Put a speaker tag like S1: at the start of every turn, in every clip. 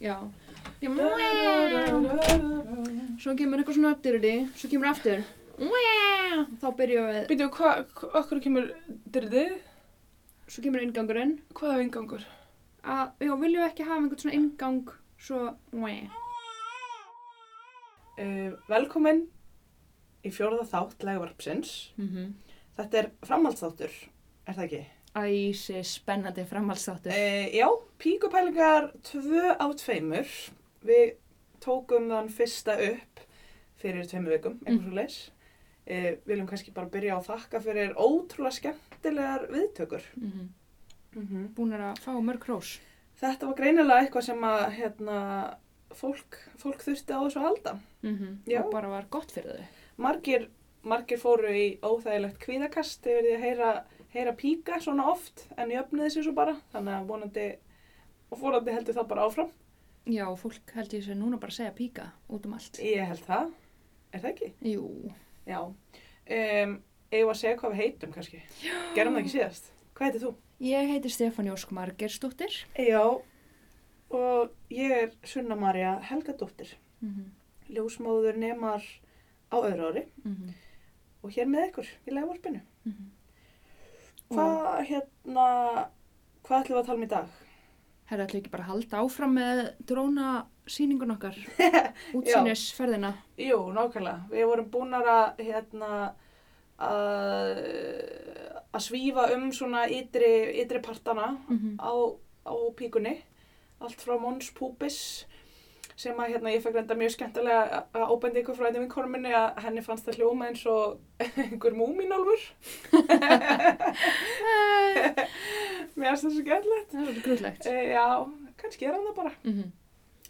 S1: Já Ég- Svo kemur eitthvað svona dyrri Svo kemur aftur Þá byrjum við
S2: Býtu, hvað, hva, okkur kemur dyrðið?
S1: Svo kemur inngangurinn
S2: Hvað er vingangur?
S1: að, Já, viljum við ekki hafa einhvern svona inngang Svo
S3: Uh, velkomin í fjórða þátt legvarpsins. Þetta er framhaldsþáttur, er það ekki?
S1: Æsi spennandi framhaldsáttur
S3: Uh, já, píkupælingar tvö á tveimur. Við tókum þann fyrsta upp fyrir tveimur vikum,
S1: Mm.
S3: einhvers og leis. Uh, viljum kannski bara byrja á að þakka fyrir ótrúlega skemmtilegar viðtökur.
S1: mm -hmm.
S2: Mhm.
S1: Búin að fá mörg hrós
S3: Þetta var greinilega eitthvað sem að hérna, fólk, fólk þurfti á þessu að halda. Já.
S1: Og bara var gott fyrir þau
S3: margir, margir fóru í óþægilegt kvíðakast yfir því að heyra, heyra píka svona oft en jöfniði sér svo bara þannig að vonandi og fórandi heldur það bara áfram
S1: Já, fólk held ég sér núna bara að segja píka út um allt
S3: ég held það, er það ekki?
S1: Jú
S3: já um, eigum við að segja hvað við heitum kannski já. gerum það ekki síðast, hvað heitir þú?
S1: Ég heiti Stefán Jósk Margersdóttir
S3: já, og ég er Sunna Marja Helgadóttir
S1: mm
S3: Mhm,
S1: -hmm.
S3: ljósmóður nemar á öðru ári
S1: Mm -hmm.
S3: og hér með ykkur í legvarpinu
S1: Mhm.
S3: hvað hérna hvað ætlum við að tala um í dag?
S1: Herra, ætlum við ekki bara að halda áfram með drónasýningun okkar, útsýnisferðina.
S3: Jú, nákvæmlega. Við vorum búnar að, hérna, að, að svífa um svona ytri, ytri partana
S1: Mm -hmm.
S3: á, á píkunni. Allt frá Mons Púbis sem að hérna, ég fekk reynda mjög skemmtilega að ábenda ykkur frá einnig vinkonum minni að henni fannst það hljóma eins og einhver múminálfur. Mér finnst það svo
S1: Eh,
S3: skemmtilegt.
S1: Það er svolítið grútlegt.
S3: E, já, kannski er hann það bara.
S1: Mm -hmm.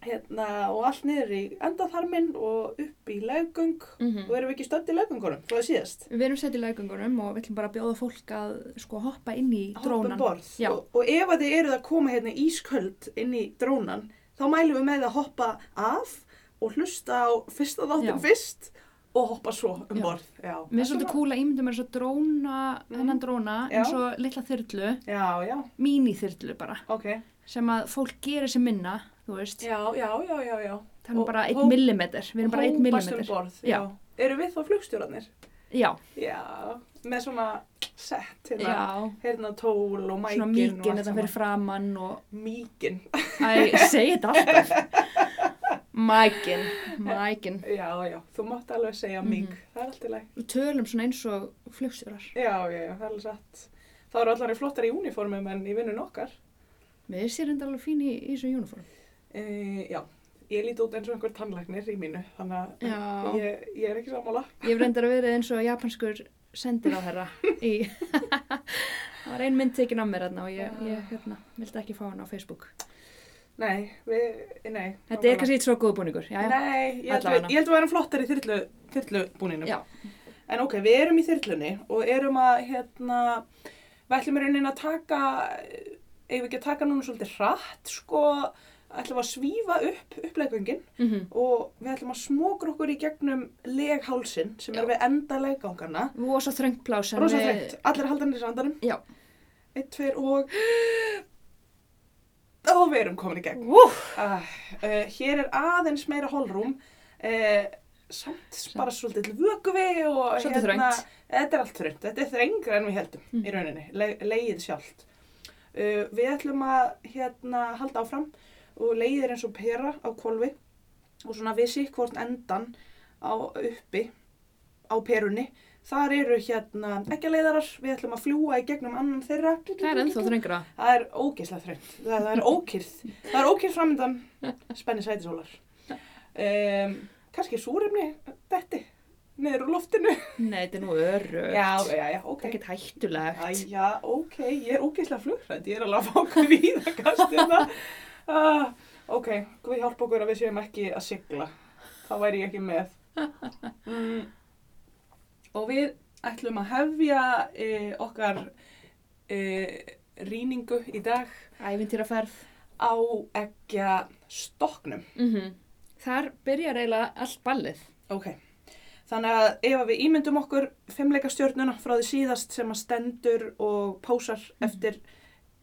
S3: Hérna, og allt niður í endatharminn og upp í laugöng
S1: Mm.
S3: Og erum við ekki stödd í legungunum frá því síðast?
S1: Við erum sett í lagungunum og við ætlum bara að bjóða fólk að sko hoppa inn í
S3: Hoppa um
S1: drónan.
S3: borð.
S1: Já.
S3: Og, og ef að þið eruð að koma hérna ísköld inn í drónan, þá mælum við með að hoppa af og hlusta á fyrsta þáttum
S1: Já.
S3: fyrst og hoppa svo um
S1: Já.
S3: borð. Já.
S1: Mér er svolítið kúla ímyndum er svo dróna,
S3: Mhm.
S1: þennan dróna,
S3: Já.
S1: eins og litla þyrlu,
S3: Já, já,
S1: míníþyrlu bara,
S3: ok.
S1: sem að fólk gerir sem minna, þú veist.
S3: Já, já, já, já, já.
S1: Það er
S3: Og-
S1: bara
S3: og-
S1: 1 millimeter, við erum bara 1
S3: Hópast um
S1: millimeter.
S3: borð, já.
S1: Já.
S3: Eru við þá flugstjórarnir?
S1: Já,
S3: Já, með svona sett hérna,
S1: já,
S3: hérna tól og mækin
S1: svona
S3: og
S1: mikinn
S3: allt
S1: þetta fyrir framann og
S3: Mýkin,
S1: Æ, segi þetta alltaf. Mækin, mækin.
S3: já, já, þú mátt alveg segja mýk,
S1: Mhm.
S3: það er allt í lagi.
S1: Við tölum svona eins og flugstjórar.
S3: Já, já, já, það er alveg satt. Það eru allar í flottar í uniformum en í vinnun okkar.
S1: Við erum sér enda alveg fín í, í þessu uniform.
S3: E, já, ég líti út eins og einhver tannlæknir í mínu, þannig
S1: Já.
S3: að ég, ég er ekki sammála.
S1: Ég hef reyndar að vera eins og japanskur sendir á þeirra í... Það var ein mynd tekin af mér þarna og ég, ég hérna, vildi ekki fá hann á Facebook.
S3: Nei, við, nei.
S1: Þetta er kannski eitt svo góð búningur, já, já.
S3: Nei, ég held,
S1: Allavega.
S3: við, ég held við erum flottar í þyrlu, þyrlubúninum.
S1: Já.
S3: En ok, við erum í þyrlunni og erum að, hérna, við ætlum í rauninni að taka, eigum við ekki að taka núna svolítið hratt, sko, ætlum við að svífa upp upplegöngin
S1: Mm
S3: og við ætlum að smokra okkur í gegnum leghálsin sem
S1: Já.
S3: er við enda leggangana.
S1: Rosa þröngt plás. en
S3: Rosa
S1: við-
S3: þreytt, allir halda nýr sandanum.
S1: Já.
S3: Eitt, tveir og... Og við erum komin í gegn.
S1: Úff,
S3: Uh, uh, hér er aðeins meira holrúm, uh, samt bara svolítið vökuvi og hérna,
S1: Svolítið þröngt.
S3: Þetta er allt þröngt, þetta er þrengra en við heldum
S1: Mhm.
S3: í rauninni, le leiðið sjálft. Uh, við ætlum að hérna, halda áfram og leiðið er eins og pera á kolvi og svona við sikk hvort endan á uppi á perunni. Þar eru hérna ekkjaleiðarar, við ætlum að fljúa í gegnum annan þeirra.
S1: það er ennþá þröngra.
S3: Það er ógeðslega þreytt. Það, það er ókýrð. Það er ókýrð framindan. Spenni sætisólar. Um, kannski súrefni detti niður úr loftinu.
S1: Nei, þetta er nú örögt.
S3: Já, já, já, ok.
S1: Ekkert hættulegt.
S3: Æja, ok. Ég er ógeðslega flugrætt. Ég er alveg að fá okkur í það kastina. Uh, ok, við hjálpa okkur að við séum ekki að sigla. Það væri ég ekki með. Mm. Og við ætlum að hefja uh, okkar uh, rýningu í dag
S1: Ævintýraferð.
S3: á eggja stokknum.
S1: Mhm. Mm Þar byrjar eiginlega allt ballið.
S3: Ok. Þannig að ef að við ímyndum okkur fimmleikastjörnuna frá því síðast sem að stendur og pósar eftir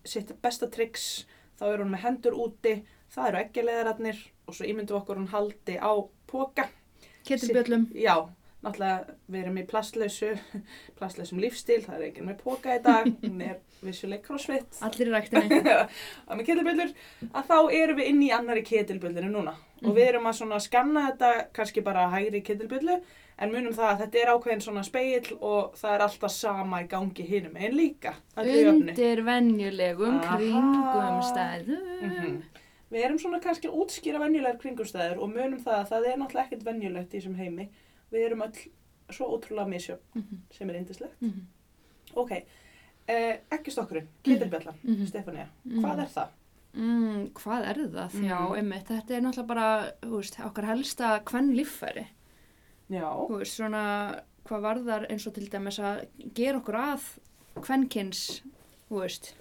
S3: sitt besta triks, þá er hún með hendur úti, það eru ekki leðararnir og svo ímyndum við okkur hún haldi á póka.
S1: Ketilbjöllum.
S3: Já, náttúrulega við erum í plastlausu, plastlausum lífstíl, það er enginn með póka í dag, hún er vissuleik crossfit
S1: Allir í ræktinni.
S3: að með ketilbjöllur, að þá erum við inn í annari ketilbjöllinu núna
S1: Mhm.
S3: og við erum að svona skanna þetta kannski bara hægri ketilbjöllu en munum það að þetta er ákveðin svona speill og það er alltaf sama í gangi hinum en líka öll í öfni.
S1: Undir venjulegum
S3: Aha.
S1: kringum stæðu.
S3: Mhm. Við erum svona kannski að útskýra venjulegar kringumstæður og munum það að það er náttúrulega ekkert venjulegt í þessum heimi. Við erum öll svo ótrúlega misjöfn sem er indislegt.
S1: Mhm.
S3: Ok, eh, ekki stokkurinn, ketilbjöllan,
S1: Mhm.
S3: Stefania,
S1: Mhm.
S3: hvað er það?
S1: Mm, hvað er það?
S3: Mhm.
S1: Já, einmitt, þetta er náttúrulega bara, þú veist, okkar helsta hvern líffæri.
S3: Já,
S1: Þú veist, svona, hvað varðar eins og til dæmis að gera okkur að kvennkins, þú veist,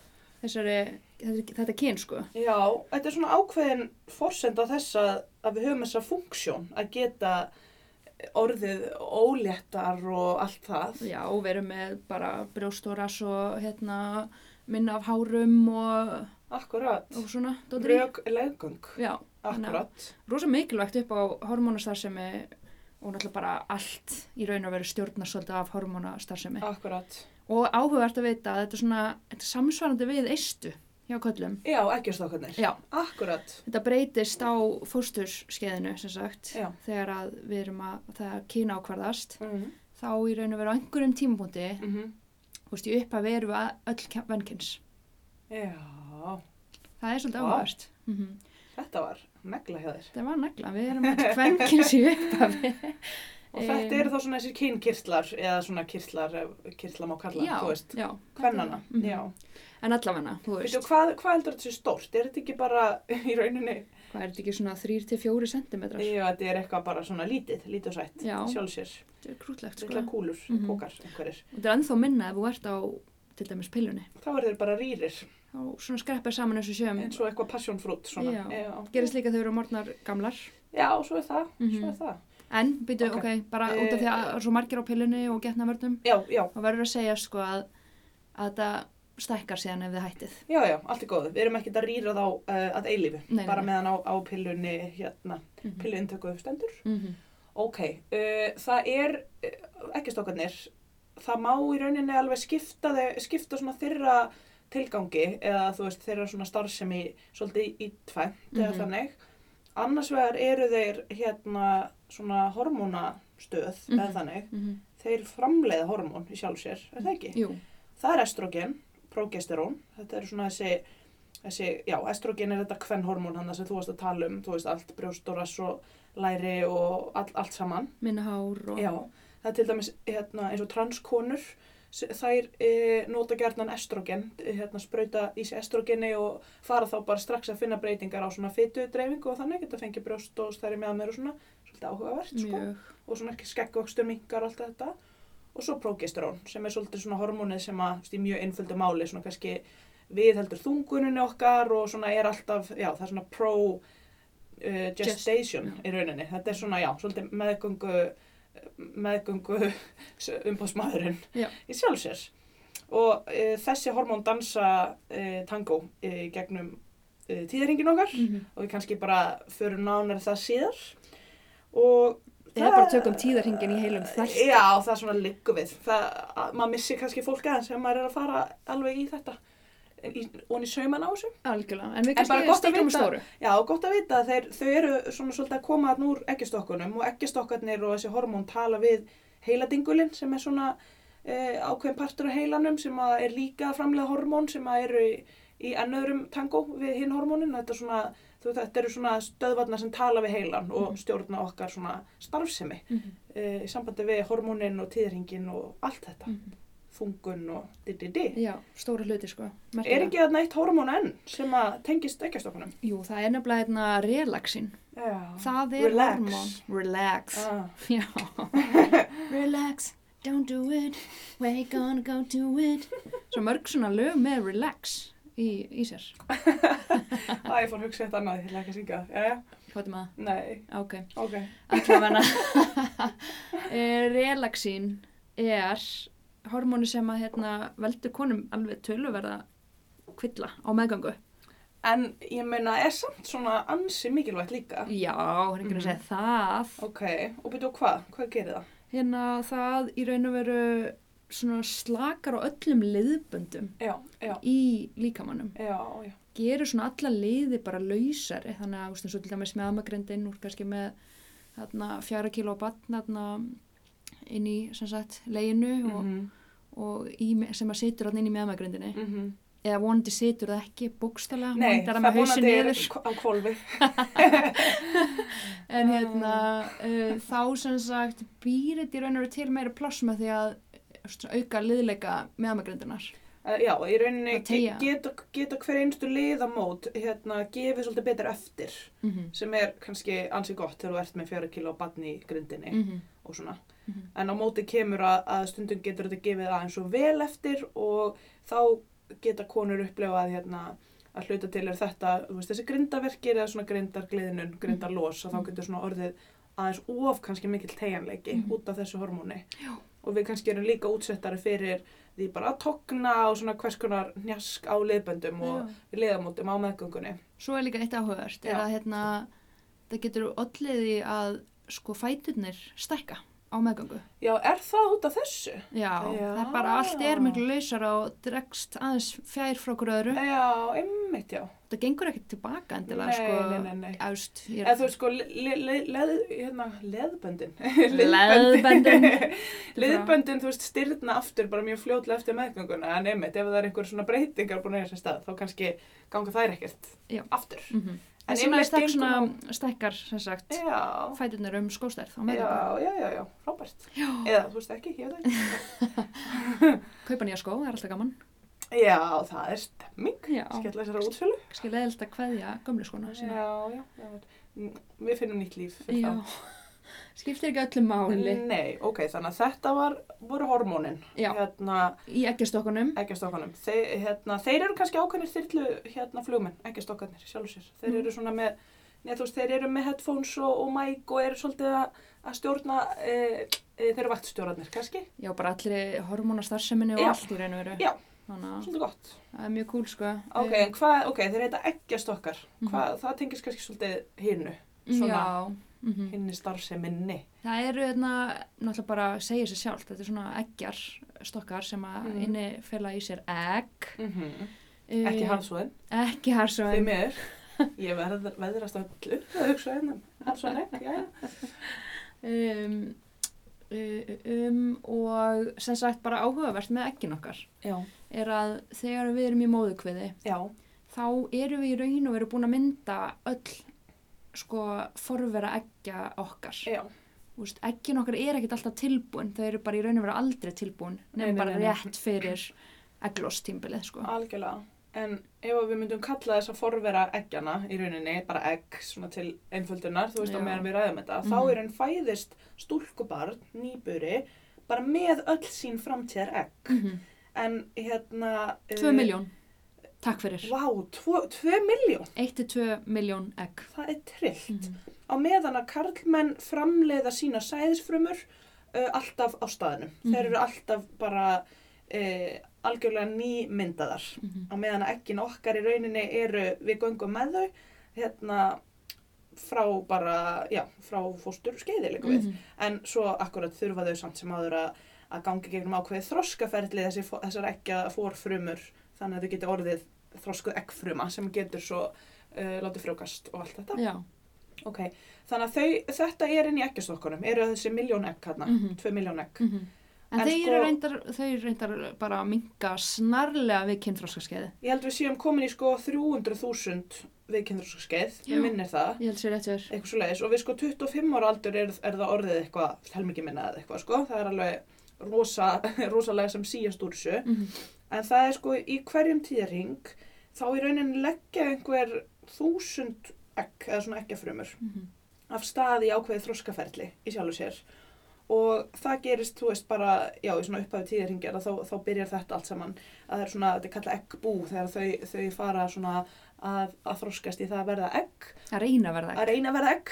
S1: þessari, þetta, þetta kyn, sko.
S3: Já, þetta er svona ákveðin forsend á þess að, að við höfum þessa funksjón að geta orðið óléttar og allt það.
S1: Já, og við erum með bara brjóstóras og hérna minna af hárum og,
S3: Akkurat.
S1: og svona, dóttir í.
S3: Rök leggöng.
S1: Já,
S3: Akkurat.
S1: rosa mikilvægt upp á hormónastarfsemi og náttúrulega bara allt í raun og veru stjórnar svolítið af hormónastarfsemi.
S3: Akkurat.
S1: Og áhugavert að vita að þetta er svona þetta er samsvarandi við eistu hjá köllum.
S3: Já, ekki stokkarnir.
S1: Já,
S3: Akkurat.
S1: þetta breytist á fósturskeiðinu sem sagt
S3: Já.
S1: þegar að við erum að það kýna ákvarðast
S3: Mm -hmm.
S1: þá í raun og veru á einhverjum tímapunkti
S3: Mhm.
S1: þú veist, í upphaf erum við að- öll vennkins.
S3: Já,
S1: Það er svolítið
S3: Vá.
S1: áhugavert. Mm
S3: þetta var negla hjá þér.
S1: Þetta var nagla, við erum öll kvennkins í upphafi.
S3: Og
S1: Em.
S3: þetta eru þá svona þessir kynkirtlar eða svona kirtlar, ef kirtla má kalla,
S1: Já,
S3: þú veist,
S1: já.
S3: hvernana.
S1: þetta- mhm.
S3: Já.
S1: En allavega, þú veist,
S3: Veitu, hvað, hvað heldur þetta sé stórt? Er þetta ekki bara í rauninni
S1: hvað er þetta ekki svona 3-4 centimetrar?
S3: Já, þetta er eitthvað bara svona lítið, lítið og sætt,
S1: Já.
S3: sjálfsér,
S1: Þetta er krútlegt sko.
S3: lilla
S1: Og
S3: kúlur,
S1: Mhm.
S3: pókar, einhverjir.
S1: þetta er ennþá minna ef þú ert á, til dæmis, pillunni.
S3: Þá eru þeir bara rýrir,
S1: Þá svona skreppar saman eins og sjöum.
S3: eins og eitthvað passjónfrút svona.
S1: Um, Já.
S3: Já.
S1: Gerist líka þau eru morgnar gamlar.
S3: Já, svo er það, svo er
S1: Mhm.
S3: það.
S1: En, býtu,
S3: Ok.
S1: ok, bara
S3: Eh,
S1: út af því að það er svo margir á pillunni og getna vörnum.
S3: Já, já,
S1: Þá verður að segja sko að, að þetta stækkar síðan ef þið hættið.
S3: já, já, allt er góð. Við erum ekkert að rýra þá uh, að eilífu,
S1: Nei, nei,
S3: bara
S1: nei.
S3: meðan á, á pillunni, hérna,
S1: Mhm.
S3: pilluintöku stendur.
S1: Mm -hmm.
S3: Ok, uh, það er, uh, ekki stokkarnir, það má í rauninni alveg skipta, þau- skipta svona þeirra tilgangi eða þú veist þeirra svona starfsemi svolítið í tvænt eða
S1: Mhm.
S3: þannig. Annars vegar eru þeir hérna svona hormónastöð
S1: Mhm.
S3: eða þannig. Þeir framleiða hormón í sjálf sér, er það ekki?
S1: Jú,
S3: Það er estrogen, progesterón, þetta eru svona þessi, þessi já, estrogen er þetta kvennhormón hann sem þú varst að tala um, þú veist allt brjóstoras og læri og all, allt saman.
S1: minna hár og...
S3: Já, það er til dæmis hérna, eins og transkonur, s- þær e, nota gerðnan estrogen, hérna, sprauta í sig estrogeni og fara þá bara strax að finna breytingar á svona fytu dreifingu og þannig, geta fengið brjóst og stærri með mér og svona, svolítið áhugavert, sko,
S1: mjög.
S3: og svona ekki skeggvöxtur minkar og allt þetta. Og svo progesterón, sem er svolítið svona hormónið sem að, þú veist, í mjög einföldu máli, svona kannski viðheldur þunguninu okkar og svona er alltaf, já, það er svona pro uh, gestation
S1: Gest-
S3: í rauninni. Þetta er svona, já, svolítið meðgöngu, meðgöngu umbóðsmaðurinn
S1: Já.
S3: í sjálfsér. Og uh, þessi hormón dansa uh, tangó uh, gegnum uh, tíðaringin okkar
S1: Mm -hmm.
S3: og við kannski bara förum nánar það síðar. Og
S1: Eða bara tökum tíðarhingin í heilum þætti.
S3: Já, það er svona liggum við. Það, að- maður missir kannski fólk aðeins sem maður er að fara alveg í þetta, í, onni sauman á þessu.
S1: Algjörlega, en við
S3: En bara
S1: kannski
S3: gott að
S1: stikum
S3: vita-
S1: stóru.
S3: Já, og gott að vita að þeir, þau eru svona svolítið að koma þarna úr eggjastokkunum og eggjastokkarnir og þessi hormón tala við heiladingulinn sem er svona e, ákveðin partur af heilanum sem að er líka að framlega hormón sem að eru í, í ennöðrum tangó við hinn hormónin. Þetta, er svona, þú, veist, þetta eru svona stöðvarnar sem tala við heilan
S1: Mhm.
S3: og stjórna okkar svona starfsemi
S1: Mm
S3: e, í sambandi við hormónin og tíðringin og allt þetta.
S1: Mhm.
S3: Þungun og di-di-di.
S1: Já, stóra hluti sko.
S3: Er
S1: merkilega.
S3: ekki þarna eitt hormón enn sem að tengist eggjastokkunum?
S1: Jú, það er nefnilega hérna relaxin.
S3: Já.
S1: Það er
S3: Relax.
S1: hormón. Relax.
S3: Ah.
S1: Já. relax, don't do it, we're gonna go do it. Svo mörg svona lög með relax í, í sér.
S3: Æ, ég fór að hugsa eitt annað, ég ætla ekki að syngja það. Jæja,
S1: Hvað er maður?
S3: Nei,
S1: Ok.
S3: ok.
S1: Allavega Eh, Relaxín er hormónu sem að hérna, veldur konum alveg töluverða kvilla á meðgangu.
S3: En ég meina, er samt svona ansi mikilvægt líka.
S1: Já, hann er ekki að segja það.
S3: Ok, og byrju og hvað? Hvað gerir það?
S1: Hérna það í raun og veru svona slakar á öllum liðböndum
S3: Já, já,
S1: í líkamannum.
S3: já, já.
S1: Gerur svona alla liði bara lausari. Þannig að, þú veist, eins og til dæmis með amagrindin úr kannski með þarna, fjara kíló batn þarna, inn í, sem sagt, leginu og
S3: Mhm,
S1: og í, sem að situr allir inn í meðmagrindinni
S3: mhm.
S1: eða vonandi situr það ekki bókstala vonandi
S3: Nei,
S1: er
S3: það
S1: það með hausin
S3: vonandi er
S1: niður
S3: k- á kvolfi.
S1: en hérna uh, þá sem sagt býr þetta í raun og veru til meira pláss með því að eh, svona auka liðleika meðmagrindinar
S3: Uh, já, í rauninni
S1: Að teygja.
S3: ge- geta, geta hver einstu liðamót hérna, gefið svolítið betur eftir
S1: mm -hmm.
S3: sem er kannski ansi gott þegar þú ert með fjöra kíla á badni í grindinni
S1: Mm.
S3: og svona.
S1: Mhm.
S3: En á móti kemur að, að stundum getur þetta gefið aðeins og vel eftir og þá geta konur upplefað hérna, að hluta til er þetta, þú veist, þessi grindaverkir eða svona grindargliðnun, grindarlos að þá
S1: Mhm.
S3: getur svona orðið aðeins of kannski mikill tegjanleiki
S1: Mhm.
S3: út af þessu hormóni. Mm. Já. Og við kannski erum líka útsettari fyrir því bara að togna og svona hvers konar njask á liðböndum og liðamótum á meðgöngunni.
S1: svo er líka eitt áhugavert
S3: Já.
S1: er að hérna það getur olliði að sko fæturnir stækka á meðgangu
S3: Já, er það út af þessu?
S1: já,
S3: Já.
S1: það er bara allt er miklu lausara og dregst aðeins fjær frá hverju öðru
S3: Já, einmitt já.
S1: það gengur ekkert tilbaka endilega
S3: Nei,
S1: sko,
S3: nei, nei, nei.
S1: Ást, ég
S3: Eða þú veist sko, le, le, leð, hérna, leðböndin.
S1: Leðböndin.
S3: leðböndin, þú veist, styrna aftur bara mjög fljótlega eftir meðgönguna. En einmitt, ef það er einhver svona breytingar búin að eða sér stað, þá kannski ganga þær ekkert
S1: Já.
S3: aftur.
S1: mm -hmm.
S3: En
S1: En sem að
S3: einmitt
S1: stekk
S3: gengur
S1: svona stekkar, sem sagt,
S3: Já,
S1: fætirnir um skóstærð á
S3: já,
S1: meðgöngu.
S3: já, já, já, frábært. Já. Eða, þú veist ekki, ég veit ekki.
S1: Kaupa nýja skó, það er alltaf gaman.
S3: Já, það er stemming.
S1: Já,
S3: Skella þessara útsölu.
S1: kannski leðilt að kveðja gömlu skóna
S3: Já,
S1: sína.
S3: já, já. N- Við finnum nýtt líf fyrir
S1: Já,
S3: það.
S1: skiptir ekki öllu máli.
S3: Nei, ok, þannig að þetta var, voru hormónin.
S1: Já,
S3: Hérna,
S1: í eggjastokkunum.
S3: eggjastokkanum. Þe, hérna, þeir eru kannski ákveðnir þyrlu hérna, flugmenn, eggjastokkanir sjálfur sér. Þeir
S1: Mm.
S3: eru svona með, neð, veist, þeir eru með headphones og, og mic og eru svolítið að að stjórna, e, e, þeir eru vaktstjórnarnir kannski.
S1: Já, bara allir hormónastarfseminni og
S3: Já.
S1: allt í raun og veru.
S3: Já.
S1: Þannig að
S3: Svolítið gott.
S1: það er mjög kúl, sko.
S3: Ok,
S1: Eh,
S3: en hvað, ok, þeir heita eggjastokkar.
S1: Mhm.
S3: Hvað, það tengist kannski svolítið hinnu, svona-
S1: Um, Já, mm
S3: hinni starfseminni.
S1: það eru hérna, náttúrulega bara að segja sér sjálft, þetta er svona eggjar stokkar sem að
S3: Mhm.
S1: inni fela í sér egg.
S3: Mm -hmm.
S1: Eh,
S3: Ekki hansóðin,
S1: Ekki harsóðin.
S3: þeim er. Ég verð, veðrast öllu að hugsa hérna hennum. Hansóðin ekki, já, já.
S1: um, um, um, og sem sagt bara áhugavert með ekkin okkar
S3: Já,
S1: er að þegar við erum í móðukviði
S3: já,
S1: þá erum við í raun og veru búin að mynda öll sko forvera ekja okkar
S3: já.
S1: Úst, ekkin okkar er ekkert alltaf tilbúin þau eru bara í raun og veru aldrei tilbúin
S3: Nei, nei,
S1: nefnum bara
S3: nei, nei.
S1: rétt fyrir egglóstímbilið sko
S3: Algjörlega. En ef að við myndum kalla þess að forvera eggjana í rauninni, bara egg svona til einföldunar, þú veist
S1: Já.
S3: á meðan við ræðum þetta, þá
S1: Mhm.
S3: er hann fæðist stúlkubarn, nýburi, bara með öll sín framtíðar egg.
S1: mm
S3: En hérna... eh,
S1: 2 miljón, takk fyrir
S3: Vá, 2 miljón,
S1: 1-2 miljón egg
S3: það er trillt.
S1: mm -hmm.
S3: Á meðan að karlmenn framleiða sína sæðisfrumur uh, alltaf á staðnum. Þeir
S1: Mhm.
S3: eru alltaf bara uh, algjörlega nýmyndaðar.
S1: Mhm.
S3: á meðan að ekkin okkar í rauninni eru við göngum með þau hérna frá bara, já, frá fóstur skeiðilegum
S1: Mhm.
S3: við. En svo akkurat þurfa þau samt sem áður að, að gangi gegnum ákveðið þroskaferli þessi, fó- þessar ekki að fórfrumur þannig að þau geta orðið þroskuð ekkfruma sem getur svo uh, látið frjókast og allt þetta.
S1: Já,
S3: Ok, þannig að þau, þetta er inn í ekkjastokkunum, eru þessi miljón ekk hérna,
S1: Mhm.
S3: tvö miljón ekk.
S1: mm En,
S3: En
S1: þeir,
S3: sko-
S1: eru reyndar, þeir eru reyndar bara að minka snarlega við kynþróskaskeiði.
S3: Ég held við séum komin í sko 300.000 við kynþróskaskeið,
S1: Já.
S3: við minnir það.
S1: Ég held sér rétt verið.
S3: eitthvað svo leiðis og við sko 25 ára aldur er, er það orðið eitthvað helmingi minna eða eitthvað sko, það er alveg rosa, rosalega sem síjast úr þessu
S1: Mm -hmm.
S3: en það er sko í hverjum tíðarhing þá í rauninni leggja einhver þúsund
S1: mhm.
S3: egg eða svona eggjafrumur af staði ákveðið þroskaferli í sjálfu sér og það gerist, þú veist, bara, já, í svona upphafi tíðarhingjar að þá, þá byrjar þetta allt saman að það er svona, þetta er kallað eggbú þegar þau, þau fara svona að, að þroskast í það að verða egg,
S1: að reyna að verða
S3: að reyna að verða egg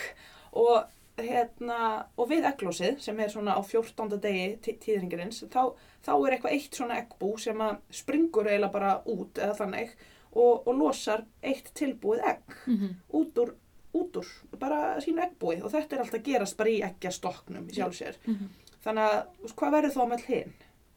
S3: og hérna, og við egglósið sem er svona á 14. degi tí- tíðarhingjarins, þá, þá er eitthvað eitt svona eggbú sem að springur eiginlega bara út eða þannig og, og losar eitt tilbúið egg
S1: mm -hmm.
S3: út úr, út úr, bara sínu eggbúið og þetta er alltaf að gerast bara í eggjastoknum í sjálf sér.
S1: mm -hmm.
S3: Þannig að, þú veist, hvað verður þá með hinn?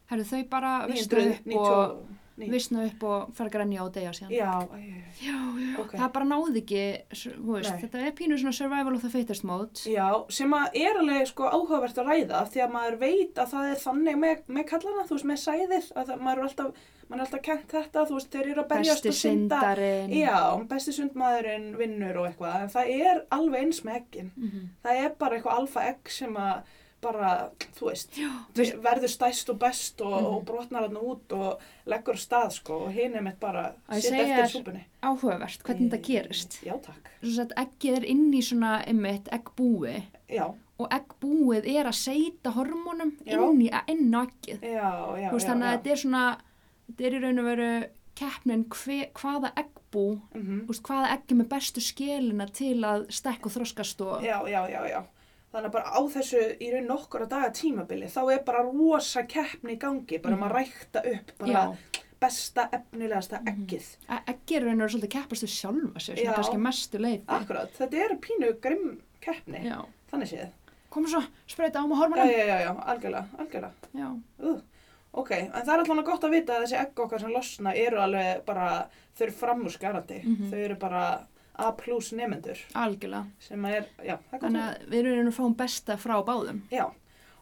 S1: Herru, þau bara vissna upp og,
S3: 990
S1: vissna upp og fara að grænja og deyja síðan.
S3: Já, æ,
S1: Já, já.
S3: Ok.
S1: Það bara náði ekki, s- þú veist,
S3: Nei.
S1: þetta er pínu svona survival of the fittest mode.
S3: já, sem að er alveg sko áhugavert að ræða af því að maður veit að það er þannig með, með kallana, þú veist, með sæðir að það, maður er alltaf, maður er alltaf kent þetta, þú veist, þeir eru að berjast
S1: Besti
S3: og synda
S1: syndarinn.
S3: Já, besti sundmaðurinn vinnur og eitthvað, en það er alveg eins með eggin.
S1: Mhm.
S3: Það er bara eitthvað alfa-egg sem að bara, þú veist,
S1: Já,
S3: Ver- verður stæst og best og,
S1: Mhm.
S3: og brotnar hann út og leggur af stað sko og hinn er mitt bara
S1: Að ég
S3: sitt
S1: segi
S3: eftir
S1: þér
S3: súpunni.
S1: áhugavert hvernig þetta gerist.
S3: Já, takk.
S1: Svo sett eggið er inn í svona, einmitt, eggbúi
S3: Já,
S1: og eggbúið er að seita hormónum
S3: Já.
S1: inn í inn á eggið.
S3: já, já.
S1: Þú veist,
S3: já,
S1: þannig að
S3: já.
S1: þetta er svona, þetta er í raun og veru keppnin hve, hvaða eggbú,
S3: Mhm.
S1: þú veist, hvaða eggjum er bestu skilina til að stekk og þroskast og...
S3: Já, já, já, já. Þannig að bara á þessu í raun nokkura daga tímabili þá er bara rosa keppni í gangi, bara um að rækta upp bara
S1: Mhm. Já.
S3: besta efnilegasta eggið.
S1: E- Eggi er raunir svolítið keppast við sjálfa sér, svona
S3: Já.
S1: kannski að mestu leið.
S3: Akkurat, þetta er pínu grimm keppni,
S1: Já.
S3: þannig séð.
S1: Komum svo, spreita á með
S3: Já,
S1: hormonum.
S3: já, já, já, algjörlega, algjörlega.
S1: Já.
S3: Uh, ok, en það er allan gott að vita að þessi egg okkar sem losna eru alveg bara, þau eru framúrskarandi,
S1: Mhm.
S3: þau eru bara A plus nefendur
S1: Algjörlega.
S3: sem að er, já, það er gott að
S1: Þannig
S3: vita.
S1: að við raunir fáum besta frá báðum.
S3: Já,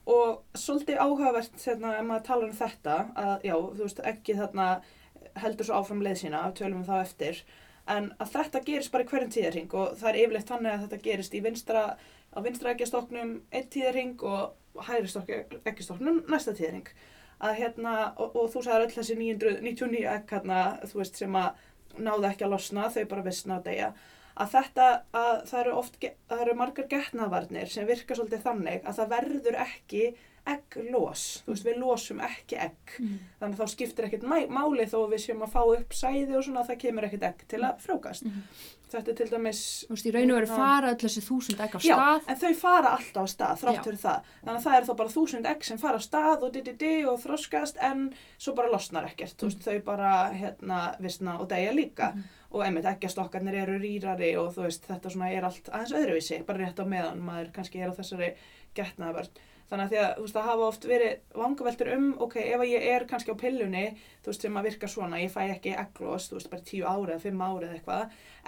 S3: og svolítið áhugavert hérna ef maður talar um þetta, að já, þú veist, ekki þarna heldur svo áfram leið sína, tölum við þá eftir, en að þetta gerist bara í hverjum tíðarhing og það er yfirleitt þannig að þetta gerist í vinstra, á vinstra eggjastoknum einn tíðarhing og hægri stokk- eggjastoknum næsta tíðarhing. Að hérna, og, og þú sagðir öll þessi 999 egg hérna, þú veist, sem að náðu ekki að losna, þau bara vissna að deyja að þetta, að það eru oft, ge- það eru margar getnaðvarnir sem virka svolítið þannig að það verður ekki egglós, þú veist, við losum ekki egg, þannig að þá skiptir ekkert mæ- máli þó að við séum að fá upp sæði og svona, það kemur ekkert egg til að frjókast.
S1: Mhm.
S3: Þetta er til dæmis,
S1: Þú veist, í raunir veru
S3: Já.
S1: fara öll þessi þúsund egg af
S3: já,
S1: stað.
S3: en þau fara alltaf af stað,
S1: Já.
S3: þrátt fyrir það, þannig að það er þá bara þúsund egg sem fara af stað og di-di-di og þroskast en svo bara losnar ekkert, þú
S1: Mhm.
S3: veist, þau bara, hérna, vissna og degja líka og einmitt eggjastokkarnir eru rýrari og þú veist þetta svona er allt aðeins öðruvísi bara rétt á meðan maður kannski er á þessari getnaðvörn þannig að því að þú veist það hafa oft verið vangaveltur um ok ef að ég er kannski á pillunni þú veist sem að virka svona ég fæ ekki egglós þú veist bara tíu ári eða fimm ári eða eitthvað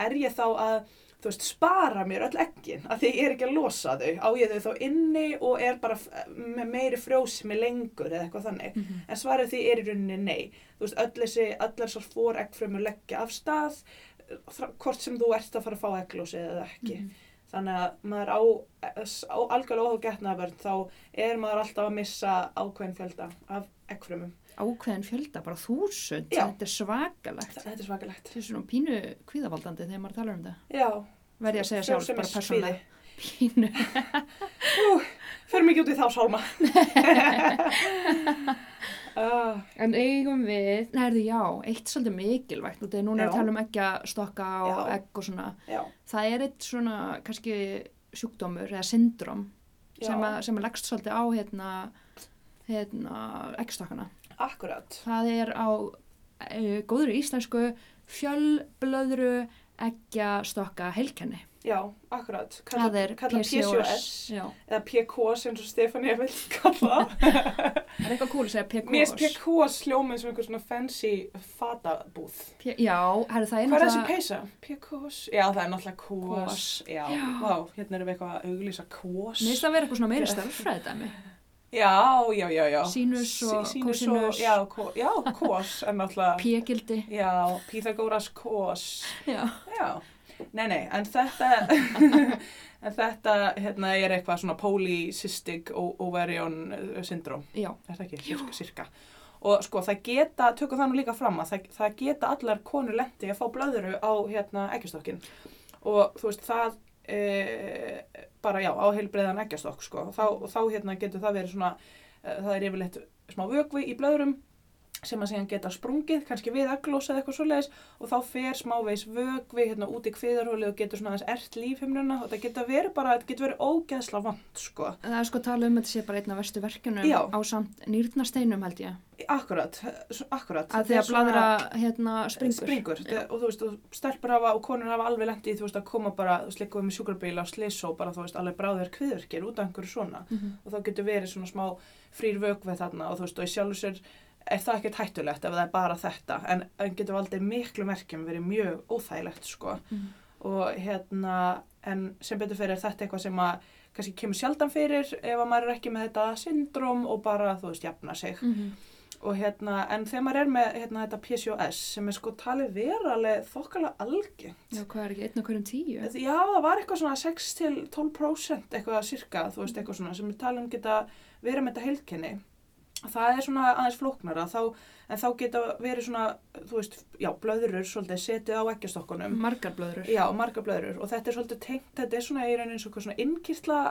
S3: er ég þá að þú veist spara mér öll eggin að því ég er ekki að losa þau á ég þau þá inni og er bara f- með meiri frjósmi lengur eða eitthvað þannig
S1: Mhm.
S3: En svarið því er í rauninni nei. Þú veist, öll þessi, allar svo fór eggfrömmur leggja af stað, þra- hvort sem þú ert að fara að fá egglósi eða ekki.
S1: Mhm.
S3: Þannig að maður á, á algjörlega óhuga getnaðabörn, þá er maður alltaf að missa ákveðin fjölda af eggfrömmum.
S1: Ákveðin fjölda, bara þúsund.
S3: Já.
S1: Þetta er svakalegt.
S3: Þetta er svakalegt.
S1: Þetta er svona pínu kvíðavaldandi þegar maður talar um þetta.
S3: Já.
S1: Verði að segja sjálf, bara persónulega. Pínu.
S3: Förum ekki út í þá sálma. uh,
S1: En eigum við, neðu já, eitt svolítið mikilvægt og þetta er núna að
S3: Já.
S1: tala um eggja stokka og
S3: Já.
S1: egg og svona.
S3: já.
S1: Það er eitt svona kannski sjúkdómur eða syndrom
S3: Já.
S1: sem, að, sem að leggst svolítið á hérna, hérna eggstokkana.
S3: Akkurat.
S1: Það er á e, góðri íslensku fjölblöðru eggja stokka heilkenni.
S3: Já, akkurat. Kalla,
S1: Það er
S3: kalla PCOS.
S1: Já,
S3: Eða PCOS eins og Stefania vil kalla það.
S1: það er eitthvað cool að segja PCOS.
S3: Mér finnst PKS hljóma eins og einhver svona fancy fatabúð.
S1: P- Já, herri, það er
S3: Hvað er þessi peysa? PKS? Já, það er náttúrulega KS.
S1: KS.
S3: Já,
S1: Já.
S3: Vá, hérna erum við eitthvað að auglýsa KS.
S1: Mér finnst það að vera eitthvað svona meira starffræðdæmi.
S3: Já, já, já, já.
S1: Sínus og
S3: Sí- sínus og-
S1: kósinus.
S3: Já, ko- já, KS er náttúrulega...
S1: P-gildi.
S3: Já, Pythagoras KS.
S1: Já.
S3: Já, nei, nei, en þetta, en þetta, hérna, er eitthvað svona polycystic o- ovarian eh, syndrome.
S1: Já,
S3: er það ekki, sirka, sirka. Og sko það geta, tökum það nú líka fram að það, það geta allar konur lendi að fá blöðuru á hérna ekkjastokkin. Og þú veist það e, bara, já, á heilbreiðan eggjastokk, sko. Þá, þá hérna getur það verið svona, eh, það er yfirleitt smá vökvi í blöðrum sem að segja geta sprungið, kannski við eglós eða eitthvað svoleiðis og þá fer smávegis vökvi hérna út í kviðarhóli og getur svona aðeins ert lífhimnuna og þetta getur verið bara, þetta getur verið ógeðsla vond, sko.
S1: Það er sko talað um að þetta sé bara einn af verstu verkjunum
S3: Já.
S1: á samt nýrnasteinum held ég.
S3: Akkurat, s- akkurat.
S1: Að
S3: Þetta
S1: því
S3: er
S1: að bladra
S3: svona-
S1: hérna springur.
S3: springur. Þe- og þú veist, og stelpur hafa og konur hafa alveg lent í þú veist að koma bara, þú veist, líka við með sjúkrabíla á slis og bara þú veist, alveg bráðir kviðurkir út af einhverju svona
S1: Mhm.
S3: og þá getur verið svona smá frýr vögveð þarna og þú veist, og í sjálfu sér er það ekkert hættulegt ef það er bara þetta en, en getur valdið miklu merkjum verið mjög óþægilegt sko
S1: Mhm.
S3: og hérna, en sem betur fyrir er þetta eitthvað sem að kannski kemur sjaldan fyrir ef að maður er ekki með þetta syndrom og bara, þú veist, jafna sig
S1: Mhm.
S3: og hérna, en þegar maður er með hérna, þetta PCOS sem er sko talið vera alveg þokkalega algengt
S1: Já, hvað er ekki, einn og hverjum tíu?
S3: já, það var eitthvað svona 6 til 12% eitthvað cirka, þú veist, eitthvað svona sem er talið um geta verið með þetta heilkenni það er svona aðeins flóknara þá, en þá geta verið svona þú veist, já, blöðurur svolítið setið á eggjastokkunum
S1: Margar blöðrur.
S3: Já, margar blöðrur og þetta er svolítið tengt, þetta er svona í rauninni eins og eitthvað svona innkýrsla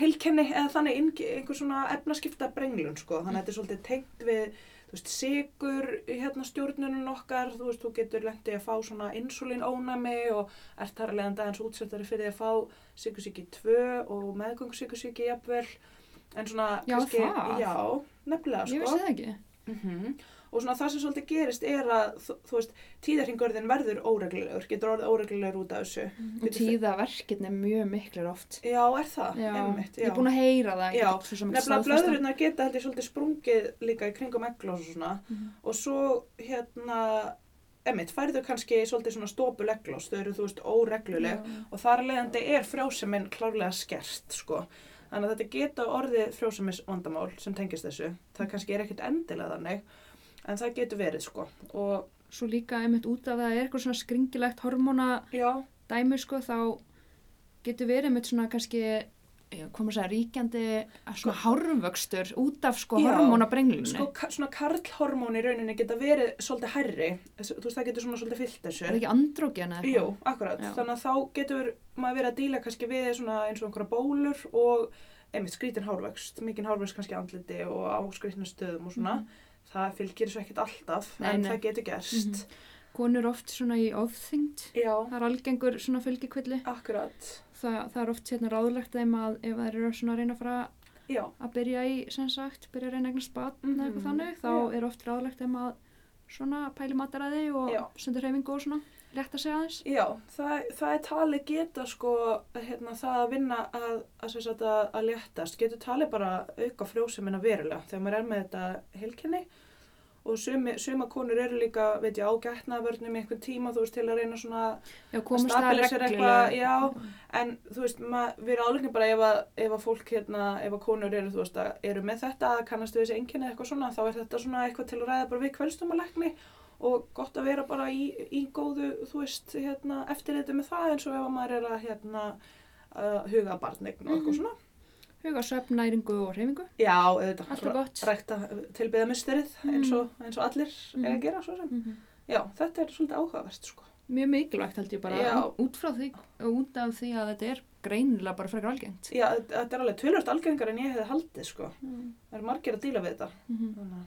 S3: heilkenni eða þannig innk- einhver svona efnaskipta brenglun sko, þannig að þetta er svolítið tengt við, þú veist, sigur hérna stjórnunum okkar, þú veist, þú getur lendið að fá svona insulin ónæmi og ert þar að leiðan aðeins útsettari fyrir því að fá sigursíki 2 og meðgöngssigursíki jafnvel, en svona
S1: Já, það?
S3: já, nefnilega sko
S1: Ég vissi það ekki.
S3: og svona það sem svolítið gerist er að þú, þú veist, tíðarhingurðin verður óreglulegur, getur orðið óreglulegur út af þessu
S1: Og tíðaverkirn er mjög miklir oft.
S3: Mhm. já, er það,
S1: Já,
S3: einmitt
S1: ég er búin að heyra það.
S3: Já,
S1: nefnilega
S3: nefnilega blöðurinnar geta held ég svolítið sprungið líka í kringum eglós og svona
S1: Mhm.
S3: og svo hérna einmitt, færðu kannski svolítið svona stópul eglós, þau eru þú veist óregluleg og þar af leiðandi er frjósemin klárlega skert sko. þannig að þetta geta orðið frjósemis vandamál sem tengist þessu það kannski er ekkert endilega þannig en það getur verið sko og
S1: Svo líka einmitt út af það er eitthvað svona skringilegt hormóna
S3: já,
S1: dæmi sko þá getur verið einmitt svona kannski já, hvað maður segja, ríkjandi eh, svona hárvöxtur út af sko
S3: Sko- Já,
S1: hormónabrenglunni.
S3: sko, ka svona karlhormón í rauninni geta verið svolítið hærri, Þess- þú veist, það getur svona svolítið fyllt
S1: er það
S3: þessu.
S1: ekki andrógen eða
S3: Jú, akkurat,
S1: Já.
S3: þannig að þá getur maður verið að díla kannski við svona eins og einhverja bólur og einmitt skrítin hárvöxt, mikinn hárvöxt kannski í andliti og á skrítna stöðum og svona. Það fylgir þessu ekkert alltaf,
S1: Mhm. Nei,
S3: en
S1: nei.
S3: það getur gerst.
S1: Konur oft svona í ofþyngd,
S3: Já,
S1: það er algengur svona fylgikvilli.
S3: akkurat,
S1: Þa, það er oft hérna ráðlegt þeim að ef þær eru svona að reyna að fara
S3: já,
S1: að byrja í, sem sagt, byrja að reyna að eignast batn eða eitthvað
S3: Mhm.
S1: þannig, þá
S3: Já.
S1: er oft ráðlegt þeim að svona pæli mataræði og
S3: Já.
S1: sundur hreyfingu og svona, rétt að segja aðeins.
S3: Já, það, það er talið geta sko hérna, það að vinna að, að, sem sagt, að, að léttast, getur talið bara auka frjósemina verulega þegar maður er með þetta heilkenni og sumi, suma konur eru líka, veit ég, á gætnaðvörnum í einhvern tíma, þú veist, til að reyna svona að
S1: Já, komast að
S3: stabilisera eitthvað,
S1: reglulega.
S3: já, en þú veist, maður, við erum álegnir bara ef að, ef að fólk hérna, ef að konur eru, þú veist, að eru með þetta, að kannast við þessi einkenni eða eitthvað svona, þá er þetta svona eitthvað til að ræða bara við kvelstumalegni og gott að vera bara í, í góðu, þú veist, hérna, eftirliti með það eins og ef að maður er að, hérna, uh, huga að barnegn og
S1: Mhm.
S3: eitthvað svona.
S1: Huga söfn, næringu og hreyfingu.
S3: Já, auðvitað,
S1: Allt er gott.
S3: rækta tilbyða mysterið eins og, eins og allir er
S1: Mhm.
S3: að gera svo sem. Já, þetta er svolítið áhugavert, sko.
S1: Mjög mikilvægt held ég bara
S3: Já.
S1: út- út frá því og út af því að þetta er greinilega bara frekar algengt.
S3: Já, þetta þetta er alveg tölvöld algengar en ég hefði haldið, sko.
S1: Mm
S3: Það eru margir að díla við þetta. Þannig.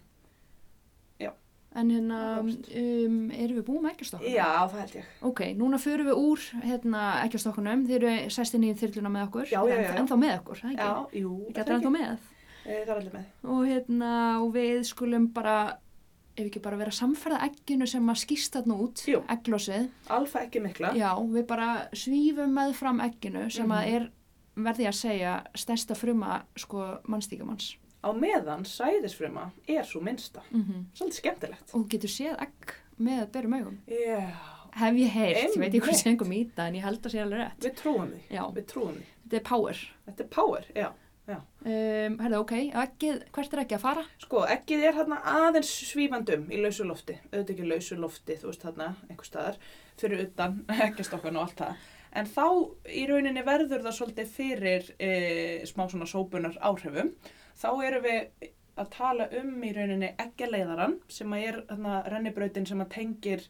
S1: En hérna,
S3: Áhugavert.
S1: um, erum við búið með
S3: að-
S1: ekkjastokkunum?
S3: Já, það held ég.
S1: Ok, núna förum við úr hérna, ekkjastokkunum, þeir eru sestin í þyrluna með okkur,
S3: Já, já, já.
S1: En, ennþá með okkur, það
S3: Já,
S1: ekki?
S3: jú,
S1: Ég
S3: það
S1: getur
S3: er
S1: ennþá með.
S3: Eh, Það er allir með.
S1: Og hérna, og við skulum bara, ef ekki bara vera samferða ekkinu sem að skýst þarna út,
S3: Jú.
S1: egglósið.
S3: Alfa ekki mikla.
S1: Já, við bara svífum með fram egginu sem að
S3: Mhm.
S1: er, verði ég að segja, stærsta fruma sko mannstíkamanns.
S3: Á meðan sæðisfruma er svo minnsta.
S1: Mm
S3: Svolítið skemmtilegt.
S1: Og þú getur séð egg með berum augum.
S3: Já,
S1: Hef ég heyrt, ég veit ekki hvað
S3: Einmitt.
S1: sé einhver mýta en ég held að sé alveg rétt.
S3: við trúum því.
S1: Já,
S3: Við trúum því.
S1: þetta er power.
S3: Þetta er power, já.
S1: Um, Herðu, ok, eggið, hvert er ekki að fara?
S3: Sko, ekkið er hérna aðeins svífandum í lausu lofti. Auðvitað ekki lausu lofti, þú veist þarna, einhver staðar, fyrir utan, ekki stokkan og allt það. En þá í rauninni verður það svolítið fyrir e, smá svona sópunar áhrifum. Þá erum við að tala um í rauninni ekkjaleiðaran sem að er hérna rennibrautin sem að tengir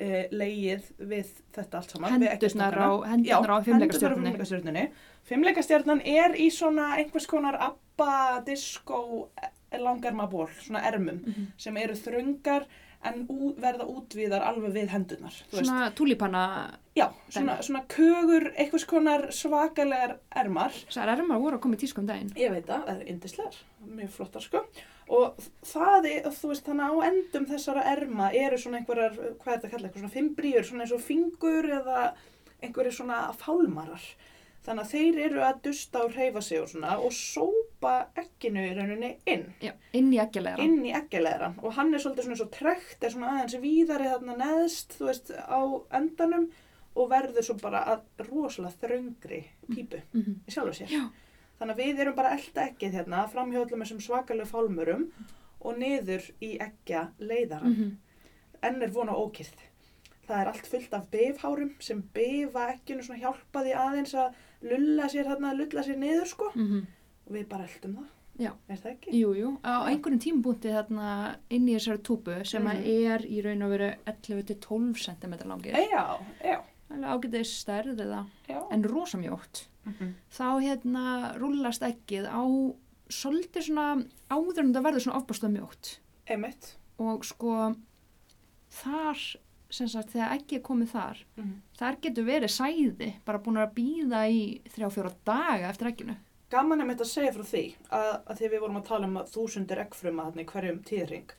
S3: uh, leið við þetta allt saman. við
S1: Hendurnar á,
S3: eggjastokana.
S1: hendurnar á
S3: hendurnar á
S1: fimmleikastjörnunni.
S3: fimmleikastjörnunni. Fimmleikastjörnan er í svona einhvers konar abba, disco, e, langarmaból, svona ermum
S1: Mhm.
S3: sem eru þröngar en ú, verða útvíðar alveg við hendurnar. þú veist.
S1: Svona túlipanna,
S3: Já, svona, svona kögur, einhvers konar svakalegar ermar.
S1: þessar ermar voru að koma í tískum daginn.
S3: Ég veit það, það er yndislegar, mjög flottar sko. Og það er, þú veist, þannig á endum þessara erma eru svona einhverjar, hvað er þetta að kalla, eitthvað svona fimbríur, svona eins og fingur eða einhverjir svona fálmarar. Þannig að þeir eru að dusta og hreyfa sig og svona og sópa ekkinu í rauninni inn,
S1: Já, inn í eggjalega.
S3: inn í ekkjaleðran. Og hann er svolítið svona eins og trekt, er svona aðeins víðari þarna neðst, þú veist, á endanum og verður svo bara að rosalega þröngri pípu
S1: Mm
S3: í sjálfu sér.
S1: Já.
S3: Þannig að við erum bara að elta ekkið hérna, framhjá öllum þessum svakalegu fálmurum og niður í ekja
S1: Mm.
S3: leiðaran.
S1: Mhm.
S3: Enn er von á ókýrð. Það er allt fullt af bifhárum sem bifa ekkjunu svona hjálpa því aðeins að lulla sér hérna, lulla sér niður sko. Og við bara eltum það.
S1: Já.
S3: Er það ekki?
S1: Mhm. Jú, jú, á einhverjum tímabúndi þarna inn í þessari túpu sem mm
S3: Mhm.
S1: er í raun og veru 11-12 cm langir.
S3: E, já, já,
S1: Alveg ágætis stærð eða,
S3: já. Mhm.
S1: en rosamjótt. Þá hérna rúllast ekkið á svolítið svona áður en það verður svona ofbústað mjótt.
S3: Einmitt.
S1: Og sko þar, sem sagt, þegar ekkið er komið þar,
S3: Mhm.
S1: þar getur verið sæði bara búin að býða í þrjá fjóra daga eftir ekkinu.
S3: Gaman er mitt að segja frá því að, að því við vorum að tala um að þúsundir eggfruma þarna í hverjum tíðring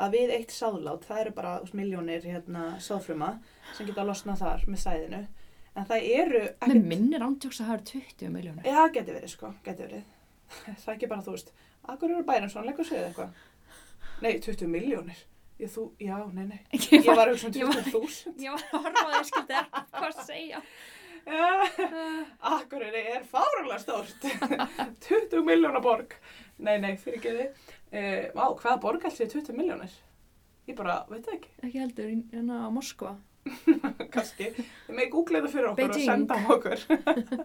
S3: að við eitt sáðlát, það eru bara þú veist, miljónir hérna, sáðfruma sem geta losnað þar með sæðinu en það eru
S1: Með minnir ándjóks að það eru 20 miljónir.
S3: Já, geti verið sko, geti verið það er ekki bara, þú veist, akkur eru bærið svona leikur segið eitthvað Nei, 20 miljónir ég, þú, Já, nei, nei, ég var að hugsa um
S1: ég var-
S3: 20.000
S1: Ég var að horfa að ég skildi ekki hvað að segja.
S3: Akureyri er fárulega stórt 20 miljóna borg Nei, nei, fyrir ekki þið uh, Vá, hvaða borg allt sé 20 miljónir? Ég bara, veit það ekki,
S1: Ekki heldur, í- hérna á Moskva.
S3: kannski Þið megið googla þetta fyrir okkur
S1: Beijing.
S3: og senda á okkur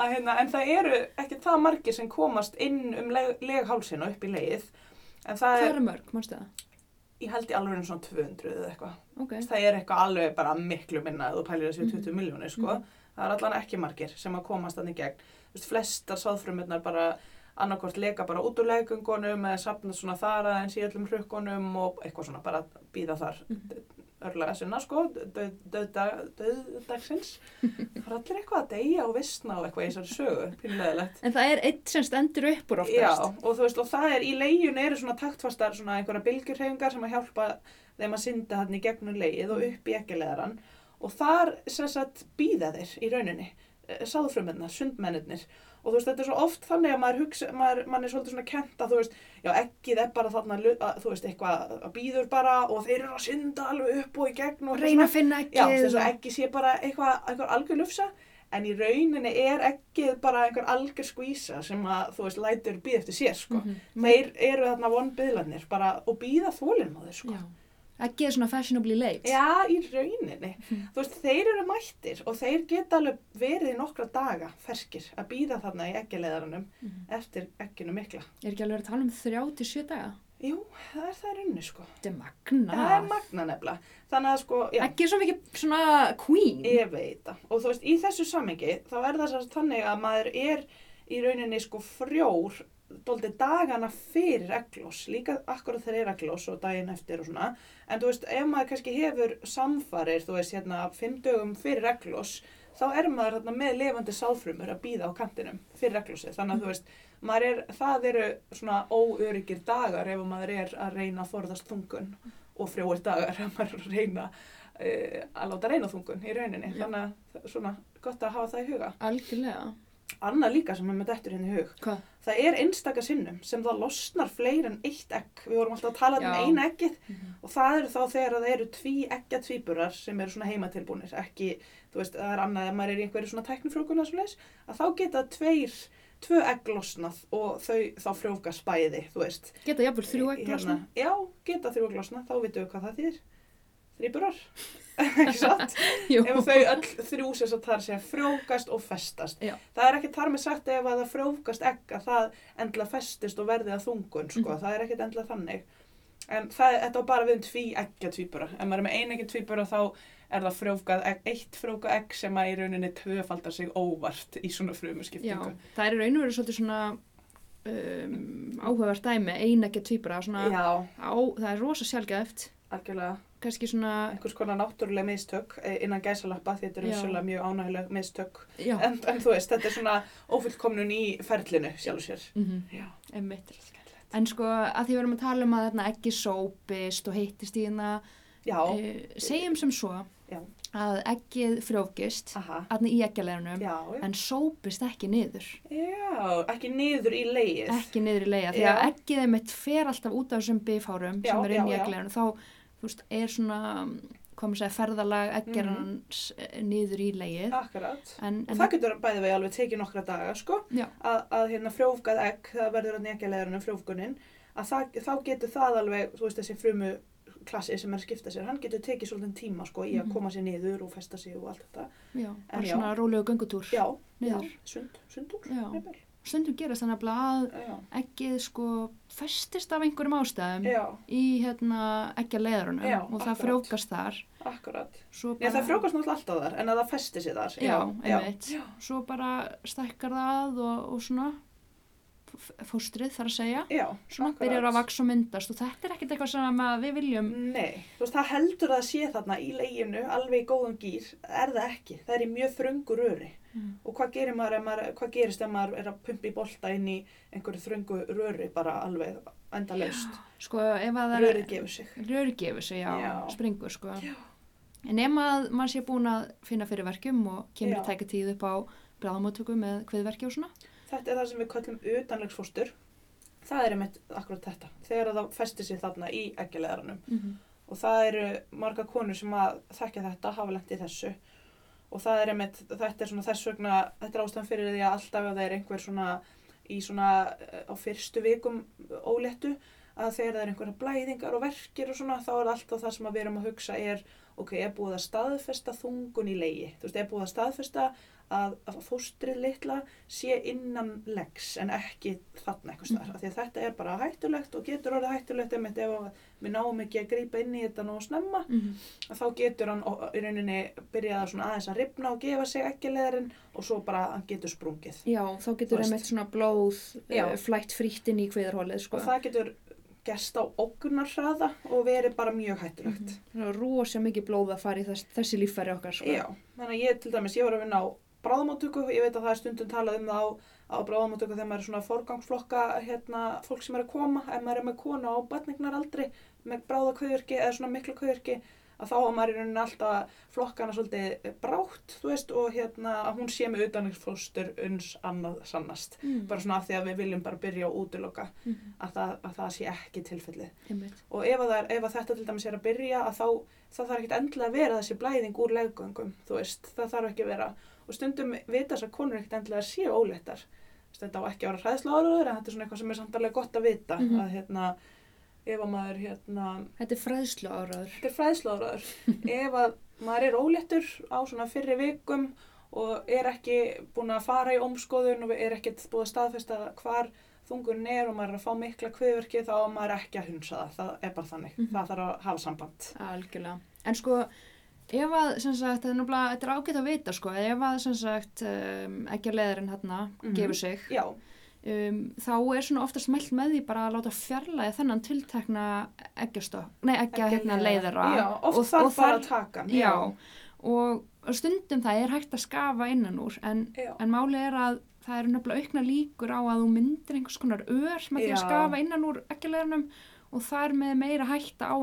S3: að, hérna, En það eru ekki það margir sem komast inn um leg, leghálsin og upp í leið En það
S1: Hvað
S3: er,
S1: eru mörg, mannstu það?
S3: ég held í alveg svona 200 eða eitthvað
S1: Ok.
S3: Það er eitthvað alveg bara miklu minna ef þú pælir þessi 20
S1: Mhm.
S3: miljónir sko. Það er allan ekki margir sem að komast þannig gegn. Þú veist, flestar sáðfrumurnar bara annarkort leka bara út úr legungunum eða safna svona þar aðeins í öllum hrukkunum og eitthvað svona bara býða þar
S1: Mhm.
S3: örlega sinna sko, döðdagsins. Það er allir eitthvað að deyja og vissna og eitthvað í þessari sögu, pínulegilegt.
S1: En það er eitt sem stendur upp úr
S3: Já,
S1: oftast.
S3: og þú veist, og það er í leiðinu eru svona taktfastar svona einhverja bylgjurhefingar sem að hjálpa þeim að synda hann í gegnum leið og upp í ekkileðaran og þar sem sagt býða þeir í rauninni sáðfrumennar, sundmennirnir og þú veist þetta er svo oft þannig að maður hugsa maður, maður er svolítið svona kent að þú veist já ekkið er bara þarna lu- að, þú veist eitthvað að býður bara og þeir eru að synda alveg upp og í gegn og
S1: Reyna að finna ekki.
S3: Já, þess að ekki sé bara eitthvað, eitthvað algjör lufsa, en í rauninni er ekki bara einhver algjör skvísa sem að, þú veist, lætur býð eftir sér, sko.
S1: Mhm.
S3: Þeir eru þarna von byðlanir bara og býða þólinn á þeir, sko.
S1: Já. Ekki er svona fashionably late.
S3: Já, í rauninni.
S1: Mhm.
S3: Þú veist, þeir eru mættir og þeir geta alveg verið í nokkra daga ferskir að býða þarna í ekkileðarunum
S1: Mhm.
S3: eftir ekkinu mikla.
S1: Er ekki alveg að tala um þrjá til sjö daga?
S3: Jú, það er það í rauninni, sko.
S1: Þetta er magna.
S3: Það er magna nefnilega. Þannig að, sko, já.
S1: Ekki er svo mikið svona queen.
S3: Ég veit það. Og þú veist, í þessu samengi þá er það sérst þannig að maður er í rauninni sko frjór dóldi dagana fyrir eglós, líka akkurat þegar er eglós og daginn eftir og svona. En þú veist, ef maður kannski hefur samfarir, þú veist, hérna, fimm dögum fyrir eglós, þá er maður þarna með levandi sáðfrumur að býða á kantinum fyrir eglósið. Þannig að þú veist, maður er, það eru svona óöryggir dagar ef maður er að reyna að forðast þungun og frjóir dagar ef maður er að reyna uh, að láta reyna þungun í rauninni
S1: Já.
S3: þannig að það er svona gott að hafa það í huga
S1: Algjörlega.
S3: annað líka sem er með dettur hérna í hug
S1: Hvað?
S3: það er einstaka sinnum sem það losnar fleir en eitt egg við vorum alltaf að tala um
S1: Já.
S3: eina eggið
S1: Mhm.
S3: og það eru þá þegar það eru tví eggja tvíburar sem eru svona heimatilbúnir ekki, þú veist, það er annað ef maður er í einhverju svona tæknifrjókunar svo leis að þá geta tveir, tvö egg losnað og þau þá frjókast bæði þú veist
S1: Geta jafnvel þrjú sko? ekki losna.
S3: Hérna, já, geta þrjú egg losnað, þá vitum við hvað það þýðir þrýburar, ekki satt
S1: Jú.
S3: ef þau öll þrjú sem sagt þar segja frjókast og festast.
S1: Já.
S3: Það er ekki þar með sagt ef að það frjókast ekka það endla festist og verði að þungun, sko,
S1: Mhm.
S3: það er ekkit endla þannig. En það, þetta var bara við um tví eggja tvíbura. Ef maður er með eineggjum tvíbura þá er það frjókað egg, eitt frjókað egg sem að í rauninni tvöfaldar sig óvart í svona
S1: Já,
S3: frumuskiptingu.
S1: það er í raun og verið svolítið svona um, áhugavert dæmi, einægja tvíbra, svona,
S3: Já,
S1: á, það er rosa sjálfgæft,
S3: algjörlega.
S1: kannski svona,
S3: Einhvers konar náttúrulega mistök eh, innan gæsalappa því þetta eru
S1: Já.
S3: vissulega mjög ánægileg mistök.
S1: já,
S3: En, en þú veist, þetta er svona ófullkomnun í ferlinu sjálf og sér.
S1: mhm,
S3: Já,
S1: emmitt.
S3: skæðilegt.
S1: En sko, að því við erum að tala um að þarna ekki sópist og hittist í hérna,
S3: Já,
S1: e, segjum sem svo
S3: Já.
S1: að ekkið frjóvgist,
S3: aha,
S1: aðna í ekkjaleirunum,
S3: já,
S1: en sópist ekki niður,
S3: já, ekki niður í leið.
S1: ekki niður í leiða, því að
S3: Já.
S1: ekkið einmitt fer alltaf út af þessum bifárum
S3: Já,
S1: sem er inn
S3: já,
S1: í
S3: já.
S1: ekkjaleirunum, þá þú veist, er svona, hvað maður segja, ferðalag ekkjarans
S3: Mhm.
S1: mm niður í leið,
S3: Akkurat.
S1: en,
S3: Og
S1: en
S3: það getur bæði vegi alveg tekið nokkra daga, sko,
S1: Já.
S3: að, að hérna frjófgað egg, það verður að nekja leðurinn um frjófgunin, að það, þá getur það alveg, þú veist, þessi frumu klassi sem er að skipta sér, hann getur tekið svolítið tíma, sko, í að
S1: Mhm.
S3: koma sér niður og festa sig og allt þetta.
S1: já, bara
S3: já.
S1: svona rólegu göngutúr
S3: Já,
S1: niður.
S3: já, sund, sundur,
S1: Já.
S3: nefnir.
S1: Stundum gerast þannig nefnilega að
S3: Já,
S1: ekkið sko festist af einhverjum ástæðum
S3: já,
S1: í hérna ekkjaleirunum
S3: Já,
S1: og það
S3: akkurat.
S1: frjóvgast þar.
S3: akkurat.
S1: Svo
S3: Nei,
S1: bara-
S3: það frjókast náttúrulega alltaf þar, en að það festi sér þar.
S1: Já, einmitt.
S3: Já,
S1: svo bara stækkar það og, og svona f- fóstrið þar að segja
S3: já
S1: svona
S3: akkurat.
S1: byrjar að vaks og myndast og þetta er ekkert eitthvað sem að við viljum
S3: Nei, þú veist, það heldur að það sé þarna í leginu alveg í góðan gýr, er það ekki. Það er í mjög þröngu röri.
S1: Mm.
S3: Og hvað, gerir maður, ef maður, hvað gerist ef maður er að pumpa í bolta inn í einhverju þröngu röri bara alveg endalaust?
S1: sko ef að það er
S3: Rörið gefur sig.
S1: rörgefi sig á
S3: Já.
S1: springur sko en ef að maður sé búin að finna fyrir verkjum og kemur
S3: Já.
S1: að tæka tíð upp á bráðamóttöku með kveðverki og svona
S3: Þetta er það sem við köllum utanlegsfóstur. Það er einmitt akkurat þetta. Þegar að það festir sig þarna í eggjaleðaranum.
S1: Mhm.
S3: og það eru marga konur sem að þekkja þetta, hafa lent í þessu og það er einmitt, þetta er svona þess vegna þetta er ástæðan fyrir því að alltaf ef það er einhver svona í svona eh, á fyrstu vikum óléttu að þegar það er einhverja blæðingar og verkir og svona þá er alltaf það sem að við erum að hugsa er ok, er búið að staðfesta þungun í leigi, þú veist, er búið að staðfesta að, að fóstrið litla sé innan legs en ekki þarna einhvers staðar, af því að þetta er bara hættulegt og getur orðið hættulegt einmitt ef að við náum ekki að grípa inn í þetta nógu snemma
S1: Mhm.
S3: að þá getur hann ó- í rauninni byrjað svona aðeins að ripna og gefa sig ekki leðurinn og svo bara hann getur sprungið
S1: já, þá
S3: Þú
S1: getur
S3: veist.
S1: einmitt svona blóð
S3: Já.
S1: eh, flætt frítt inn í kveðarhólið sko
S3: og það getur gerst á ógnar hraða og verið bara mjög hættulegt
S1: það er rosa mikið blóð að fara í þess, þessi líffæri okkar sko
S3: Já, þannig að ég til dæmis, ég var að vinna á bráðamáttöku, ég veit að það er stundum talað um það á, á bráðamáttöku þegar maður er svona að forgangsflokka hérna, fólk sem er að koma, ef maður er með konu á batningnaraldri, með bráðakauðurki eða svona miklu kauðurki, að þá að maður er í rauninni alltaf að flokka hana svolítið brátt, þú veist, og hérna að hún sé með utanriksfóstur uns annað sannast.
S1: Mm.
S3: Bara svona af því að við viljum bara byrja að útiloka
S1: Mhm.
S3: að það, að það sé ekki tilfellið
S1: Einmitt.
S3: og ef, að það er, ef að þetta til dæmis er að byrja að þá það þarf ekkert endilega að vera þessi blæðing úr leggöngum, þú veist, það þarf ekki að vera og stundum vita þess að konur ekkert endilega séu óléttar, Þú veist, þetta á ekki að vera hræðsla áraður en þetta er svona eitthvað sem er samt alveg gott að vita
S1: Mhm.
S3: að hérna, ef að maður hérna,
S1: Þetta er fræðslu áraður.
S3: þetta er fræðsla áraður ef að maður er óléttur á svona fyrri vikum og er ekki búin að fara í ómskoðun og er ekkert búið að staðfesta hvar þungunin er og maður er að fá mikla kviðverki þá á maður ekki að hunsa það, það er bara þannig,
S1: Mhm.
S3: það þarf að hafa samband.
S1: Algjörlega. En sko, ef að, sem sagt, þetta er náttúrulega, þetta er ágætt að vita, sko, ef að, sem sagt, um, ekki að leðurinn hérna
S3: Mhm.
S1: gefur sig,
S3: Já,
S1: um, þá er svona oftast mælt með því bara að láta fjarlæði þennan tiltekna eggjastokk, nei, eggja hérna leiðara.
S3: Já, oft
S1: Og-
S3: þarf
S1: og
S3: bara
S1: þar-
S3: að taka hann.
S1: Já, og stundum það er hægt að skafa innan úr, en,
S3: Já.
S1: en máli er að það eru nefnilega aukna líkur á að þú myndir einhvers konar ör með því að
S3: Já.
S1: skafa innan úr ekkjulegarnum og þar með meira hætta á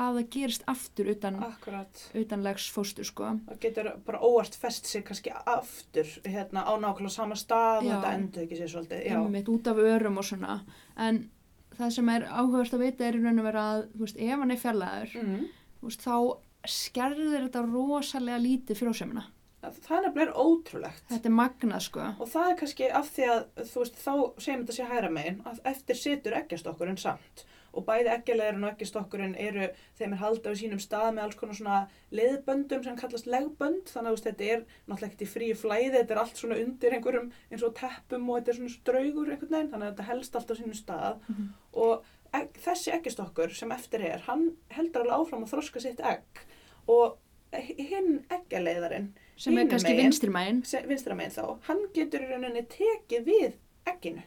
S1: að það gerist aftur utan,
S3: Ah. Akkurat.
S1: utanlegs fóstur, sko.
S3: Það getur bara óvart fest sig kannski aftur hérna á nákvæmlega sama stað og
S1: Já.
S3: þetta endur ekki sér svolítið. Já,
S1: einmitt út af örum og svona en það sem er áhugast að vita er í raun og vera að, þú veist, ef hann er fjarlæður
S3: mm.
S1: þú veist, þá skerðir þetta rosalega lítið frjósemina
S3: það er nefnilega ótrúlegt.
S1: þetta er magnað, sko
S3: Og það er kannski af því að, þú veist, þá segjum þetta sé hæra megin, að eftir situr eggjastokkurinn samt. Og bæði eggjalegurinn og eggjastokkurinn eru, þeim er haldið á sínum stað með alls konar svona leiðböndum sem kallast legbönd, þannig að þú veist, þetta er náttúrulega ekkert í fríu flæði, þetta er allt svona undir einhverjum eins og teppum og þetta er svona straugur einhvern veginn, þannig að þetta helst allt á sínum stað.
S1: Mhm.
S3: Og egg, þessi eggjastokkur sem eftir er, hann heldur alveg áfram að þroska sitt egg og hinn eggjaleiðarinn,
S1: sem er
S3: Hinum
S1: kannski
S3: megin.
S1: vinstri mæn
S3: sem- vinstra meginn þá, hann getur í rauninni tekið við egginu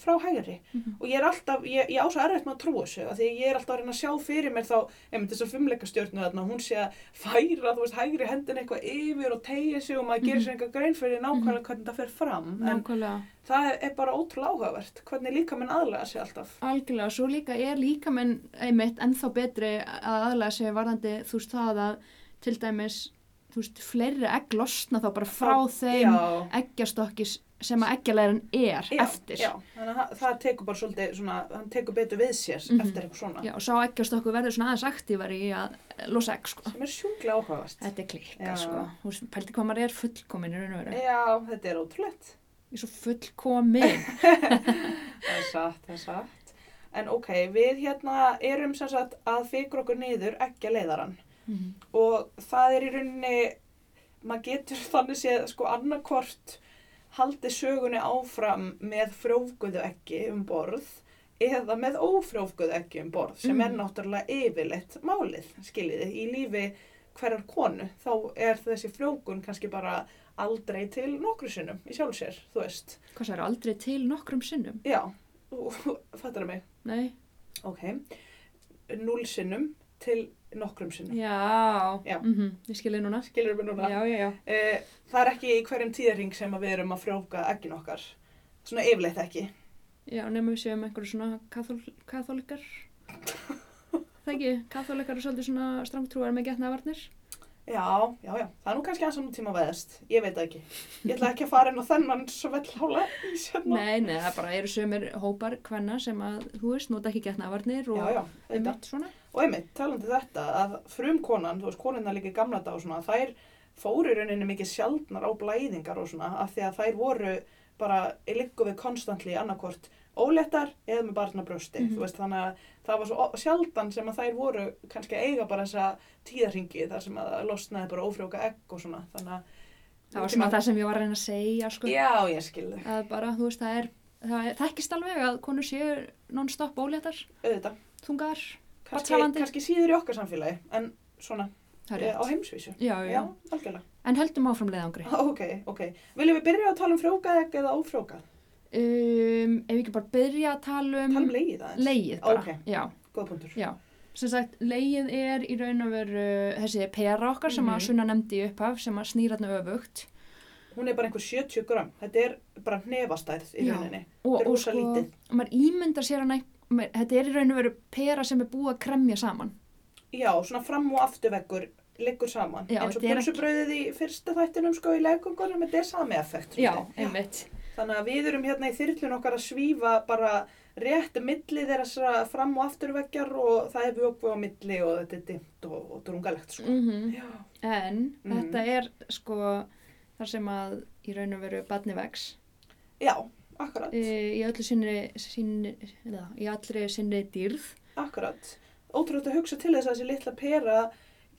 S3: frá hægri
S1: Mhm.
S3: og ég er alltaf, ég, ég á svo erfitt með að trúa þessu af því að ég er alltaf að reyna að sjá fyrir mér þá einmitt þess að fimmleikastjörnu þarna, hún sé að færa, þú veist, hægri hendin eitthvað yfir og tegja sig og maður gerir
S1: Mhm.
S3: sér eitthvað grein fyrir nákvæmlega hvernig það fer fram en
S1: nákvæmlega
S3: það er- er bara ótrúlega áhugavert hvernig líka minn aðlega sig alltaf
S1: Algjörlega, svo líka er líkamenn einmitt ennþá betri að aðlega segja varðandi þú veist það að til dæmis, þú veist, fleiri egg losna þá bara frá þeim
S3: já,
S1: eggjastokki sem að eggjalærin er
S3: já,
S1: eftir.
S3: já, þannig að það, það tekur bara svolítið svona, hann tekur betur við sér
S1: Mhm.
S3: eftir eitthvað svona
S1: Já, og sá eggjastokku verður svona aðeins aktívar í að losa egg, sko.
S3: sem er sjúklega áhugavert
S1: Þetta er klikka,
S3: Já.
S1: sko. Þú veist, pældi hvað maður er fullkomin í raun og veru.
S3: já, þetta er ótrúlegt
S1: Ég er svo fullkomin.
S3: Það er satt, það er satt. En ok, við hérna erum sem sagt að fikra okkur niður ekki að leiðaran
S1: Mhm.
S3: og það er í rauninni, maður getur þannig séð sko annarkvort haldið sögunni áfram með frjófguðu ekki um borð eða með ófrjófguðu ekki um borð sem er
S1: Mhm.
S3: náttúrulega yfirleitt málið, skiljiði, í lífi hverjar konu, þá er þessi frjókun kannski bara aldrei til nokkru sinnum í sjálf sér, þú veist.
S1: Hvað sér, aldrei til nokkrum sinnum?
S3: Já, fattar mig.
S1: Nei.
S3: Ok, núl sinnum til nokkrum sinnum.
S1: Já.
S3: Já.
S1: Mhm, Ég skilði núna.
S3: Skilur við núna?
S1: Já, já, já.
S3: Eh, það er ekki í hverjum tíðarhing sem að við erum að frjóka eggin okkar. Svona yfirleitt ekki.
S1: Já, nema við séum einhverju svona kathól, katholikar. Það ekki, katholikar er svolítið svona strangtrúar með getnaðvarnir.
S3: Já, já, já. Það er nú kannski aðeins saman tíma veðast. Ég veit það ekki. Ég ætla ekki að fara inn á þennan svellhála í sérna.
S1: Nei, nei, það bara eru sömur hópar hvenna sem að, þú veist, nota ekki getnaðvarnir og
S3: Já, já, þetta.
S1: einmitt svona.
S3: Og einmitt, talandi um þetta, að frumkonan, þú veist, konunna líka í gamla dag og svona, þær fóru í rauninni mikið sjaldnar á blæðingar og svona, af því að þær voru bara, ég liggu við konstantli annarkvort óléttar eða með barnabrösti,
S1: Mhm.
S3: þú veist, þannig að það var svo o- sjaldan sem að þær voru kannski að eiga bara þessa tíðarhingi þar sem að losnaði bara ófrjóka egg og svona, þannig að...
S1: Það var svona það sem ég var að reyna að segja, sko.
S3: Já, ég skil þig,
S1: Að bara, þú veist, það er, það er, þekkist alveg að konur séu non-stop óléttar,
S3: auðvitað,
S1: þungar,
S3: kannski,
S1: Barnshafandi.
S3: kannski síður í okkar samfélagi, en svona,
S1: það
S3: eh,
S1: er
S3: á
S1: rétt.
S3: heimsvísu,
S1: Já, já,
S3: já, algjörlega.
S1: En höldum áfram leiðangri.
S3: Ah, Ok, ok. Viljum við byrja að tala um frjókað egg eða ófrjókað?
S1: Mm-hmm. Um, ef við ekki bara byrja að tala um
S3: Tala um legið aðeins.
S1: leið bara.
S3: Ókei.
S1: Já.
S3: Góð punktur.
S1: Já, sem sagt, leið er í raun og veru þessi pera okkar sem að
S3: Mhm.
S1: Sunna nefndi í upphaf sem að snýratna öfugt
S3: Hún er bara einhver 70 gram. Þetta er bara hnefastæð í
S1: Já.
S3: rauninni.
S1: og,
S3: Þetta er
S1: og
S3: rosa lítið.
S1: maður ímyndar sér hann þetta er í raun og veru pera sem er búið að kremja saman
S3: Já, svona fram og afturveggur liggur saman.
S1: Já,
S3: Eins og
S1: þetta er ekki-
S3: brunsubröðið í fyrsta þættinum sko í legungunum, þetta er sami effekt.
S1: Já,
S3: svolítið.
S1: einmitt
S3: Þannig að við erum hérna í þyrlun okkar að svífa bara rétt milli þeirra fram og afturveggjar og það er vögvu á milli og þetta er dimmt og, og drungalegt sko.
S1: Mhm.
S3: Já.
S1: En
S3: Mhm.
S1: þetta er sko þar sem að í raun og veru badni vex
S3: Já, akkurat.
S1: e, í öllu sinni, sinni eða, í allri sinni dýrð
S3: Akkurat. Ótrúlega að hugsa til þess að þessi litla pera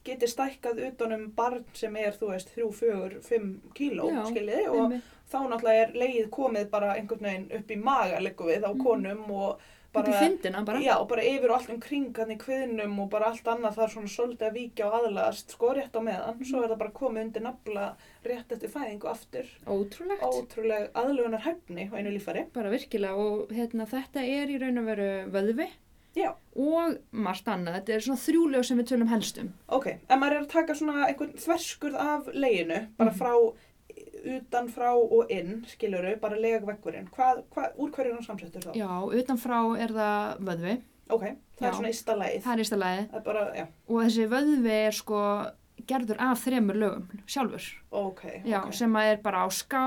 S3: geti stækkað utanum barn sem er, þú veist, 3, 4, 5 kíló,
S1: Já,
S3: skiljiði, og
S1: einmitt.
S3: þá náttúrulega er leið komið bara einhvern veginn upp í maga, leggum við, á konum og
S1: upp Mhm. í
S3: bara,
S1: fyndina bara
S3: já, bara yfir og allt um kring hann í kviðnum og bara allt annað þar svona svolítið að víkja og aðlaðast, sko, rétt á meðan, svo er það bara komið undir nafla rétt eftir fæðingu aftur.
S1: Ótrúlegt
S3: Ótrúlega aðlugunar hæfni á einu lífari.
S1: bara virkilega og hérna, þetta er í raun og veru vöðvi
S3: Já.
S1: og margt annað, þetta er svona þrjúlög sem við tölum helst um
S3: Ok, en maður er að taka svona einhvern þverskurð af leginu, bara
S1: Mhm.
S3: frá, utan frá og inn, skiljuru, bara legveggurinn. Hvað, hvað, úr hverju er hann samsettur þá?
S1: Já, utanfrá er það vöðvi,
S3: Ok, það er
S1: Já.
S3: svona ysta leið.
S1: það er í stælaði
S3: Það er bara, já,
S1: og þessi vöðvi er sko gerður af þremur lögum sjálfur
S3: ok,
S1: Já,
S3: ok.
S1: sem að er bara á ská,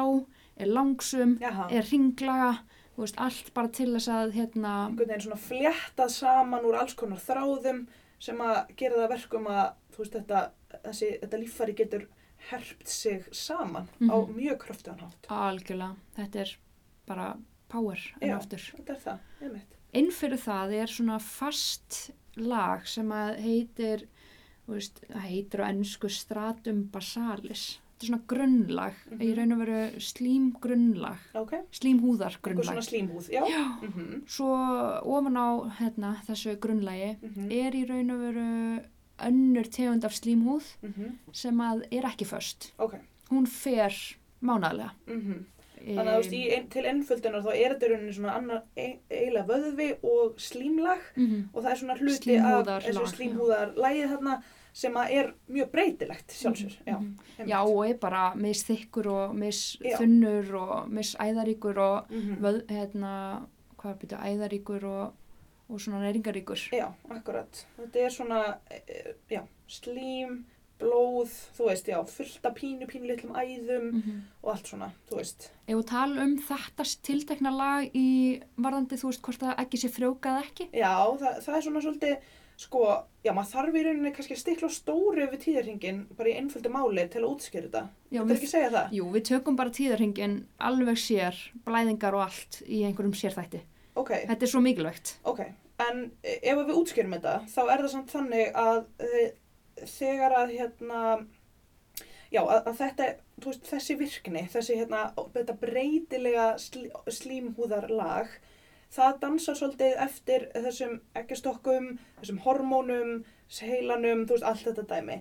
S1: er langsum,
S3: Jaha,
S1: er ringlaga þú veist, allt bara til þess að hérna,
S3: einhvern veginn svona fléttað saman úr alls konar þráðum sem að gera það að verkum að, þú veist, þetta, þessi, þetta líffæri getur herpt sig saman á
S1: Mhm.
S3: mjög kröftugan hátt.
S1: algjörlega, þetta er bara power en
S3: Já.
S1: aftur
S3: Þetta er það, einmitt.
S1: inn fyrir það er svona fast lag sem að heitir þú veist, það heitir á ennsku stratum basalis þetta er svona grunnlag,
S3: Mhm.
S1: í raun og veru slím grunnlag,
S3: ok,
S1: slím húðar
S3: eitthvað svona
S1: grunnlag.
S3: slímhúð, já.
S1: Já,
S3: Mm -hmm.
S1: svo ofan á hérna, þessu grunnlagi
S3: Mm -hmm.
S1: er í raun og veru önnur tegund af slímhúð sem að er ekki föst.
S3: mhm, Ok,
S1: Hún fer mánaðlega.
S3: mm
S1: Mhm.
S3: þannig að þú veist, í ein, til ennföldunar þá er þetta í rauninni svona annar ein- eiginlega vöðvi og slímlag
S1: Mhm,
S3: og það er svona hluti
S1: Slímhúðarlag,
S3: af þessu
S1: já.
S3: slímhúðar lagið þarna sem að er mjög breytilegt sjálfsögur, já.
S1: mhm.
S3: einmitt.
S1: Já, og er bara mis þykkur og mis
S3: Já.
S1: þunnur og mis æðaríkur og
S3: Mhm.
S1: vöð, hérna, hvað byrja, æðaríkur og, og svona næringaríkur.
S3: Já, akkurat. Þetta er svona, e, e, já, slím, blóð, þú veist, já, fullt af pínu, pínu litlum æðum
S1: Mm
S3: og allt svona, þú veist.
S1: Ef við tala um þetta tiltekna lag í varðandi, þú veist, hvort það ekki sé frjókað ekki.
S3: Já, það, það er svona svolítið, sko, já, maður þarf í rauninni kannski að stikla á stóru við tíðarhingin bara í einföldu máli til að útskýra þetta.
S1: Já,
S3: Þetta er
S1: við,
S3: ekki að segja það?
S1: jú, við tökum bara tíðarhingin alveg sér, blæðingar og allt í einhverjum sérþætti.
S3: Ok,
S1: Þetta er svo mikilvægt.
S3: ok. En e, ef við útskýrum þetta, þá er það samt þannig að e, þegar að, hérna, já, að, að þetta, þú veist, þessi virkni, þessi, hérna, þetta breytilega slí, slímhúðarlag, það dansar svolítið eftir þessum ekkjastokkum, þessum hormónum, heilanum, þú veist, allt þetta dæmi.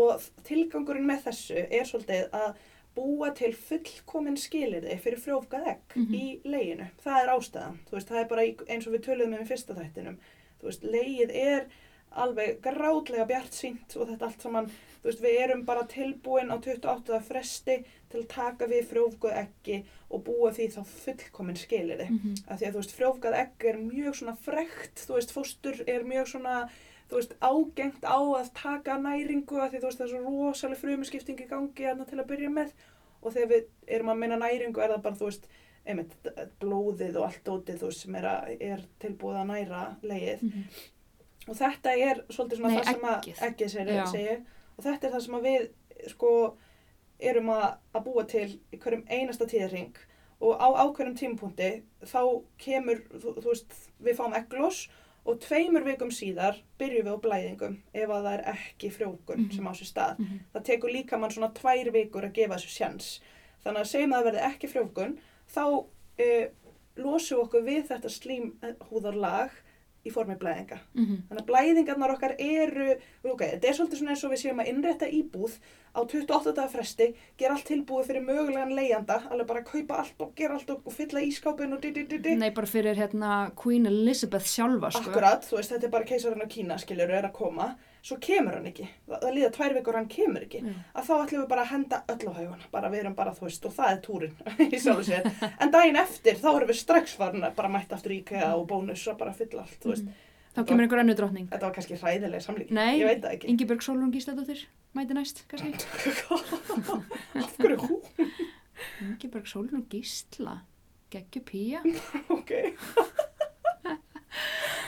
S3: Og tilgangurinn með þessu er svolítið að búa til fullkomin skilirði fyrir frjófgað egg
S1: Mhm.
S3: í leginu. Það er ástæðan, þú veist, það er bara í, eins og við töluðum um í fyrsta þættinum. Þú veist, legið er alveg grátlega bjart sínt og þetta allt saman, þú veist, við erum bara tilbúin á 28. fresti til að taka við frjófgað eggi og búa því þá fullkomin skilirði
S1: Mm -hmm.
S3: að því að þú veist frjófgað egg er mjög svona frekt, þú veist fóstur er mjög svona þú veist ágengt á að taka næringu að því þú veist það er svo rosaleg frumuskipting í gangi hérna til að byrja með og þegar við erum að meina næringu er það bara þú veist einmitt d- blóðið og allt ótið þú veist sem er, að, er tilbúið að næra leið
S1: Mhm.
S3: og þetta er svolítið svona
S1: Nei,
S3: það sem að
S1: eggið.
S3: eggið segir,
S1: Já.
S3: segir og þetta er það sem að við sko erum að, að búa til í hverjum einasta tíðarring og á ákveðnum tímapunkti þá kemur, þú, þú veist, við fáum egglós og tveimur vikum síðar byrjum við á blæðingum ef að það er ekki frjókun
S1: Mhm.
S3: sem á sér stað það tekur líka mann svona tvær vikur að gefa þessu sjans. Þannig að segjum að það verði ekki frjókun, þá uh, losum við okkur við þetta slímhúðarlag í formi blæðinga.
S1: Mhm.
S3: Þannig að blæðingarnar okkar eru, ok, þetta er svolítið svona eins og við séum að innrétta íbúð á 28 dagar fresti, gera allt tilbúið fyrir mögulegan leigjanda, alveg bara að kaupa allt og gera allt og og fylla ískápin og di di di di.
S1: Nei, bara fyrir hérna Queen Elizabeth sjálfa, Mm, sko.
S3: Akkurat, þú veist, þetta er bara keisarinn á Kína, skiljur, er að koma, svo kemur hann ekki, það, það líða tvær vikur og hann kemur ekki,
S1: Já.
S3: að þá ætlum við bara að henda öll á haugana, bara við erum bara, þú veist, og það er túrin í sjálf sér, en daginn eftir þá erum við strax farin að bara mæta aftur í IKEA og bónus og bara fylla allt, þú veist,
S1: Þá kemur einhver annu drottning.
S3: þetta var kannski hræðileg samlík,
S1: Mm. Nei,
S3: ég veit það ekki.
S1: Ingeborg Solrún Gísladóttir mæti næst, kannski.
S3: Af hverju hú?
S1: Ingeborg Solrún Gísla, geggju pía.
S3: Ok.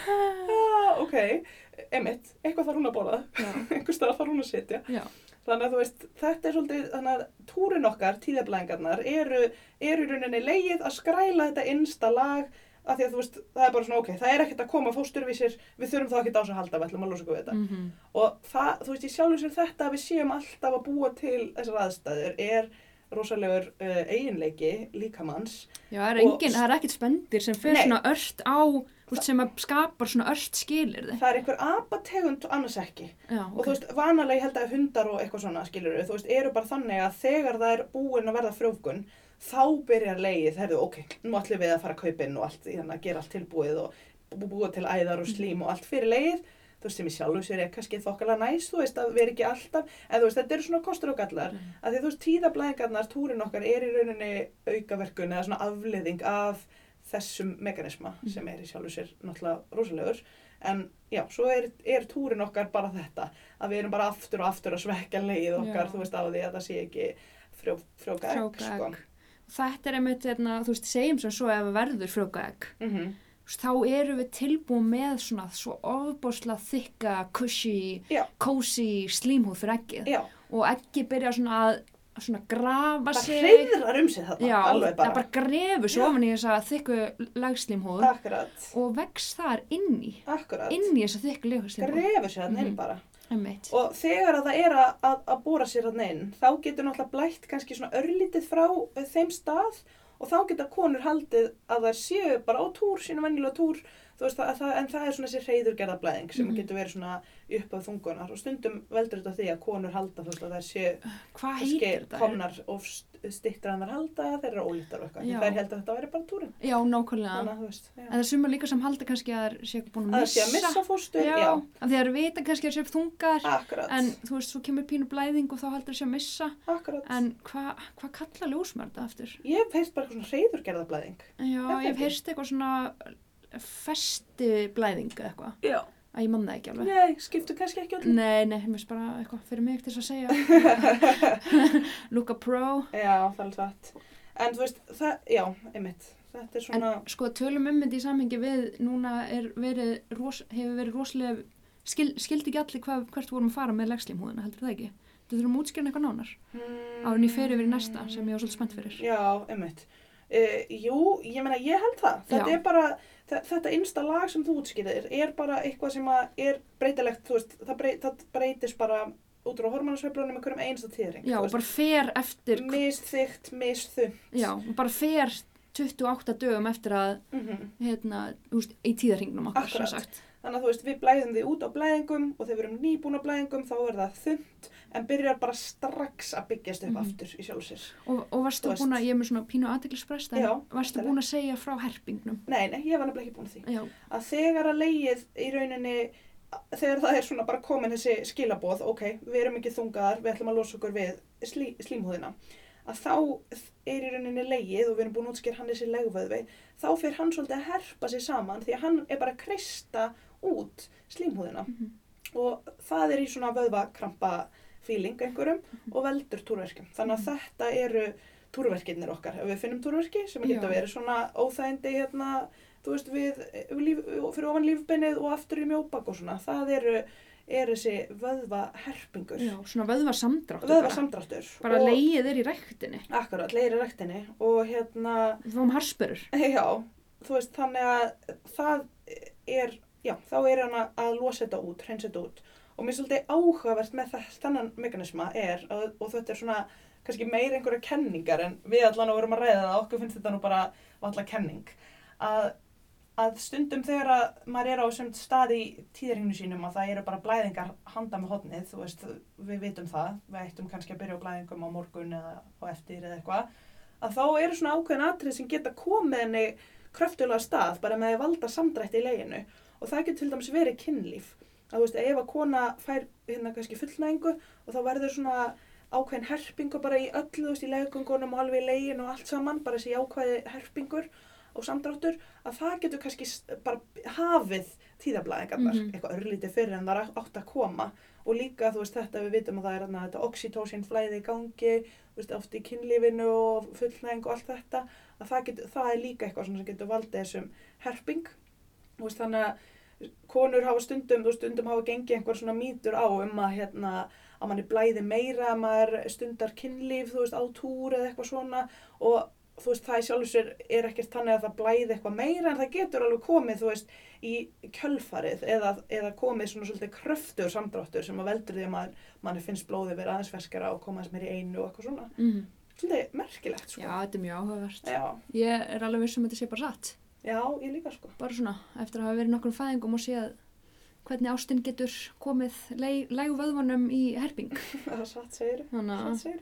S3: Ah, ok, emitt, eitthvað þarf hún að bóla,
S1: Já,
S3: einhvers staðar þarf hún að sitja.
S1: já.
S3: Þannig að þú veist, þetta er svolítið, þannig að túrin okkar, tíðablæðingarnar, eru, eru í rauninni leið að skræla þetta innsta lag af því að þú veist, það er bara svona, ok, það er ekkert að koma fósturvísir, við þurfum þá ekkert á þessu að halda, við ætlum að losa okkur við þetta.
S1: mhm.
S3: Og það, þú veist, í sjálfum sér þetta að við séum alltaf að búa til þessar aðstæður er rosalegur uh, eiginleiki líkamanns.
S1: Já, það er,
S3: Og-
S1: engin, það er ekkit spendir sem fer
S3: Nei.
S1: svona ört á, þú veist, sem að skapar svona ört skilir þið.
S3: Það er einhver apategund og annars ekki.
S1: Já,
S3: Og þú
S1: ok.
S3: veist, vanalega ég held að hundar og eitthvað svona, skilur þú veist, eru bara þannig að þegar það er búin að verða frjófgun, þá byrjar leið, herðu, ok, nú ætlum við að fara að kaupa inn og allt, þannig að gera allt tilbúið og bú- búa til æðar og slím og allt fyrir leið, þú veist, sem í sjálfu sér er kannski þokkala næs, þú veist, að vera ekki alltaf, en þú veist, þetta eru svona kostur og gallar,
S1: Mhm.
S3: að því þú veist, tíðablæðingarnar, túrin okkar er í rauninni aukaverkun eða svona afleðing af þessum mekanisma
S1: Mhm.
S3: sem er í sjálfu sér náttúrulega rosalegur, en já, svo er, er túrin okkar bara þetta að við erum bara aftur og aftur að svekja leið okkar,
S1: Já.
S3: þú veist, á því að það sé ekki frjó, frjóka egg,
S1: Frjóka
S3: sko.
S1: egg. Þetta er einmitt, hérna, þú veist, segjum sem svo ef að verður frjóka egg.
S3: Mm
S1: Þú veist, Þá erum við tilbúin með svona svo ofbóðslega þykka, cushy,
S3: Já.
S1: cozy slímhúð fyrir eggið.
S3: Já,
S1: og ekki byrja svona að svona grafa
S3: það
S1: sig
S3: hreyðrar um sig þarna,
S1: já,
S3: alveg
S1: það bara grefur svo ofan í þessa þykku lagslímhúð
S3: Akkurat,
S1: og vex þar inn í
S3: akkurat,
S1: inn í þessa þykku lagslímhúð
S3: grefur sér þarna inn
S1: Mhm.
S3: bara.
S1: einmitt.
S3: Og þegar að það er að, að, að bóra sér að neinn, þá getur náttúrulega blætt kannski svona örlítið frá eh, þeim stað og þá geta konur haldið að þær séu bara á túr, sínu venjulega túr, þú veist, að, að, það- en það er svona þessi reyðurgerða blæðing sem
S1: Mhm.
S3: getur verið svona upp af þungunar og stundum veldur þetta því að konur halda þú veist að þær séu
S1: Hvað
S3: kannski
S1: heitir þetta?
S3: komnar of stittra en þær halda, þeir eru ólítar og eitthvað,
S1: Já.
S3: en þær held að þetta væri bara túrin,
S1: Já, nákvæmlega.
S3: þannig að þú veist, já.
S1: En það er sumar líka sem halda kannski að það er sér búin
S3: að
S1: að
S3: það sé
S1: missa.
S3: að missa fóstur,
S1: já.
S3: já,
S1: Af því að það eru vita kannski að sér þungar.
S3: akkurat,
S1: En þú veist, svo kemur pínu blæðing og þá haldur sér að missa.
S3: akkurat.
S1: En hvað hva kalla ljósmörða aftur?
S3: Ég hef heyrt bara eitthvað svona reyðurgerða
S1: Já, ég
S3: það
S1: hef
S3: ekki?
S1: heyrst eitthvað svona festi blæðing eða eitthvað.
S2: Já.
S1: Að ég mann það ekki alveg.
S3: Nei, skiptu kannski ekki öllu.
S1: Nei, nei, mér finnst bara eitthvað fyrir mig til þess að segja. Luka Pro.
S3: Já, það er alveg satt. En þú veist, það, já, einmitt. Þetta er svona,
S1: Sko, tölum um þetta í samhengi við núna er verið, ros, hefur verið rosalega, skil, skildi ekki allir hvað, hvert vorum að fara með legslímhúðina, heldur það ekki? Þú þurfum að útskjörna eitthvað nánar.
S3: mm,
S1: Árun ég fer yfir í næsta sem ég var svolítið spennt fyrir.
S3: Já, einmitt. Uh, jú, ég meina, ég held það. Þetta
S1: Já.
S3: er bara, þe- þetta innsta lag sem þú útskýrir er bara eitthvað sem að er breytilegt, þú veist, það, brey, það breytist bara út úr hormonasveiflunum einhverjum einsta týring.
S1: Já, og bara fer eftir,
S3: Misþygt, misþum.
S1: já, og bara fer 28 dögum eftir að,
S3: Mm
S1: hérna, úst, í tíðarhingnum okkar, sem
S3: Akkurat.
S1: sagt.
S3: Þannig að þú veist, við blæðum því út á blæðingum og þegar við erum nýbúin á blæðingum þá er það þund en byrjar bara strax að byggjast upp
S1: Mhm.
S3: aftur í sjálf sér.
S1: Og, og varstu
S3: Þú veist.
S1: búin að, ég er með svona pínu aðteglisprest, en
S3: Já,
S1: varstu
S3: endilega.
S1: búin að segja frá herpingnum?
S3: Nei, nei, ég var nefnilega ekki búin að því.
S1: Já,
S3: Að þegar að leið í rauninni, þegar það er svona bara komin þessi skilaboð, ok, við erum ekki þungaðar, við ætlum að losa okkur við slí, slímhúðina, að þá er í rauninni leið og við erum búin að útskýra hann þessi legvöðvi, þá fyrir hann svolítið að herpa sér saman því að hann er bara að kreista út slímhúðina
S1: Mhm.
S3: og það er í svona vöðvakrampa fíling einhverjum
S1: Mhm.
S3: og veldur túrverkjum. Þannig að þetta eru túrverkirnir okkar. Ef við finnum túrverki sem geta
S1: Já.
S3: verið svona óþægindi hérna, þú veist, við, við líf, fyrir ofan lífbeinið og aftur í mjóbak og svona. Það eru, eru þessi vöðvaherpingur,
S1: já, svona vöðva samdrátt.
S3: vöðvasamdráttur.
S1: Bara
S3: og-
S1: leið er í rektinni.
S3: Akkurat, leiri rektinni og hérna,
S1: Við fáum harspörur.
S3: já, þú veist, þannig að það er, já, þá er hann að- að losa þetta út, hreinsa þetta út. Og mér svolítið áhugavert með þess, þannan mekanisma er, að, og þetta er svona kannski meir einhverja kenningar en við allan vorum að ræða það, okkur finnst þetta nú bara valla kenning, að, að stundum þegar að maður er á sem stað í tíðringinu sínum að það eru bara blæðingar handa með hotnið, þú veist, við vitum það, við ættum kannski að byrja á blæðingum á morgun eða á eftir eða eitthvað, að þá eru svona ákveðin atrið sem geta komið henni kröftulega af stað bara með að valda samdrætti í leginu og það getur til dæmis verið kynlíf að þú veist, ef að kona fær hérna kannski fullnæðingu og þá verður svona ákveðin herpingu bara í öllu þú veist, í legungunum og alveg í leginu og allt saman bara þessi ákveði herpingur og samdráttur að það getur kannski s- bara hafið tíðablaðingarnar
S1: Mhm.
S3: eitthvað örlítið fyrir en það er átt að koma og líka þú veist þetta við vitum að það er þarna þetta oxytocin flæði í gangi þú veist, oft í kynlífinu og fullnæðing og allt þetta að það, getur, það er líka eitthvað svona sem getur valdið þessum herping Þú veist, þannig að konur hafa stundum þú veist, stundum hafa gengið einhver svona mýtur á um að hérna að manni blæði meira að maður stundar kynlíf þú veist á túr eða eitthvað svona og þú veist það í sjálfu sér er ekkert þannig að það blæði eitthvað meira en það getur alveg komið þú veist í kjölfarið eða, eða komið svona svolítið kröftur samdráttur sem að veldur því að maður, manni finnst blóðið vera aðeins ferskara og koma aðeins meira í einu og eitthvað svona
S1: Mm.
S3: svolítið merkilegt
S1: Já,
S3: sko.
S1: þetta er mjög áhugavert.
S3: Já.
S1: Ég er alveg vissum að þetta sé bara satt.
S3: Já, ég líka sko.
S1: Bara svona, eftir að hafa verið nokkrum fæðingum og séð hvernig ástinn getur komið lægu vöðvanum í herping.
S3: Það er satt segir.
S1: Þannig
S3: Satt
S1: að
S3: segir.